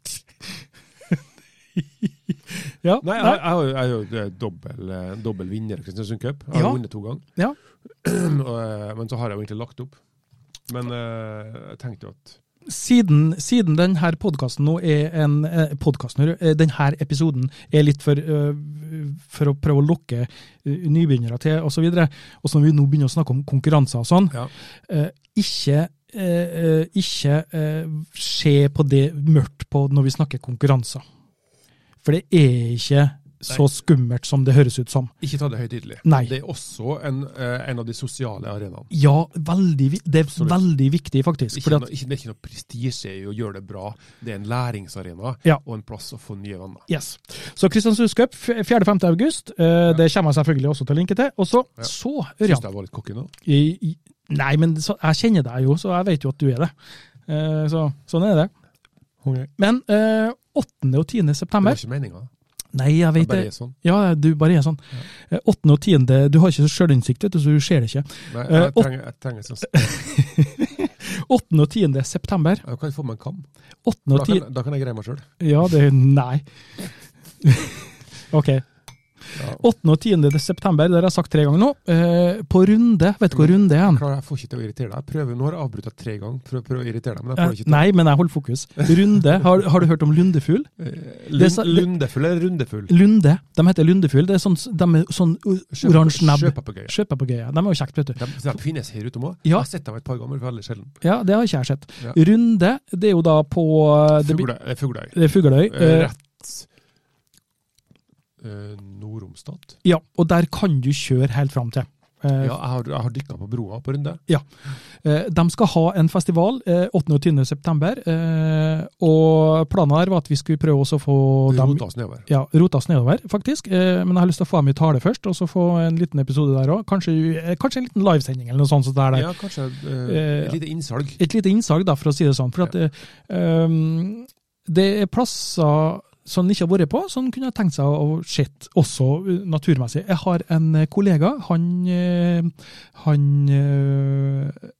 S1: ja,
S2: Nei, jeg, jeg, har jo- jeg er jo eh, dobbel, eh, dobbel vinner i Kristiansund Cup. Jeg har
S1: Ja.
S2: vunnet to ganger.
S1: Ja.
S2: Og, eh, men så har jeg jo egentlig lagt opp. Men eh, jeg tenkte jo at
S1: siden, siden denne podkasten nå er en eh, podcasten, hører du, eh, denne episoden er litt for, eh, for å prøve å lokke eh, nybegynnere til osv., og, så videre, og så når vi nå begynner å snakke om konkurranser og sånn,
S2: Ja.
S1: eh, ikke eh, eh, ikke eh, se på det mørkt på når vi snakker konkurranser. For det er ikke så
S2: Nei.
S1: skummelt som det høres ut som.
S2: Ikke ta det høytidelig.
S1: Nei.
S2: Det er også en, eh, en av de sosiale arenaene.
S1: Ja, veldig, vi- det er
S2: Absolutt.
S1: veldig viktig, faktisk.
S2: Ikke
S1: Fordi
S2: noe,
S1: at,
S2: ikke, det er ikke noe prestisje i å gjøre det bra. Det er en læringsarena
S1: Ja.
S2: og en plass å få nye venner.
S1: yes. Så Kristiansunds Cup 4.-5. august. eh, Det kommer jeg selvfølgelig også til å linke til. Og så,
S2: Ja.
S1: så
S2: Syns
S1: Ørjan
S2: jeg var litt cocky nå?
S1: i- i- Nei, men så, jeg kjenner deg jo, så jeg vet jo at du er det. Eh, Så, sånn er det. Men eh, 8. og 10.
S2: Det
S1: september
S2: var ikke meninga.
S1: Nei, jeg
S2: Det
S1: vet
S2: bare
S1: det.
S2: er sånn.
S1: Ja, du bare er sånn. Eh, 8. og 10. Du har ikke sjølinnsikt, vet du, så du ser det ikke.
S2: Nei,
S1: Eh,
S2: jeg trenger, jeg trenger sånn Jeg
S1: 8. og 10. september.
S2: kan få meg en kam.
S1: 8.
S2: Da
S1: og 10.
S2: kan, da kan jeg greie meg sjøl.
S1: Ja, det Nei. OK.
S2: Ja.
S1: 8. og 10. september, det har jeg sagt tre ganger nå, eh, på runde Vet du hvor runde er?
S2: Jeg
S1: han?
S2: klarer- jeg får ikke til å irritere deg. Jeg prøver, nå har jeg avbrutt deg tre ganger for å prøve å irritere deg, men jeg
S1: Eh,
S2: får det ikke til.
S1: Nei, men jeg holder fokus. Runde. Har, har du hørt om lundefugl?
S2: Eh,
S1: Det sa-
S2: Lund, lundefull eller rundefugl?
S1: Lunde. De heter lundefugl. Det er sånn, de er sånn o-
S2: Sjø-
S1: oransje nebb.
S2: sjøpapegøye.
S1: Sjøpapegøye. De er jo kjekt, vet du.
S2: De, de finnes her ute òg. Jeg
S1: Ja.
S2: har sett dem et par ganger, veldig sjelden.
S1: Ja, det har ikke jeg sett.
S2: Ja.
S1: Runde, det er jo da på eh, det blir-
S2: Fugleøy. eh, Fugleøy.
S1: det er Fugløy.
S2: Eh,
S1: eh,
S2: Rett eh, Nord-Romsdal?
S1: Ja, og der kan du kjøre helt fram til. Eh,
S2: Ja, jeg har, jeg har dykka på broa på Runde.
S1: Eh, De skal ha en festival eh, 8. og 20. september, eh, og planen her var at vi skulle prøve også å få
S2: Og
S1: dem
S2: rota oss nedover.
S1: ja, rota oss nedover, faktisk. Eh, Men jeg har lyst til å få dem i tale først, og så få en liten episode der òg. Kanskje, eh, kanskje en liten livesending eller noe sånt. som det er der.
S2: Ja, kanskje eh,
S1: Eh,
S2: et lite innsalg.
S1: Et lite innsag, da, for å si det sånn. For at, eh, um, det er plasser som den ikke har vært på, som den kunne ha tenkt seg å se, også eh, naturmessig. Jeg har en eh, kollega, han, eh, han eh,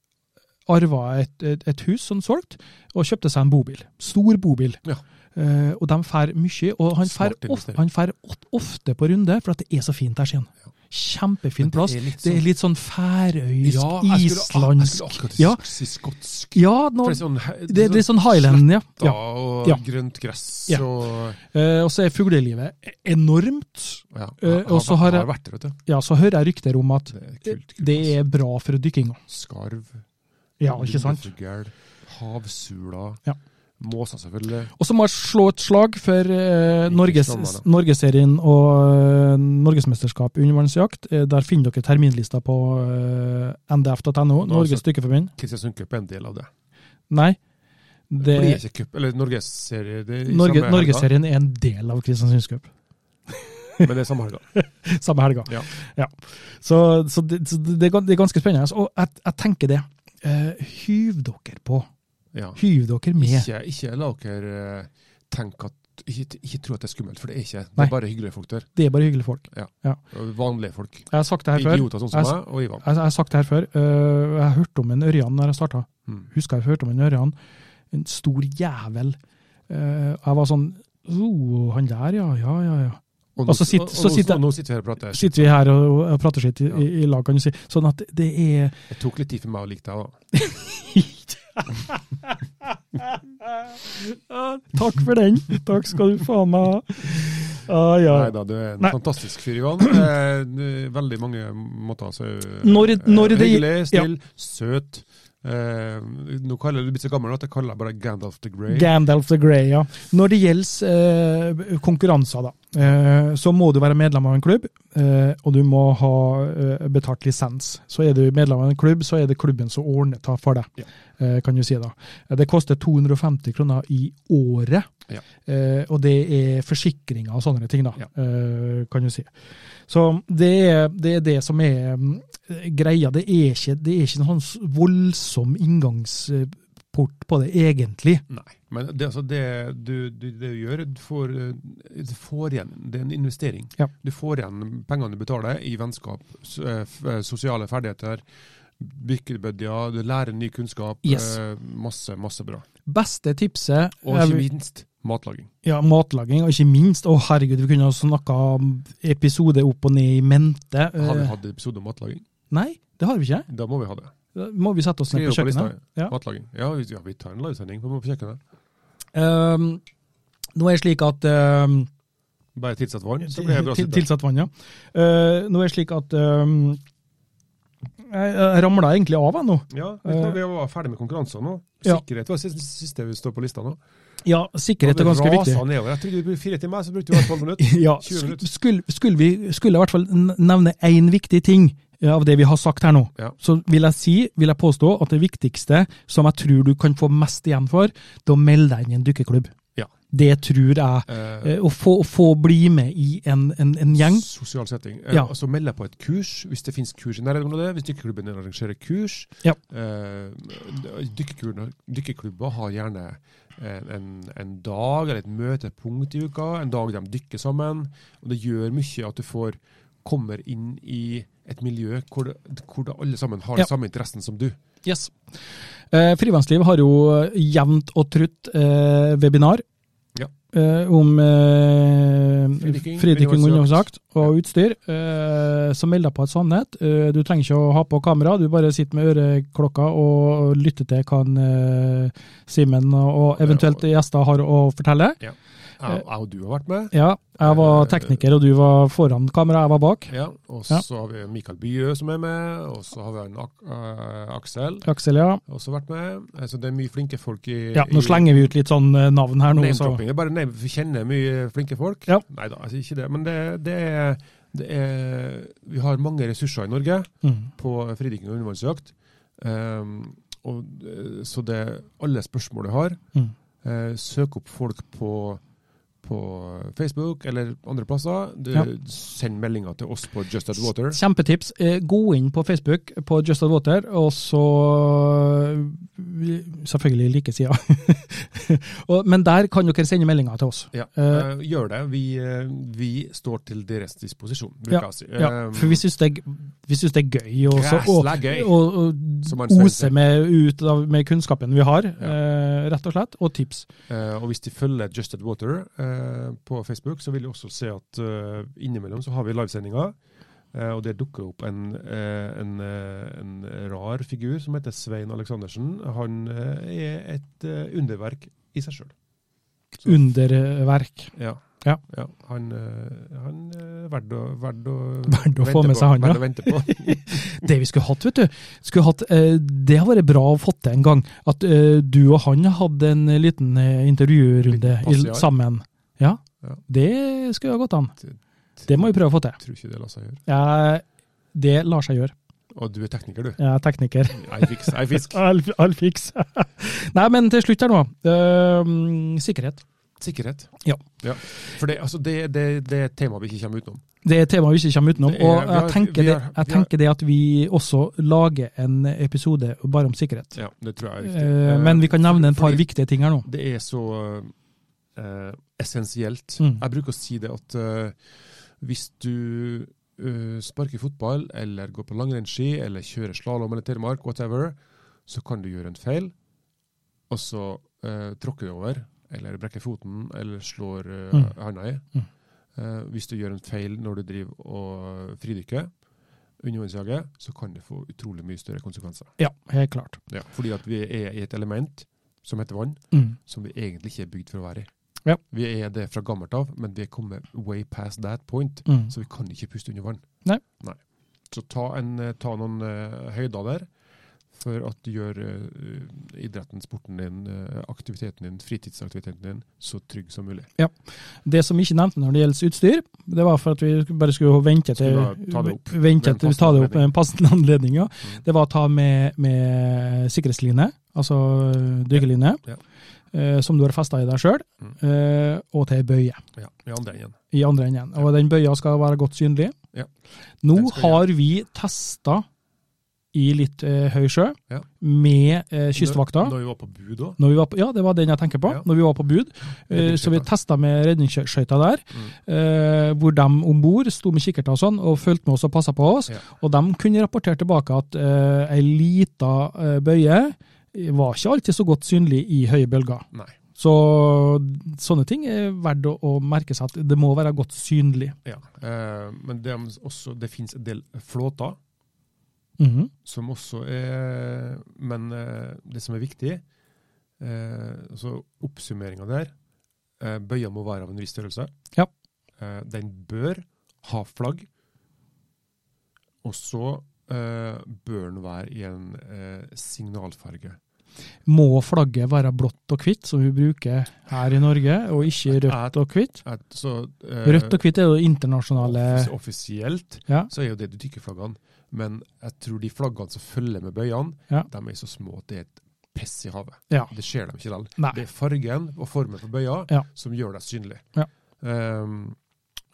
S1: arva et, et, et hus som solgt, og kjøpte seg en bobil. Stor bobil.
S2: Ja.
S1: Eh, og de fær mye, og han fær, of,
S2: Smart investering.
S1: han fær ot- ofte på runde, for at det er så fint der, sier han. Kjempefin
S2: Men det er
S1: plass. Det
S2: litt sånn-
S1: er litt sånn færøysk,
S2: Ja, jeg skulle, jeg skulle
S1: islandsk
S2: akkurat si,
S1: Ja,
S2: si skotsk.
S1: ja nå,
S2: For det er sånn, he-
S1: det, det er litt sånn Highland, ja.
S2: da,
S1: ja.
S2: og
S1: Ja.
S2: grønt gress
S1: Ja.
S2: og
S1: Eh, og så er fuglelivet enormt.
S2: ja,
S1: Eh, og så har jeg-
S2: vært der, vet du.
S1: Ja, så hører jeg rykter om at
S2: Det er kult. altså. kult.
S1: det er bra for dykkinga.
S2: Skarv,
S1: Ja, ikke sant?
S2: lundefugl, havsula,
S1: Ja.
S2: måser selvfølgelig.
S1: Og så må jeg slå et slag for eh, Norges,
S2: sommer, da.
S1: Norgesserien og eh, Norgesmesterskap i undervannsjakt. Eh, der finner dere terminlista på eh, ndf.no,
S2: Nå, altså.
S1: Norges dykkerforbund.
S2: Kristiansund Cup er en del av det.
S1: Nei,
S2: Det
S1: det,
S2: blir ikke cup, eller Norgesserie. det er i
S1: Norge,
S2: samme helga,
S1: Norgesserien er en del av Kristiansundscup.
S2: Men det er samme helga.
S1: Samme helga.
S2: Ja.
S1: Så, så, det, så det, er gan- det er ganske spennende. Altså, Og jeg, jeg tenker det. Eh, hyv dere på.
S2: Ja.
S1: Hyv dere med.
S2: Ikke, ikke la dere eh, tenke at ikke, ikke tro at det er skummelt, for det er ikke. Det
S1: Nei.
S2: er bare hyggelige folk der.
S1: Det er bare hyggelige folk.
S2: og Vanlige folk.
S1: Jeg har sagt det her før.
S2: Idioter sånn som
S1: Jeg-
S2: meg og Ivan.
S1: Jeg, jeg har sagt det her før. øh, jeg hørte om en Ørjan når jeg starta.
S2: Mm.
S1: Husker jeg hørte om en Ørjan. En stor jævel. Øh, jeg var sånn oh, Han der, ja. Ja, ja, ja.
S2: Og
S1: Og
S2: nå,
S1: så sitter-
S2: og,
S1: så
S2: og,
S1: sitter-
S2: og nå sitter vi her og prater.
S1: Sitter vi her og, og prater skitt i,
S2: Ja.
S1: i, i lag, kan du si. Sånn at det er
S2: Det tok litt tid for meg å like deg òg.
S1: Takk for den! Takk skal du faen meg ha. Ah, ja.
S2: Nei da, du er en
S1: Nei.
S2: fantastisk fyr, Johan. Eh, n- veldig mange måter. Så, eh,
S1: Når- når det-
S2: hyggelig, snill, søt. Eh, nå kaller jeg du blitt så gammel at jeg kaller deg bare Gandalf the Grey.
S1: Gandalf the Grey, ja. Når det gjelder eh, konkurranser, da, eh, så må du være medlem av en klubb, eh, og du må ha eh, betalt lisens. Så er du medlem av en klubb, så er det klubben som ordner det for deg,
S2: Ja.
S1: eh, kan du si da. Eh, Det koster 250 kroner i året,
S2: Ja.
S1: eh, og det er forsikringer og sånne ting, da,
S2: Ja.
S1: eh, kan du si. Så det er, det er det som er mm, greia. Det er ikke, det er ikke en sånn voldsom inngangsport på det, egentlig.
S2: Nei, men det, altså, det, du, du, det du gjør, du får, eh, du får igjen. Det er en investering.
S1: Ja.
S2: Du får igjen pengene du betaler i vennskap, s- eh, f- eh, sosiale ferdigheter, bykkebødder, du lærer ny kunnskap.
S1: Yes.
S2: eh, Masse, masse bra.
S1: beste tipset
S2: Og
S1: jeg
S2: ikke
S1: vil-
S2: minst matlaging.
S1: ja, matlaging, og ikke minst Å, herregud, vi kunne ha snakka episode opp og ned i mente.
S2: Har vi
S1: Eh,
S2: hatt episode om matlaging?
S1: Nei, det har vi ikke.
S2: Da må vi ha det.
S1: Da Må vi sette oss ned på
S2: Skriv opp på
S1: kjøkkenet?
S2: lista.
S1: Ja.
S2: Matlaging. Ja, vi, ja, vi tar en livesending på på kjøkkenet.
S1: Ehm, nå er det slik at ehm,
S2: Bare tilsatt vann, så blir det bra
S1: til-
S2: suppe.
S1: Tilsatt vann, ja. Eh, nå er det slik at ehm, jeg, jeg ramla egentlig av, jeg nå.
S2: Ja, vi, vi var ferdig med konkurranser nå.
S1: Eh. Ja.
S2: Sikkerhet var siste, siste vi står på lista nå.
S1: Ja, sikkerhet er
S2: Og vi
S1: ganske
S2: raset
S1: viktig.
S2: Nedover. Jeg trodde det ble fire timer, så brukte vi bare tolv minutter.
S1: Ja,
S2: 20 minutter.
S1: skulle, skulle, vi, skulle jeg i hvert fall n- nevne én viktig ting eh, av det vi har sagt her nå,
S2: Ja.
S1: så vil jeg si, vil jeg påstå, at det viktigste som jeg tror du kan få mest igjen for, det er å melde deg inn i en dykkerklubb.
S2: Ja.
S1: Det tror jeg.
S2: Eh,
S1: Eh, Å få, å få bli med i en, en, en gjeng.
S2: Sosial setting.
S1: Ja.
S2: Ja. Altså meld deg på et kurs, hvis det finnes kurs i nærområdet. Hvis dykkerklubben arrangerer kurs.
S1: Ja.
S2: Eh, dykkerklubber, dykkerklubber har gjerne en, en, en dag eller et møtepunkt i uka. En dag de dykker sammen. Og det gjør mye at du får kommer inn i et miljø hvor, det, hvor det alle sammen har
S1: Ja.
S2: den samme interessen som du.
S1: Yes. Eh, Frivannsliv har jo jevnt og trutt eh, webinar
S2: Ja.
S1: eh, om eh,
S2: Fridykking,
S1: fridykking
S2: undervannsjakt.
S1: undervannsjakt og utstyr. Eh, så meld deg på et sannhet. Eh, du trenger ikke å ha på kamera, du bare sitter med øreklokka og lytter til hva en, eh, Simen og eventuelt gjester har å fortelle. Eh.
S2: Jeg jeg og du har vært med.
S1: Ja, jeg
S2: Eh,
S1: var tekniker, og du var foran kamera, jeg var bak.
S2: Ja, og så
S1: Ja.
S2: har vi Mikael Byø som er med, og så har vi en Ak eh, Aksel
S1: Aksel, ja.
S2: også vært med. Eh, Så det er mye flinke folk i
S1: ja. Nå
S2: i-
S1: slenger vi ut litt sånn eh, navn her nå. Så.
S2: Name-dropping. Det er bare name, vi kjenner mye flinke folk.
S1: Ja.
S2: Nei da, altså ikke det. Men det, det, er, det er Vi har mange ressurser i Norge
S1: Mm.
S2: på fridykking og undervannsjakt. Ehm, og, eh, så det alle spørsmål du har,
S1: Mm.
S2: eh, søk opp folk på på Facebook eller andre plasser. Du,
S1: Ja.
S2: Send meldinger til oss på Just At Water.
S1: Kjempetips. Eh, Gå inn på Facebook på Just Ad Water, og så Selvfølgelig like sida. Og- Men der kan dere sende meldinger til oss.
S2: Ja,
S1: Eh,
S2: eh, gjør det. Vi, eh, vi står til deres disposisjon, bruker
S1: Ja,
S2: jeg å si. Eh,
S1: ja, for vi syns det, er g- vi synes det er gøy å så- å-
S2: Ehm, Græsla gøy.
S1: å- å
S2: Som man sier.
S1: ose med, ut av, med kunnskapen vi har, eh, rett og slett, og tips.
S2: Eh, og hvis de følger Just At Water eh, på Facebook, så vil de også se at eh, innimellom så har vi livesendinger. eh, og det dukker opp en, eh, en, eh, en rar figur som heter Svein Aleksandersen. Han eh, er et eh, underverk i seg sjøl.
S1: Underverk.
S2: Ja.
S1: Ja.
S2: Han, eh, han er verd å, verd å,
S1: Verd å få
S2: vente
S1: med seg han, ja.
S2: på, verd å vente på.
S1: Det vi skulle hatt, vet du skulle hatt, eh, Det har vært bra å få til en gang. At eh, du og han hadde en liten eh, intervjurunde
S2: Liten
S1: i,
S2: passiar.
S1: sammen. Ja,
S2: Ja.
S1: det skulle ha gått an. Det må vi prøve å få til.
S2: Tror ikke det lar seg gjøre.
S1: Jeg, det lar seg gjøre.
S2: Og du er tekniker, du.
S1: Jeg er tekniker.
S2: Ei fiks, ei fisk.
S1: All, all fiks. Nei, men til slutt her nå. eh, sikkerhet.
S2: Sikkerhet.
S1: Ja.
S2: For det, altså, det, det, det er et tema vi ikke kommer utenom.
S1: Det er et tema vi ikke kommer utenom.
S2: Det er-
S1: Og
S2: vi har-
S1: jeg tenker,
S2: vi
S1: det,
S2: har-
S1: jeg
S2: vi har-
S1: tenker det at vi også lager en episode bare om sikkerhet.
S2: Ja, det tror jeg er riktig.
S1: Eh, men vi kan nevne en par
S2: Fordi-
S1: viktige ting her nå.
S2: Det er så eh, essensielt.
S1: Mm.
S2: Jeg bruker å si det at eh, hvis du eh, sparker fotball, eller går på langrennsski, eller kjører slalåm eller telemark, whatever, så kan du gjøre en feil, og så eh, tråkker du over, eller brekker foten, eller slår eh,
S1: Mm.
S2: handa i.
S1: Mm.
S2: Eh, hvis du gjør en feil når du driver og fridykker, undervannsjager, så kan det få utrolig mye større konsekvenser.
S1: Ja, helt klart.
S2: Fordi at vi er i et element som heter vann,
S1: Mm.
S2: som vi egentlig ikke er bygd for å være i.
S1: Ja.
S2: Vi er det fra gammelt av, men vi er kommet way past that point,
S1: Mm.
S2: så vi kan ikke puste under vann.
S1: Nei.
S2: Så ta, en, eh, ta noen eh, høyder der, for at du gjør eh, idretten, sporten din, eh, aktiviteten din, fritidsaktiviteten din, så trygg som mulig.
S1: Det som vi ikke nevnte når det gjelder utstyr, det var for at vi bare skulle vente til,
S2: Skulle bare ta det opp
S1: vente
S2: ved en
S1: til vi
S2: passende
S1: tar det opp
S2: anledning.
S1: med en passende anledning. Ja.
S2: Mm.
S1: Det var å ta med, med sikkerhetsline, altså øh, dykkerline,
S2: Ja.
S1: eh, som du har festa i deg sjøl,
S2: Mm.
S1: eh, og til ei bøye
S2: Ja, ja den igjen.
S1: i andre enden. Og den bøya skal være godt synlig.
S2: Ja.
S1: Nå
S2: Den skal
S1: har vi testa i litt eh, høy sjø
S2: Ja.
S1: med eh, kystvakta.
S2: Når, når vi var på bu da,
S1: Når vi var på, ja, det var den jeg tenker på.
S2: Ja.
S1: Når vi var på bud. Eh, Så vi
S2: Redningsskøyta.
S1: testa med redningsskøyta der.
S2: Mm.
S1: Eh, hvor de om bord sto med kikkerter og sånn og fulgte med oss og passa på oss.
S2: Ja.
S1: Og de kunne rapportere tilbake at eh, ei lita eh, bøye var ikke alltid så godt synlig i høye bølger.
S2: Nei.
S1: Så sånne ting er verdt å, å merke seg at det må være godt synlig.
S2: Ja. Eh, men det, er også, det finnes en del flåter,
S1: Mhm.
S2: som også er Men eh, det som er viktig, eh, altså oppsummeringa der eh, Bøya må være av en viss størrelse.
S1: Ja.
S2: Eh, den bør ha flagg. Og så eh, bør den være i en eh, signalfarge.
S1: Må flagget være blått og hvitt, som vi bruker her i Norge, og ikke rødt og hvitt?
S2: At, så, eh,
S1: Rødt og hvitt er jo internasjonale
S2: offis- Offisielt
S1: Ja.
S2: så er jo det de dykkerflaggene. Men jeg tror de flaggene som følger med bøyene,
S1: Ja.
S2: de er så små at det er et piss i havet.
S1: Ja.
S2: Det ser de ikke likevel.
S1: Nei.
S2: Det er fargen og formen på bøya
S1: Ja.
S2: som gjør deg synlig.
S1: Ja.
S2: Ehm,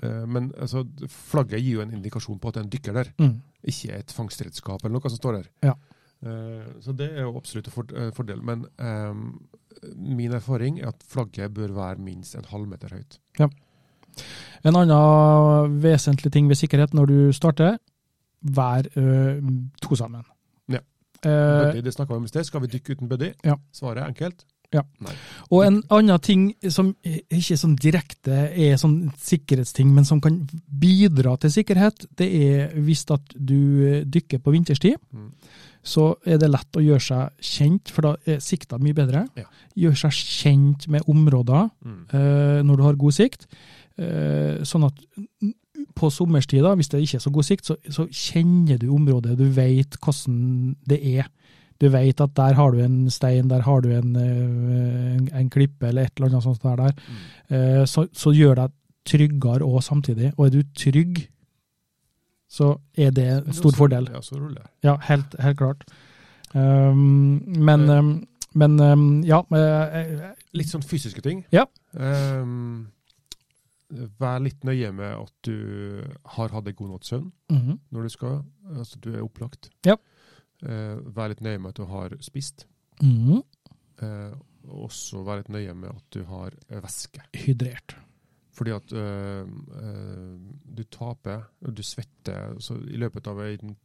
S2: eh, men altså, flagget gir jo en indikasjon på at det er en dykker der,
S1: Mm.
S2: ikke et fangstredskap eller noe som står der.
S1: Ja.
S2: Eh, så det er jo absolutt en for eh, fordel. Men ehm, min erfaring er at flagget bør være minst en halvmeter høyt.
S1: En annen vesentlig ting ved sikkerhet når du starter, vær ø, to sammen.
S2: Ja.
S1: Eh,
S2: buddy, det snakket vi om i sted. Skal vi dykke uten buddy?
S1: Ja.
S2: Svaret er enkelt.
S1: og en annen ting som ikke sånn direkte er sånn sikkerhetsting, men som kan bidra til sikkerhet, det er hvis at du dykker på vinterstid,
S2: Mm.
S1: så er det lett å gjøre seg kjent, for da er sikta mye bedre.
S2: Ja.
S1: Gjøre seg kjent med områder
S2: Mm.
S1: eh, når du har god sikt. Eh, sånn at n- på sommerstid, da, hvis det ikke er så god sikt, så, så kjenner du området. Du vet hvordan det er. Du vet at der har du en stein, der har du en, eh, en, en klippe eller et eller annet sånt der. der.
S2: Mm.
S1: Eh, så, så gjør deg tryggere òg samtidig. Og er du trygg, så er det en stor fordel.
S2: Ja, så ruller jeg.
S1: Ja, helt, helt klart. Um, men
S2: Eh.
S1: um, men um, ja eh, eh,
S2: Litt sånn fysiske ting.
S1: Ja.
S2: Ehm, vær litt nøye med at du har hatt en god natts søvn
S1: Mhm.
S2: når du skal. Altså, du er opplagt.
S1: Ja.
S2: Eh, vær litt nøye med at du har spist.
S1: Mhm.
S2: Eh, og også vær litt nøye med at du har eh, væske.
S1: Hydrert.
S2: Fordi at øh, øh, du taper, og du svetter, så i løpet av en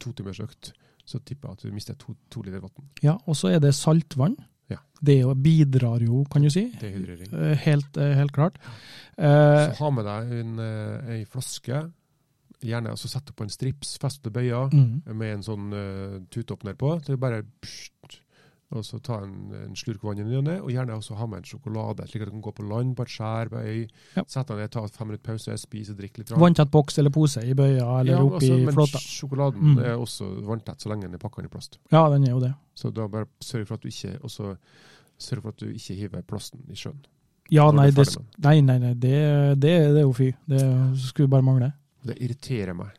S2: to timers økt, så tipper jeg at du mister to, to liter vann.
S1: Ja, og så er det saltvann.
S2: Ja.
S1: Det jo bidrar jo, kan du si.
S2: Dehydrering.
S1: Eh, Helt, eh, helt klart.
S2: Så
S1: Eh,
S2: ha med deg en, øh, ei flaske, gjerne altså sett opp på en strips, fest til bøya,
S1: mhm.
S2: med en sånn øh, tuteopp nedpå, så det bare pssst, og så ta en, en slurk vann i ny og ne, og gjerne også ha med en sjokolade, slik at du kan gå på land, på et skjær, på ei,
S1: Ja.
S2: sette deg ned, ta fem minutter pause, spise og drikke litt. grann.
S1: Vanntett boks eller pose i bøya eller
S2: Ja,
S1: oppi
S2: altså, men
S1: flåta.
S2: Sjokoladen
S1: Mm.
S2: er også vanntett så lenge den er pakka inn i plast.
S1: Ja, den er jo det.
S2: Så da bare sørg for at du ikke også, sørg for at du ikke hiver plasten i sjøen.
S1: Ja,
S2: Når
S1: nei,
S2: du er
S1: det,
S2: ferdig
S1: sk- nei, nei, nei det, det, det er jo fy. Det skulle bare mangle.
S2: Det irriterer meg.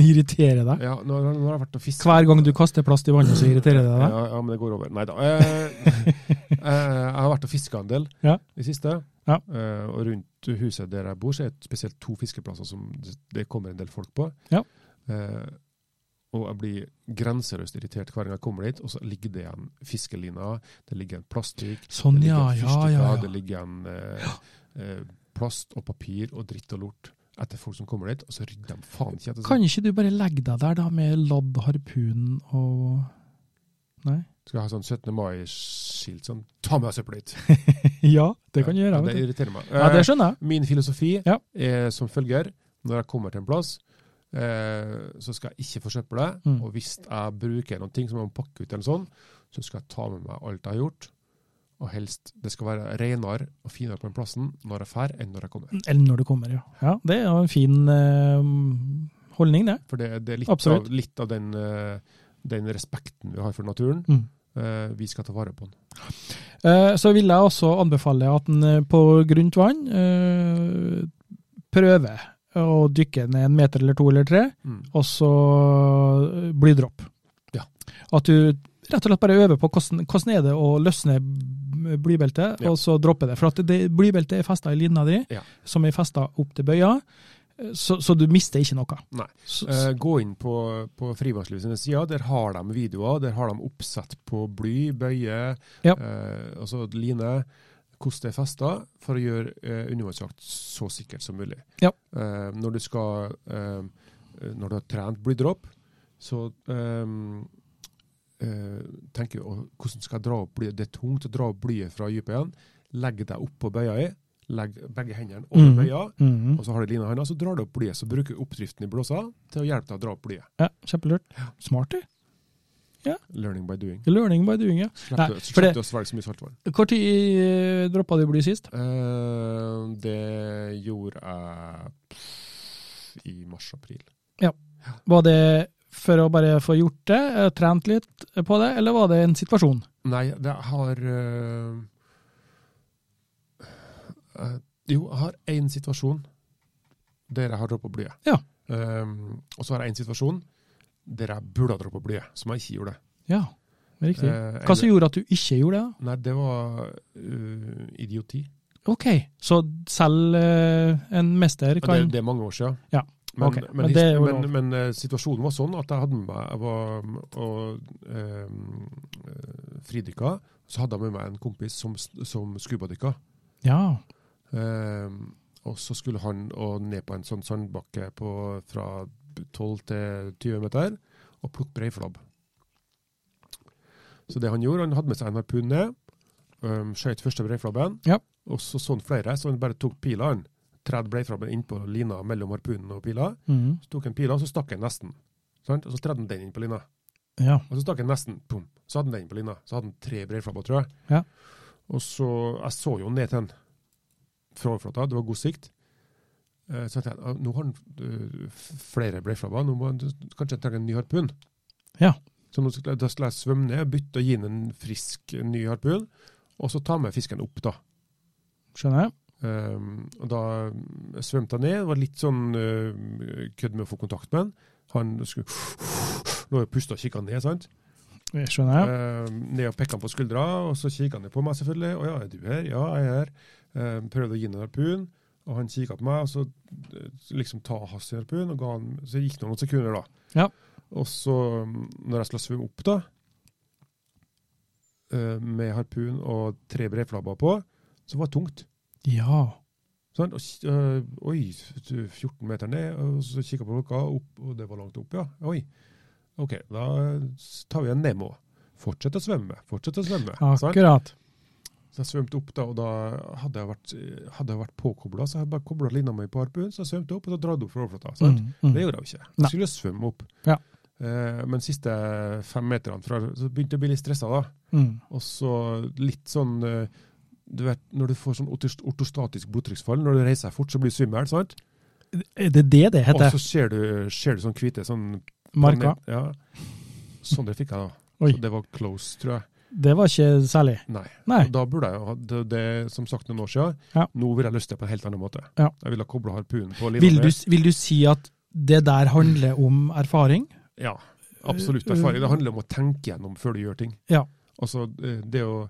S1: Irritere deg.
S2: Ja, nå, nå har jeg vært og fiska.
S1: Hver gang du kaster plast i vannet, så irriterer det deg.
S2: Ja, ja, men det går over. Nei da. Eh, eh, jeg har vært og fiska en del
S1: Ja.
S2: i siste.
S1: Ja.
S2: Eh, og rundt huset der jeg bor, så er det spesielt to fiskeplasser som det- det kommer en del folk på.
S1: Ja.
S2: Eh, og jeg blir grenseløst irritert hver gang jeg kommer dit, og så ligger det en fiskelina, det ligger en plastikk,
S1: Sånn,
S2: Det ligger
S1: ja,
S2: en
S1: ja,
S2: fyrstikker,
S1: ja.
S2: Det
S1: ja.
S2: ligger en eh, eh, plast og papir og dritt og lort etter folk som kommer dit, og så rydder de faen ikke etter sånn. seg.
S1: Kan ikke du bare legge deg der, da, med ladd harpun og Nei?
S2: Skal jeg ha sånn 17. mai-skilt sånn Ta med deg søppelet ditt!
S1: Ja, det kan du gjøre.
S2: Ja,
S1: Vet
S2: Det
S1: du.
S2: irriterer meg.
S1: Ja, det
S2: Eh,
S1: skjønner jeg.
S2: Min filosofi
S1: Ja.
S2: er som følger. Når jeg kommer til en plass, eh, så skal jeg ikke forsøple det.
S1: Mm.
S2: Og hvis jeg bruker noen ting som jeg må pakke ut, eller sånn, så skal jeg ta med meg alt jeg har gjort. Og helst det skal være renere og finere på den plassen når jeg drar, enn når jeg kommer.
S1: Eller når du kommer, ja. ja det er jo en fin eh, holdning, det.
S2: For det, det er litt
S1: Absolutt.
S2: av, litt av den, eh, den respekten vi har for naturen.
S1: Mm.
S2: Eh, vi skal ta vare på den.
S1: Eh, Så vil jeg også anbefale at en eh, på grunt vann eh, prøver å dykke ned en meter eller to eller tre,
S2: Mm.
S1: og så eh, blydropp.
S2: Ja.
S1: At du rett og slett bare øver på hvordan, hvordan er det å løsne b- blybeltet,
S2: Ja.
S1: og så droppe det. For at det, blybeltet er festa i linna di,
S2: Ja.
S1: som er festa opp til bøya, eh, så, så du mister ikke noe.
S2: Nei.
S1: Så,
S2: Eh, gå inn på, på Frivannslivet sine sider. Der har de videoer. Der har de oppsett på bly, bøye,
S1: Ja.
S2: eh, altså line. Hvordan det er festa, for å gjøre eh, undervannsjakt så sikkert som mulig.
S1: Ja.
S2: Eh, når du skal eh, Når du har trent blydropp, så eh, eh, tenker du «Å, hvordan skal jeg dra opp blyet. Det er tungt å dra opp blyet fra dypet igjen. Legg deg oppå bøya i. Legg begge hendene over
S1: Mhm.
S2: bøya.
S1: Mhm.
S2: Og så har du lina i handa, så drar du opp blyet. Så bruker du oppdriften i blåsa til å hjelpe deg å dra opp blyet.
S1: ja, kjempelurt. Smart, det.
S2: Learning by doing.
S1: Learning by doing, ja. Nei,
S2: Slipper
S1: for det-
S2: slipper du å svelge så mye saltvann.
S1: Når droppa du bly sist?
S2: Eh, det gjorde jeg pff, i mars-april.
S1: Var det for å bare få gjort det, eh, trent litt på det, eller var det en situasjon?
S2: Nei, det har eh, eh, Jo, jeg har én situasjon der jeg har droppa blyet.
S1: Ja.
S2: Eh, og så har jeg én situasjon der jeg burde ha droppa blyet, som jeg ikke gjorde.
S1: Ja, riktig.
S2: Eh,
S1: Hva som gjorde at du ikke gjorde det? da?
S2: Nei, det var eh, idioti.
S1: Ok, så selv eh, en mester
S2: Ja, Det,
S1: kan
S2: det er mange år siden.
S1: Ja,
S2: Men,
S1: ok.
S2: men,
S1: Men det er jo
S2: men,
S1: lov.
S2: men, eh, situasjonen var sånn at jeg hadde med meg jeg var, mm, og eh, eh, fridykka. Så hadde jeg med meg en kompis som, som skubadykka.
S1: Ja.
S2: Eh, og så skulle han og ned på en sånn sandbakke på, fra 12 til 20 meter og plukke breiflabb. Så det han gjorde, han hadde med seg en harpun ned, um, skjøt første breiflabben,
S1: Ja.
S2: og så sånn flere, så han bare tok pila han. Tredde breiflabben inn på lina mellom harpunen og pila.
S1: Mhm.
S2: Så tok han pila, og så stakk han nesten. Sant? Og så tredde han den inn på lina.
S1: ja.
S2: Og så stakk han nesten, pum. Så hadde han den på lina. Så hadde han tre breiflabber, tror jeg.
S1: Ja.
S2: Og så, jeg så jo ned til han fra overflata, det var god sikt. Eh, Så jeg tenkte, ah, nå har han øh, f- flere breiflabber, nå må han kanskje han trenger en ny harpun.
S1: Ja.
S2: Så nå skal jeg, da skal jeg svømme ned, bytte og gi han en frisk en ny harpun, og så ta med fisken opp da.
S1: Skjønner jeg.
S2: Um, og da eh, svømte han ned. Det var litt sånn uh, kødd med å få kontakt med han. Han skulle Lå og pusta og kikka ned, sant?
S1: Jeg Skjønner jeg.
S2: Eh, ned og pekka han på skuldra, og så kikka han jo på meg, selvfølgelig. 'Å ja, er du her?' 'Ja, jeg er her.' Eh, prøvde å gi ham en harpun, og han kikka på meg, og så eh, liksom ta hans harpun, og ga han, så gikk det noen sekunder, da.
S1: Ja.
S2: Og så, mm, når jeg skulle svømme opp, da, eh, med harpun og tre brevflabber på, så var det tungt.
S1: Eh, Ja.
S2: Sant? Og, k- øh, oi, du, 14 meter ned, og så kikka på klokka, opp, og det var langt opp, ja. Oi. OK, da tar vi en Nemo. Fortsett å svømme, fortsett å svømme. sant?
S1: Akkurat.
S2: Så jeg svømte opp, da, og da hadde jeg vært, hadde jeg vært påkobla. Så jeg hadde bare kobla lina mi på harpunen, så jeg svømte opp og så dratt opp fra overflata. sant?
S1: Mm, mm.
S2: Det gjorde jeg jo ikke.
S1: Nei.
S2: Jeg skulle svømme opp.
S1: Ja.
S2: Eh, men siste fem meterne fra, så begynte jeg å bli litt stressa, da.
S1: Mm.
S2: Og så litt sånn eh, Du vet, når du får sånn ortos- ortostatisk blodtrykksfall, når du reiser deg fort, så blir du svimmel, sant?
S1: Er det det det
S2: Og
S1: heter?
S2: så ser du, ser du sånn hvite sånn
S1: Marka?
S2: planet- Ja. Sånn det fikk jeg, da.
S1: Oi,
S2: Så det var close, tror jeg.
S1: det var ikke særlig.
S2: Nei.
S1: Nei.
S2: Og Da burde jeg jo ha det, det som sagt noen år siden.
S1: Ja.
S2: Nå ville jeg løst det på en helt annen måte.
S1: Ja.
S2: Jeg ville ha kobla harpunen på lina.
S1: Vil
S2: mi.
S1: du, vil du si at det der handler om erfaring?
S2: Ja, absolutt erfaring. Det handler om å tenke gjennom før du gjør ting.
S1: Ja.
S2: Altså eh, det å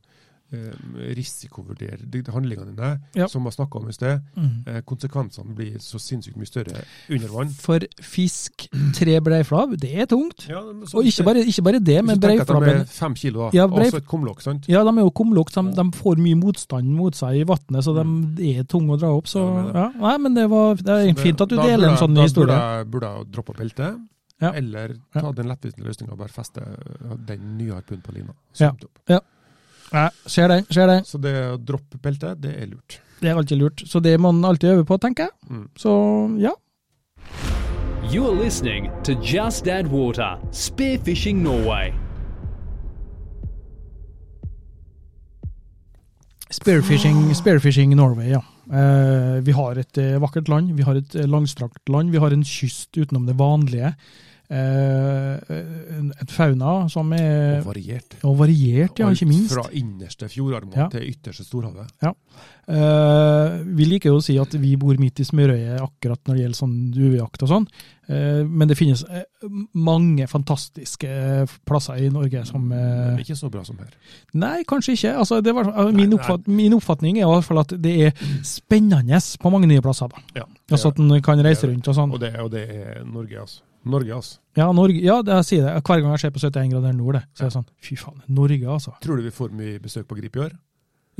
S2: eh, risikovurdere de- de handlingene dine,
S1: Ja. Mm.
S2: som vi snakka om i sted. Eh, Konsekvensene blir så sinnssykt mye større under vann.
S1: For fisk, tre breiflabb, det er tungt.
S2: Ja, men så
S1: Og
S2: hvis
S1: ikke bare,
S2: det-
S1: ikke bare det, men
S2: hvis du tenker at de
S1: breiflabben
S2: er Fem kilo, da.
S1: Ja,
S2: og
S1: breif-
S2: så et kumlokk, sant?
S1: Ja, de er jo kumlokk, så de, de får mye motstand mot seg i vannet, så de er tunge å dra opp. Så,
S2: Mm. Ja, det er det.
S1: ja. Nei, men det, var, det er
S2: Så det-
S1: fint at du
S2: da
S1: deler
S2: burde
S1: en sånn
S2: jeg-
S1: historie.
S2: Da burde jeg, burde jeg droppe beltet,
S1: Ja.
S2: eller ta den lettvinte løsninga og bare feste eh, den nye harpunen på lina. Så
S1: Ja.
S2: opp.
S1: Nei, ser den, ser den.
S2: Så det å droppe beltet, det er lurt.
S1: Det er alltid lurt. Så det må en alltid øve på, tenker jeg.
S2: Mm.
S1: Så ja.
S3: You are listening to Just Add Water Spearfishing Norway.
S1: Spearfishing, spearfishing Norway, ja. Eh, vi har et eh, vakkert land, vi har et eh, langstrakt land, vi har en kyst utenom det vanlige. Eh, en- et fauna som er
S2: Og variert.
S1: og variert, Eh, ja, ikke minst.
S2: Fra innerste fjordarmen
S1: Ja.
S2: til ytterste storhavet.
S1: Eh, vi liker jo å si at vi bor midt i smørøyet akkurat når det gjelder sånn duejakt og sånn, Eh, men det finnes eh, mange fantastiske eh, plasser i Norge som eh,
S2: Men ikke så bra som her.
S1: Nei, kanskje ikke. Altså, det var, min,
S2: nei.
S1: oppfatt, min oppfatning er i hvert fall at det er spennende på mange nye plasser. da.
S2: Ja,
S1: Altså At en kan reise rundt og sånn.
S2: og, det, og det er Norge, altså. Norge, altså.
S1: Ja, Norge, ja det, jeg sier det. Hver gang jeg ser på 71 grader nord, det, så er det sånn Fy faen, Norge, altså.
S2: Tror du vi får mye besøk på Grip i år?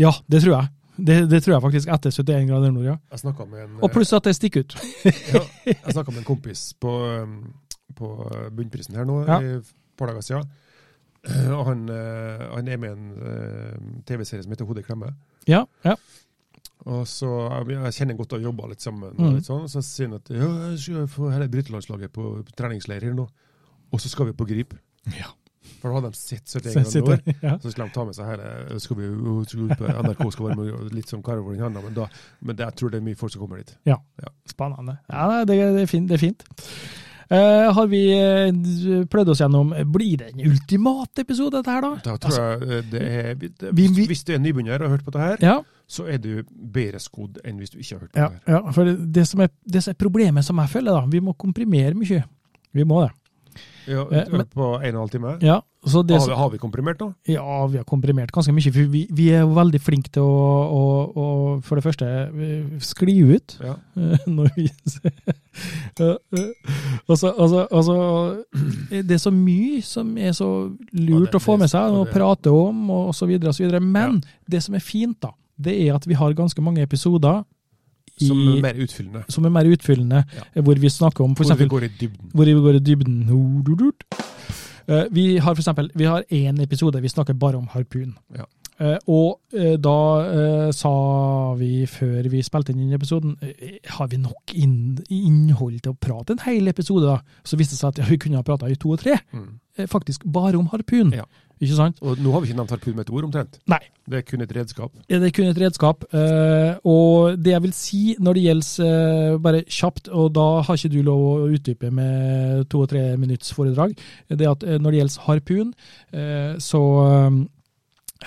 S1: Ja, det tror jeg. Det, det tror jeg faktisk etter 71 grader nord, ja.
S2: Jeg snakka med, en, eh,
S1: Og pluss at det stikker ut.
S2: ja, jeg snakket med en kompis på, um, på Bunnprisen her nå
S1: Ja.
S2: i et par dager siden. Og han, eh, han er med i en eh, TV-serie som heter Hodet i klemme.
S1: Ja, ja.
S2: Og så, jeg, jeg kjenner godt og jobber litt sammen.
S1: Mhm.
S2: Og litt sånn, så sier han at ja, jeg skal få hele brytelandslaget på treningsleir her nå, og så skal vi på Grip.
S1: Ja.
S2: For da hadde de sett 71
S1: Så jeg
S2: ganger i år.
S1: sitter- ja.
S2: Så skulle de ta med seg hele skal vi, skal vi ut på NRK skal være med, og litt som Karavold i handa, men, da, men det, jeg tror det er mye folk som kommer dit.
S1: Spennende. Ja, nei, det, det er fint. Det er fint. Eh, har vi eh, prøvd oss gjennom Blir det en ultimate episode, dette her, da?
S2: Da tror jeg eh, det er, det,
S1: Altså, Vi- vi-
S2: Hvis du er nybegynner og har hørt på det her,
S1: Ja.
S2: så er du bedre skodd enn hvis du ikke har hørt på
S1: Ja,
S2: det her.
S1: ja for det som, er, det som er problemet som jeg føler, da, vi må komprimere mye. Vi må det.
S2: Ja,
S1: Eh, men-
S2: på en og en halv time.
S1: Ja, så det
S2: har,
S1: som,
S2: vi, har vi komprimert nå?
S1: ja vi har komprimert ganske mye, for vi, vi er jo veldig flinke til å, å, å for det første eh, skli ut.
S2: Ja.
S1: eh, Når vi, Ja, eh, altså, altså, altså, eh, det er så mye som er så
S2: Ja,
S1: lurt
S2: det-
S1: å få med
S2: det-
S1: seg
S2: og
S1: og
S2: det-
S1: prate om, og så videre og så videre. Men det som er fint, da, det er at vi har ganske mange episoder i,
S2: Som er
S1: som,
S2: mer utfyllende.
S1: er mer utfyllende, eh,
S2: Ja.
S1: hvor vi snakker om for
S2: Hvor
S1: eksempel,
S2: vi går i dybden.
S1: hvor vi går i dybden. Ho, du, du. Eh, Vi har for eksempel, vi har én episode vi snakker bare om harpun.
S2: Ja.
S1: Eh, Og eh, da eh, sa vi før vi spilte inn den episoden, eh, har vi nok inn, innhold til å prate en hel episode? da? Så viste det seg at ja, vi kunne ha prata i to og tre,
S2: Mm.
S1: eh, faktisk bare om harpun.
S2: Ja.
S1: Ikke sant?
S2: Og nå har vi ikke nevnt harpun med et ord, omtrent.
S1: Nei.
S2: Det er kun et redskap.
S1: Det er kun et redskap. eh, Og det jeg vil si når det gjelder eh, Bare kjapt, og da har ikke du lov å utdype med to- og tre minutts foredrag, det er at eh, når det gjelder harpun, eh, så eh,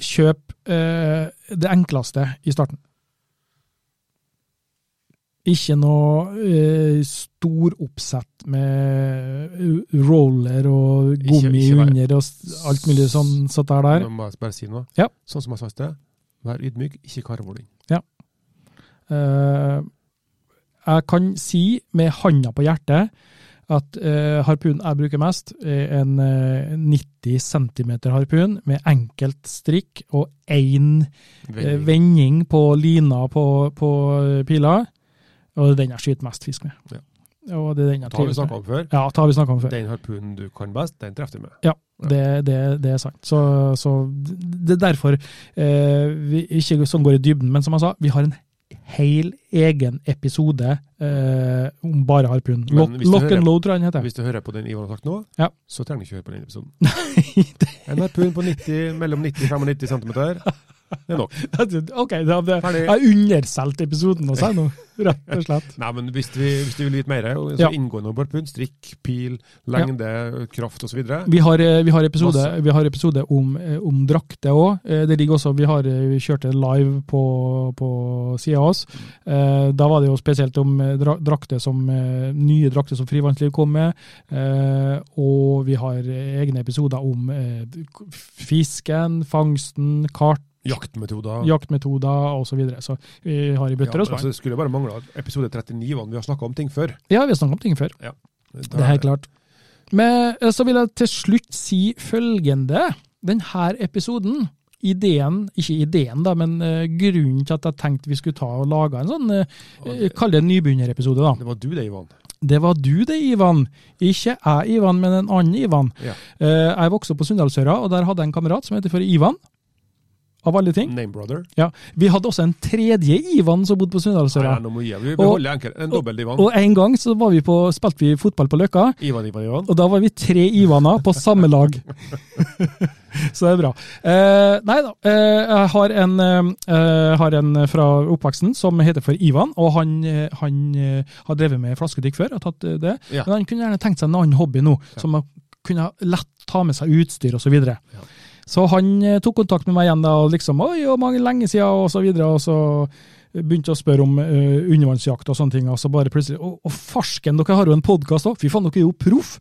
S1: Kjøp eh, det enkleste i starten. Ikke noe eh, stor oppsett med eh, roller og
S2: Ikke-
S1: gummi
S2: ikke vær-
S1: under og s- alt mulig sånn satt der. der.
S2: Nå må jeg bare si noe.
S1: Ja.
S2: Sånn som jeg sa i sted, Vær ydmyk, ikke karvoling.
S1: Eh, jeg kan si med handa på hjertet at eh, harpunen jeg bruker mest, er en eh, 90 cm harpun med enkelt strikk og én eh,
S2: Vending.
S1: vending på lina på, på pila. Og det er den jeg skyter mest fisk med.
S2: Ja.
S1: Og det er den jeg
S2: Det har
S1: trives
S2: vi
S1: med.
S2: snakka om før.
S1: Ja, det har vi snakka om før.
S2: Den harpunen du kan best, den treffer du med.
S1: Ja, det, det, det er sant. Så, så det er derfor eh, vi ikke sånn går i dybden, men som jeg sa, vi har en hel egen episode eh, om bare harpun.
S2: Men
S1: Lock,
S2: hvis du
S1: lock
S2: hører-
S1: and load, tror jeg den heter.
S2: Hvis du hører på den Ivar har sagt nå,
S1: Ja.
S2: så trenger du ikke høre på den episoden. En harpun på 90, mellom 90 og 95 cm, det er nok.
S1: ok, da, det,
S2: Ferdig.
S1: jeg undersolgte episoden også, jeg nå, rett og slett.
S2: Nei, men hvis du, hvis du vil vite mer, og så
S1: Ja.
S2: inngående om harpun, strikk, pil, lengde, kraft osv.
S1: Vi har, eh, vi har, episode,
S2: Masse.
S1: vi har episode om, eh, om drakter òg. Det ligger også Vi har eh, vi kjørte live på, på sida av oss. Eh, Da var det jo spesielt om eh, dra- drakter som eh, nye drakter som Frivannsliv kom med. eh, Og vi har eh, egne episoder om eh, fisken, fangsten, kart,
S2: Jaktmetoder.
S1: jaktmetoder osv. Så, videre. så vi har i bøtter
S2: Ja,
S1: og spann.
S2: altså, det skulle bare mangle at episode 39 var den vi har snakka om ting før.
S1: Ja, vi har snakket om ting før.
S2: Da-
S1: Det er helt klart. Men eh, så vil jeg til slutt si følgende. Denne episoden, ideen, ikke ideen da, men eh, grunnen til at jeg tenkte vi skulle ta og lage en sånn, eh, eh, kall det en nybegynnerepisode da.
S2: Det var du det, Ivan.
S1: Det var du det, Ivan. Ikke jeg, Ivan, men en annen Ivan.
S2: Ja.
S1: Eh, Jeg vokste opp på Sunndalsøra, og der hadde jeg en kamerat som heter for Ivan. Av alle ting.
S2: Name brother.
S1: Ja. Vi hadde også en tredje Ivan som bodde på
S2: Nei,
S1: Sunndalsøra.
S2: nei, nå må jeg- vi beholder enkel. En dobbel Ivan.
S1: Og en gang så var vi på, spilte vi fotball på Løkka.
S2: Ivan, Ivan, Ivan.
S1: Og da var vi tre Ivaner på samme lag. Så det er bra. Eh, nei da. Eh, jeg har en, eh, har en fra oppveksten som heter for Ivan, og han, eh, han eh, har drevet med flasketikk før. Har tatt eh, det.
S2: Ja.
S1: Men han kunne gjerne tenkt seg en annen hobby nå, som han kunne ha lett ta med seg utstyr osv. Så, videre.
S2: Ja.
S1: så han eh, tok kontakt med meg igjen da, og liksom Oi, hvor mange lenge siden, og så videre. Og så begynte å spørre om eh, undervannsjakt og sånne ting, og så bare plutselig Å, å, farsken, dere har jo en podkast òg! Fy faen, dere er jo proff!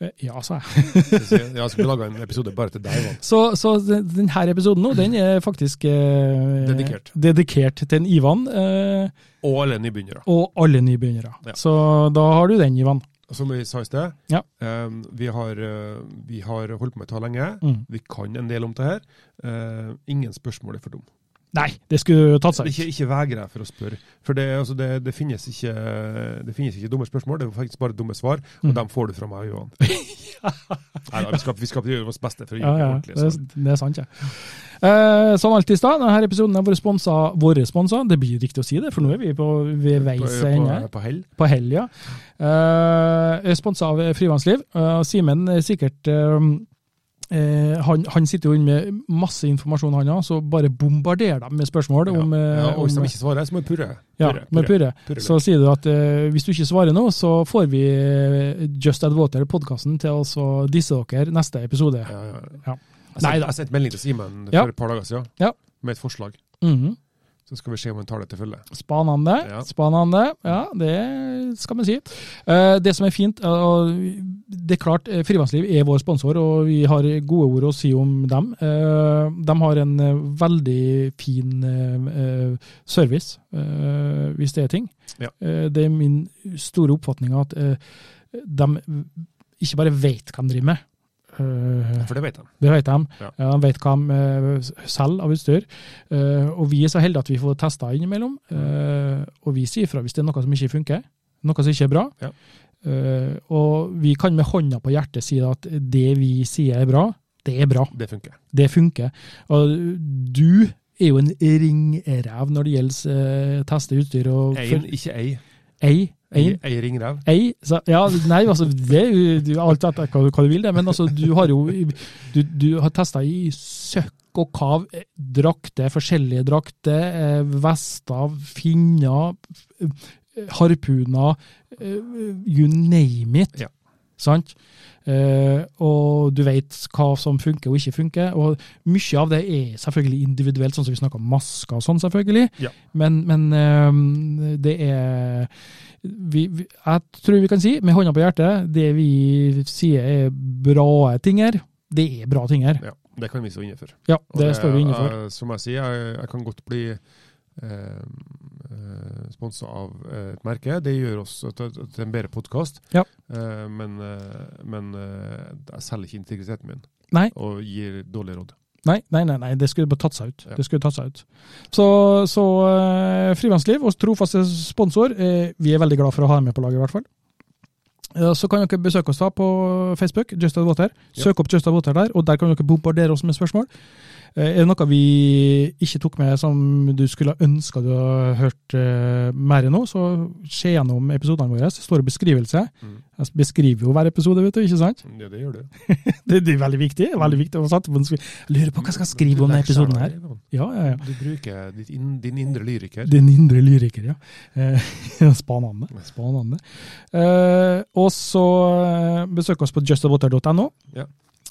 S1: Eh, Ja, sa jeg.
S2: Ja, skal vi lage en episode bare til deg, Ivan?
S1: Så, så denne episoden nå, den er faktisk eh,
S2: Dedikert.
S1: dedikert til en Ivan eh,
S2: Og alle nybegynnere.
S1: og alle nybegynnere.
S2: Ja.
S1: Så da har du den, Ivan.
S2: Som vi sa i sted,
S1: Ja.
S2: eh, vi, har, eh, vi har holdt på med dette lenge.
S1: Mm.
S2: Vi kan en del om det her. Eh, ingen spørsmål er for dumme.
S1: Nei, det skulle tatt seg ut.
S2: Ikke, ikke veger deg for å spørre. For det, altså, det, det, finnes ikke, det finnes ikke dumme spørsmål, det er faktisk bare dumme svar. Og
S1: Mm.
S2: dem får du fra meg, Johan. Nei, da, vi, skal, vi skal gjøre vårt beste for å
S1: Ja,
S2: gjøre
S1: ja,
S2: det
S1: det,
S2: ordentlig.
S1: er-
S2: Så.
S1: det er sant, ja. Eh, som alltid i stad, denne episoden er vår sponsor, våre sponsor. Det blir riktig å si det, for nå er vi på ved veis
S2: på, på,
S1: ende.
S2: på hell.
S1: på helga. Uh, Sponsa av Frivannsliv. Eh, Simen er sikkert eh, eh, han, han sitter jo inne med masse informasjon, han òg, så bare bombarder dem med spørsmål. om,
S2: ja.
S1: eh,
S2: ja, og hvis
S1: om-
S2: de ikke svarer, så må vi purre.
S1: ja,
S2: Purre,
S1: med
S2: purre.
S1: purre.
S2: Purre.
S1: Så sier du at eh, hvis du ikke svarer nå, så får vi eh, Just Add Water-podkasten til å så disse dere neste episode.
S2: Ja, ja.
S1: Ja.
S2: Jeg sendte-
S1: Neida.
S2: Jeg sendte melding til Simen
S1: Ja.
S2: for et par dager siden
S1: Ja.
S2: med et forslag.
S1: Mhm.
S2: Så skal vi se om han tar det til følge.
S1: Spanende.
S2: Ja.
S1: Spanende. Ja, det skal man si. Eh, Det som er fint, eh, og det er klart eh, Frivannsliv er vår sponsor, og vi har gode ord å si om dem. Eh, De har en eh, veldig fin eh, eh, service, eh, hvis det er ting.
S2: Ja.
S1: Eh, Det er min store oppfatning at eh, de ikke bare vet hva de driver med. Eh,
S2: For det vet han.
S1: det vet de.
S2: Ja.
S1: Ja. de vet hva de eh, selger av utstyr. Eh, og vi er så heldige at vi får testa innimellom. eh, og vi sier ifra hvis det er noe som ikke funker, noe som ikke er bra.
S2: Ja.
S1: Eh, og vi kan med hånda på hjertet si at det vi sier er bra, det er bra.
S2: Det funker.
S1: Det funker. Og du er jo en ringrev når det gjelder eh, teste utstyr og
S2: Ein, ikke ei.
S1: Ei.
S2: Ei,
S1: Ei.
S2: ei ringrev.
S1: Ei, sa, ja, nei, altså, det er jo du- alt etter hva, du- hva du vil, det, men altså, du har jo du, du har testa i søkk og kav eh, drakter, forskjellige drakter, eh, vester, finner, eh, harpuner, eh, you name it.
S2: Ja.
S1: Sant? Eh, og du vet hva som funker og ikke funker. Og mye av det er selvfølgelig individuelt, sånn som vi snakker om masker og sånn, selvfølgelig.
S2: Ja.
S1: Men, men eh, det er vi, vi, jeg tror vi kan si, med hånda på hjertet, det vi sier er bra ting her, det er bra ting her.
S2: Ja. Det kan vi stå inne for.
S1: Ja,
S2: Og
S1: det står vi inne for.
S2: eh, som jeg sier, jeg, jeg kan godt bli eh, sponsa av eh, et merke. Det gjør oss til, til en bedre podkast.
S1: Ja.
S2: men eh, men eh, jeg selger ikke integriteten min
S1: Nei.
S2: og gir dårlige råd.
S1: Nei, nei, nei, nei, det skulle bare tatt seg ut.
S2: Ja.
S1: Det skulle tatt seg ut. Så, så eh, Frivannsliv, vår trofaste sponsor, eh, vi er veldig glad for å ha dem med på laget, i hvert fall. Eh, Så kan dere besøke oss da på Facebook, Just Add Water.
S2: Ja.
S1: Søk opp Just Add Water der, og der kan dere bombardere oss med spørsmål. Eh, Er det noe vi ikke tok med som du skulle ønska du hadde hørt eh, mer nå, så se gjennom episodene våre. Det står en beskrivelse.
S2: Mm.
S1: Jeg beskriver jo hver episode, vet du, ikke sant?
S2: Ja, det gjør du.
S1: Det, det er veldig viktig. veldig viktig. å sette på en skri- Jeg lurer på hva jeg skal skrive om denne episoden her. Ja, ja, ja.
S2: Du bruker ditt inn, din indre lyriker.
S1: Den indre lyriker, ja. Eh, Spanande. Spanande. Eh, og så eh, besøk oss på justabotter.no.
S2: Ja.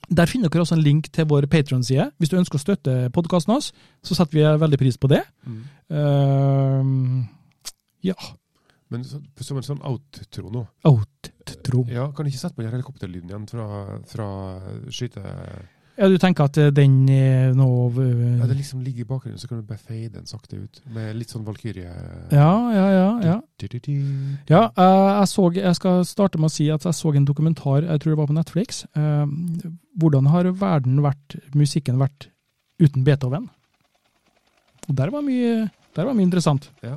S1: Der finner dere også en link til vår Patron-side. Hvis du ønsker å støtte podkasten vår, så setter vi veldig pris på det.
S2: Mm.
S1: Eh, ja.
S2: Men så, som en sånn outro nå
S1: Outtro. Ja.
S2: ja, Kan du ikke sette på den helikopterlyden igjen fra, fra skyte...
S1: du tenker at eh, den er noe eh,
S2: Ja, det liksom ligger i bakgrunnen, så kan du bare fade den sakte ut. Med litt sånn valkyrje...
S1: ja, ja, ja, ja.
S2: Du-du-du.
S1: Ja, eh, jeg, så, jeg skal starte med å si at jeg så en dokumentar, jeg tror det var på Netflix. eh, Hvordan har verden vært, musikken vært uten Beethoven? Og der var mye, der var mye interessant.
S2: Ja.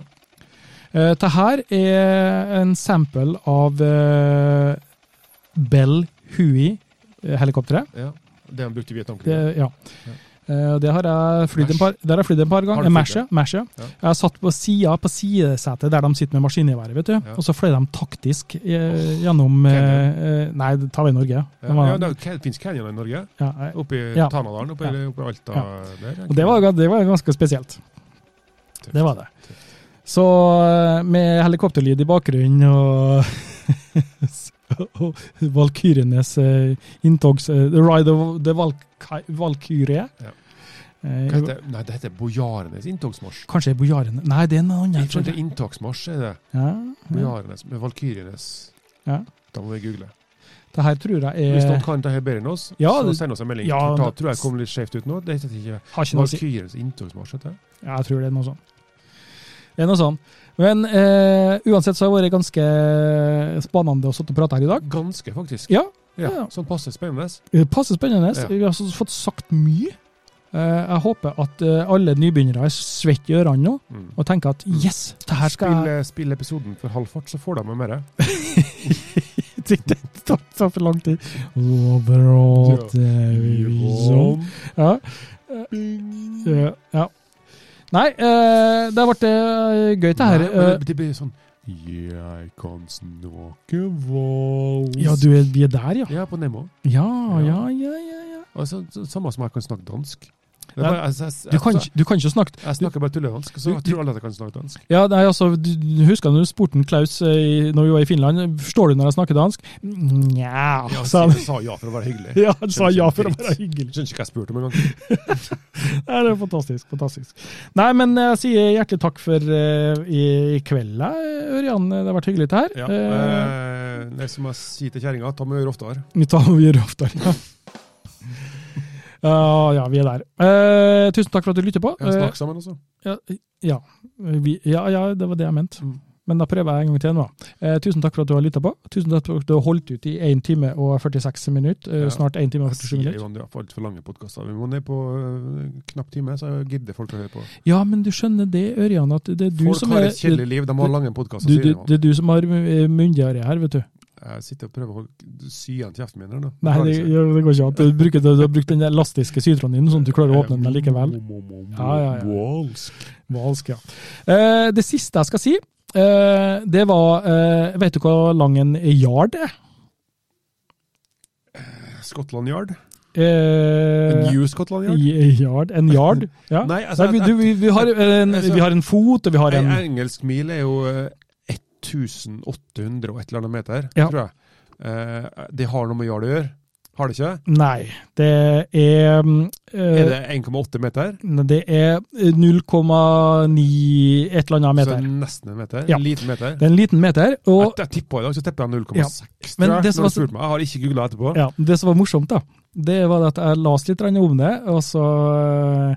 S1: Eh, Dette her er en sample av eh, Bell eh, Hui-helikopteret.
S2: Ja, det han brukte i Vietnam.
S1: Det, ja. Eh, Det har jeg flydd en par, der har jeg flydd en par
S2: Har
S1: ganger.
S2: du
S1: Eh,
S2: flydd
S1: Mash,
S2: det?
S1: ja. Mash, ja.
S2: Ja.
S1: Jeg har satt på sida på sidesetet der de sitter med maskingeværet, vet du.
S2: Ja.
S1: Og så fløy de taktisk eh, gjennom eh, eh, Nei, det tar vi i Norge. Det
S2: ja,
S1: var,
S2: ja, det er- det finnes canyoner i Norge.
S1: ja, eh,
S2: Oppe i
S1: Ja.
S2: Tanadalen, oppe, i- oppe i Alta.
S1: Ja.
S2: Der,
S1: og det var, det var ganske spesielt.
S2: Tøft.
S1: Det var det. Så eh, med helikopterlyd i bakgrunnen og og Valkyrienes eh, inntogs... eh, The Ride of the Valky Valkyrie.
S2: Ja. Hva
S1: Eh,
S2: heter det? Nei, det heter Bojarenes inntogsmarsj.
S1: Kanskje Bojarene Nei, det er en annen.
S2: Jeg tror det er inntogsmarsj, er det.
S1: Ja, ja.
S2: Bojarenes, med valkyrjenes.
S1: Ja.
S2: Da må vi google.
S1: Det her tror jeg
S2: Hvis noen
S1: er
S2: kan ta her bedre enn oss,
S1: Ja,
S2: så
S1: det-
S2: send oss en melding.
S1: ja,
S2: da
S1: det-
S2: tror jeg jeg kom litt skjevt ut nå. Det heter ikke
S1: Har ikke noe å si.
S2: Valkyrjenes inntogsmarsj, heter det.
S1: Ja, jeg tror det er noe sånt. Det er noe sånt. Men eh, uansett så har det vært ganske eh, spennende å sitte og prate her i dag.
S2: Ganske, faktisk.
S1: Ja, ja.
S2: Ja, sånn passe spennende.
S1: det passer spennende.
S2: Ja.
S1: Vi har altså fått sagt mye. Eh, jeg håper at eh, alle nybegynnere er svette i ørene nå
S2: Mm.
S1: og tenker at yes, det her skal
S2: Spill, spill episoden for halv fart, så får de med mer.
S1: jeg Det tar tar for lang tid. Overalt, eh, sånn. Ja.
S2: Mm.
S1: Ja, ja. Nei, eh, det har vært eh, gøy det her.
S2: Nei, men
S1: Eh,
S2: det- det blir sånn Jeg kan snakke vals.
S1: Eh, ja, du er, vi er der, ja.
S2: Ja, på Nemo.
S1: Ja, ja, ja, ja. ja.
S2: Og så, så, samme som jeg kan snakke dansk. Det er
S1: Ja.
S2: bare, jeg, jeg, jeg,
S1: Du, kan, ikke- du kan ikke snakke
S2: jeg snakker bare tulledansk, så jeg tror alle at jeg kan snakke dansk.
S1: ja, nei, altså, du, du Husker du spurte Klaus eh, i- når vi var i Finland Forstår du når jeg snakker dansk? Nja,
S2: Ja,
S1: sa han.
S2: jeg sa ja for å være hyggelig.
S1: Ja, han sa ja for å være hyggelig.
S2: Skjønner ikke hva jeg spurte om engang.
S1: Nei, det er fantastisk. fantastisk. Nei, men eh, jeg sier hjertelig takk for eh, i, i kveld, eh, Ørjan. Det har vært hyggelig, det her.
S2: Ja.
S1: Eh,
S2: Eh, det er som jeg sier til kjerringa, ta med øre oftere.
S1: Vi tar og gjør det oftere. Ja. Ja, ja, vi er der. Eh, tusen takk for at du lytter på. Eh,
S2: Ja, snakk sammen, altså.
S1: Ja, ja. Vi, ja, ja, det var det jeg mente.
S2: Mm.
S1: Men da prøver jeg en gang til nå. Eh, tusen takk for at du har lytta på. Tusen takk for at du har holdt ut i 1 time og 46 minutter. Eh,
S2: Ja.
S1: Snart 1 time og
S2: Jeg
S1: 47
S2: sier
S1: minutter.
S2: jo det er altfor lange podkaster. Vi må ned på eh, knapp time, så gidder folk å høre på.
S1: Ja, men du skjønner det, Ørjan, at det er du
S2: Folk
S1: som
S2: har
S1: er
S2: et
S1: det,
S2: kjedelig liv, de har lange podkaster,
S1: du,
S2: sier
S1: du,
S2: de.
S1: det er du som har eh, myndigere her, vet du.
S2: Jeg sitter og prøver å holde- sy igjen kjeften min her nå.
S1: Nei, det, ja, det går ikke an. Du, bruker- du har brukt den der elastiske sytråden din, sånn at du klarer å åpne den likevel. Ja, ja, ja. Valsk, ja. Eh, det siste jeg skal si, eh, det var eh, Vet du hvor lang en yard er?
S2: Scotland Yard?
S1: Eh,
S2: New Scotland Yard?
S1: I- Yard, en yard. Ja.
S2: Nei, altså,
S1: Nei, vi, du, vi, vi, har en,
S2: altså-
S1: vi har en fot, og vi har
S2: Ei
S1: en
S2: engelsk mil er jo eh, 1800 og et eller annet meter,
S1: Ja.
S2: tror jeg. Eh, det har noe med yard å gjøre, har det ikke?
S1: Nei, det er mm, eh,
S2: Er det 1,8 meter?
S1: Nei, Det er 0,9 et eller annet
S2: Så
S1: meter.
S2: det er nesten en meter.
S1: Ja.
S2: En liten meter.
S1: Det er en liten meter.
S2: Jeg,
S1: Og
S2: jeg tippa i dag, så tippa jeg 0,6.
S1: Men
S2: tror jeg,
S1: det som var
S2: når du
S1: så-
S2: spurte meg. Jeg har ikke googla etterpå.
S1: ja, det som var morsomt, da, det var at jeg leste litt grann om det, og så eh,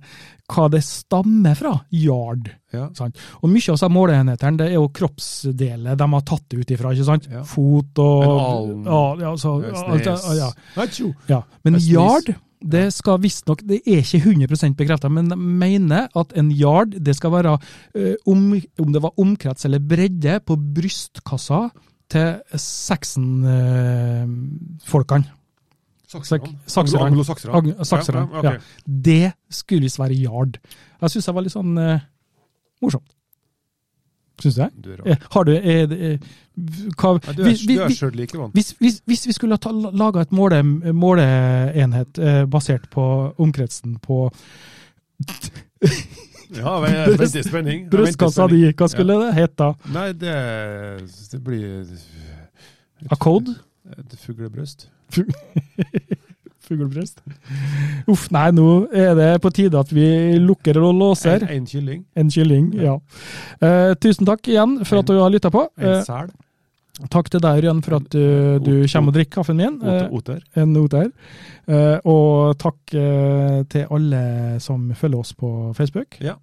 S1: hva det stammer fra. Yard.
S2: Ja.
S1: Sant? Og mye av disse måleenhetene det er jo kroppsdeler de har tatt det ut ifra. ikke sant?
S2: Ja.
S1: Fot og
S2: En aln.
S1: Ja, ja, så, alt,
S2: Snes.
S1: ja.
S2: Atjo.
S1: Ja, men
S2: En snis.
S1: yard det skal visstnok Det er ikke 100 bekrefta, men de mener at en yard det skal være eh, om, om det var omkrets eller bredde på brystkassa til eh, Saxon-folkene.
S2: Sakserne.
S1: Sakserne.
S2: Anglo-sakserne.
S1: Ag- Sakserne,
S2: Ja,
S1: ja,
S2: ja, ok.
S1: Det skulle visst være yard. Jeg syns det var litt sånn eh, morsomt. Syns jeg.
S2: Du er rar.
S1: Eh, Har du eh, eh, hva,
S2: Ja, du er,
S1: vi- vi-
S2: du er
S1: vi-
S2: sjøl likevann.
S1: hvis, hvis, hvis vi skulle ha laga et måle, måleenhet eh, basert på omkretsen på
S2: Ja, men jeg venter i spenning. Jeg venter i
S1: brystkassa
S2: spenning.
S1: di, hva skulle det hett da?
S2: Nei, det, det blir
S1: A code?
S2: et fuglebrøst.
S1: Fuglebryst? Uff, nei, nå er det på tide at vi lukker og låser.
S2: En, en kylling.
S1: En kylling, ja. Eh, tusen takk igjen for at du har lytta på.
S2: En
S1: Eh,
S2: sel.
S1: takk til deg, Ørjan, for at eh, du kommer og drikker kaffen min. Eh,
S2: Ot- Oter.
S1: en not der. Eh, og takk eh, til alle som følger oss på Facebook.
S2: Ja,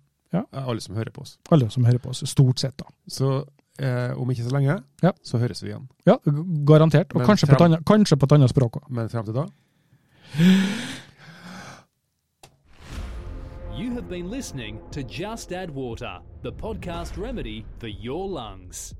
S2: Alle som hører på oss.
S1: Alle som hører på oss, stort sett, da.
S2: Så eh, om ikke så lenge,
S1: Ja.
S2: så høres vi igjen.
S1: Ja, g- garantert. Og
S2: Men
S1: kanskje på, et
S2: frem-
S1: annet, kanskje på et annet språk òg.
S2: Men frem til da
S3: You have been listening to Just Add Water, the podcast remedy for your lungs.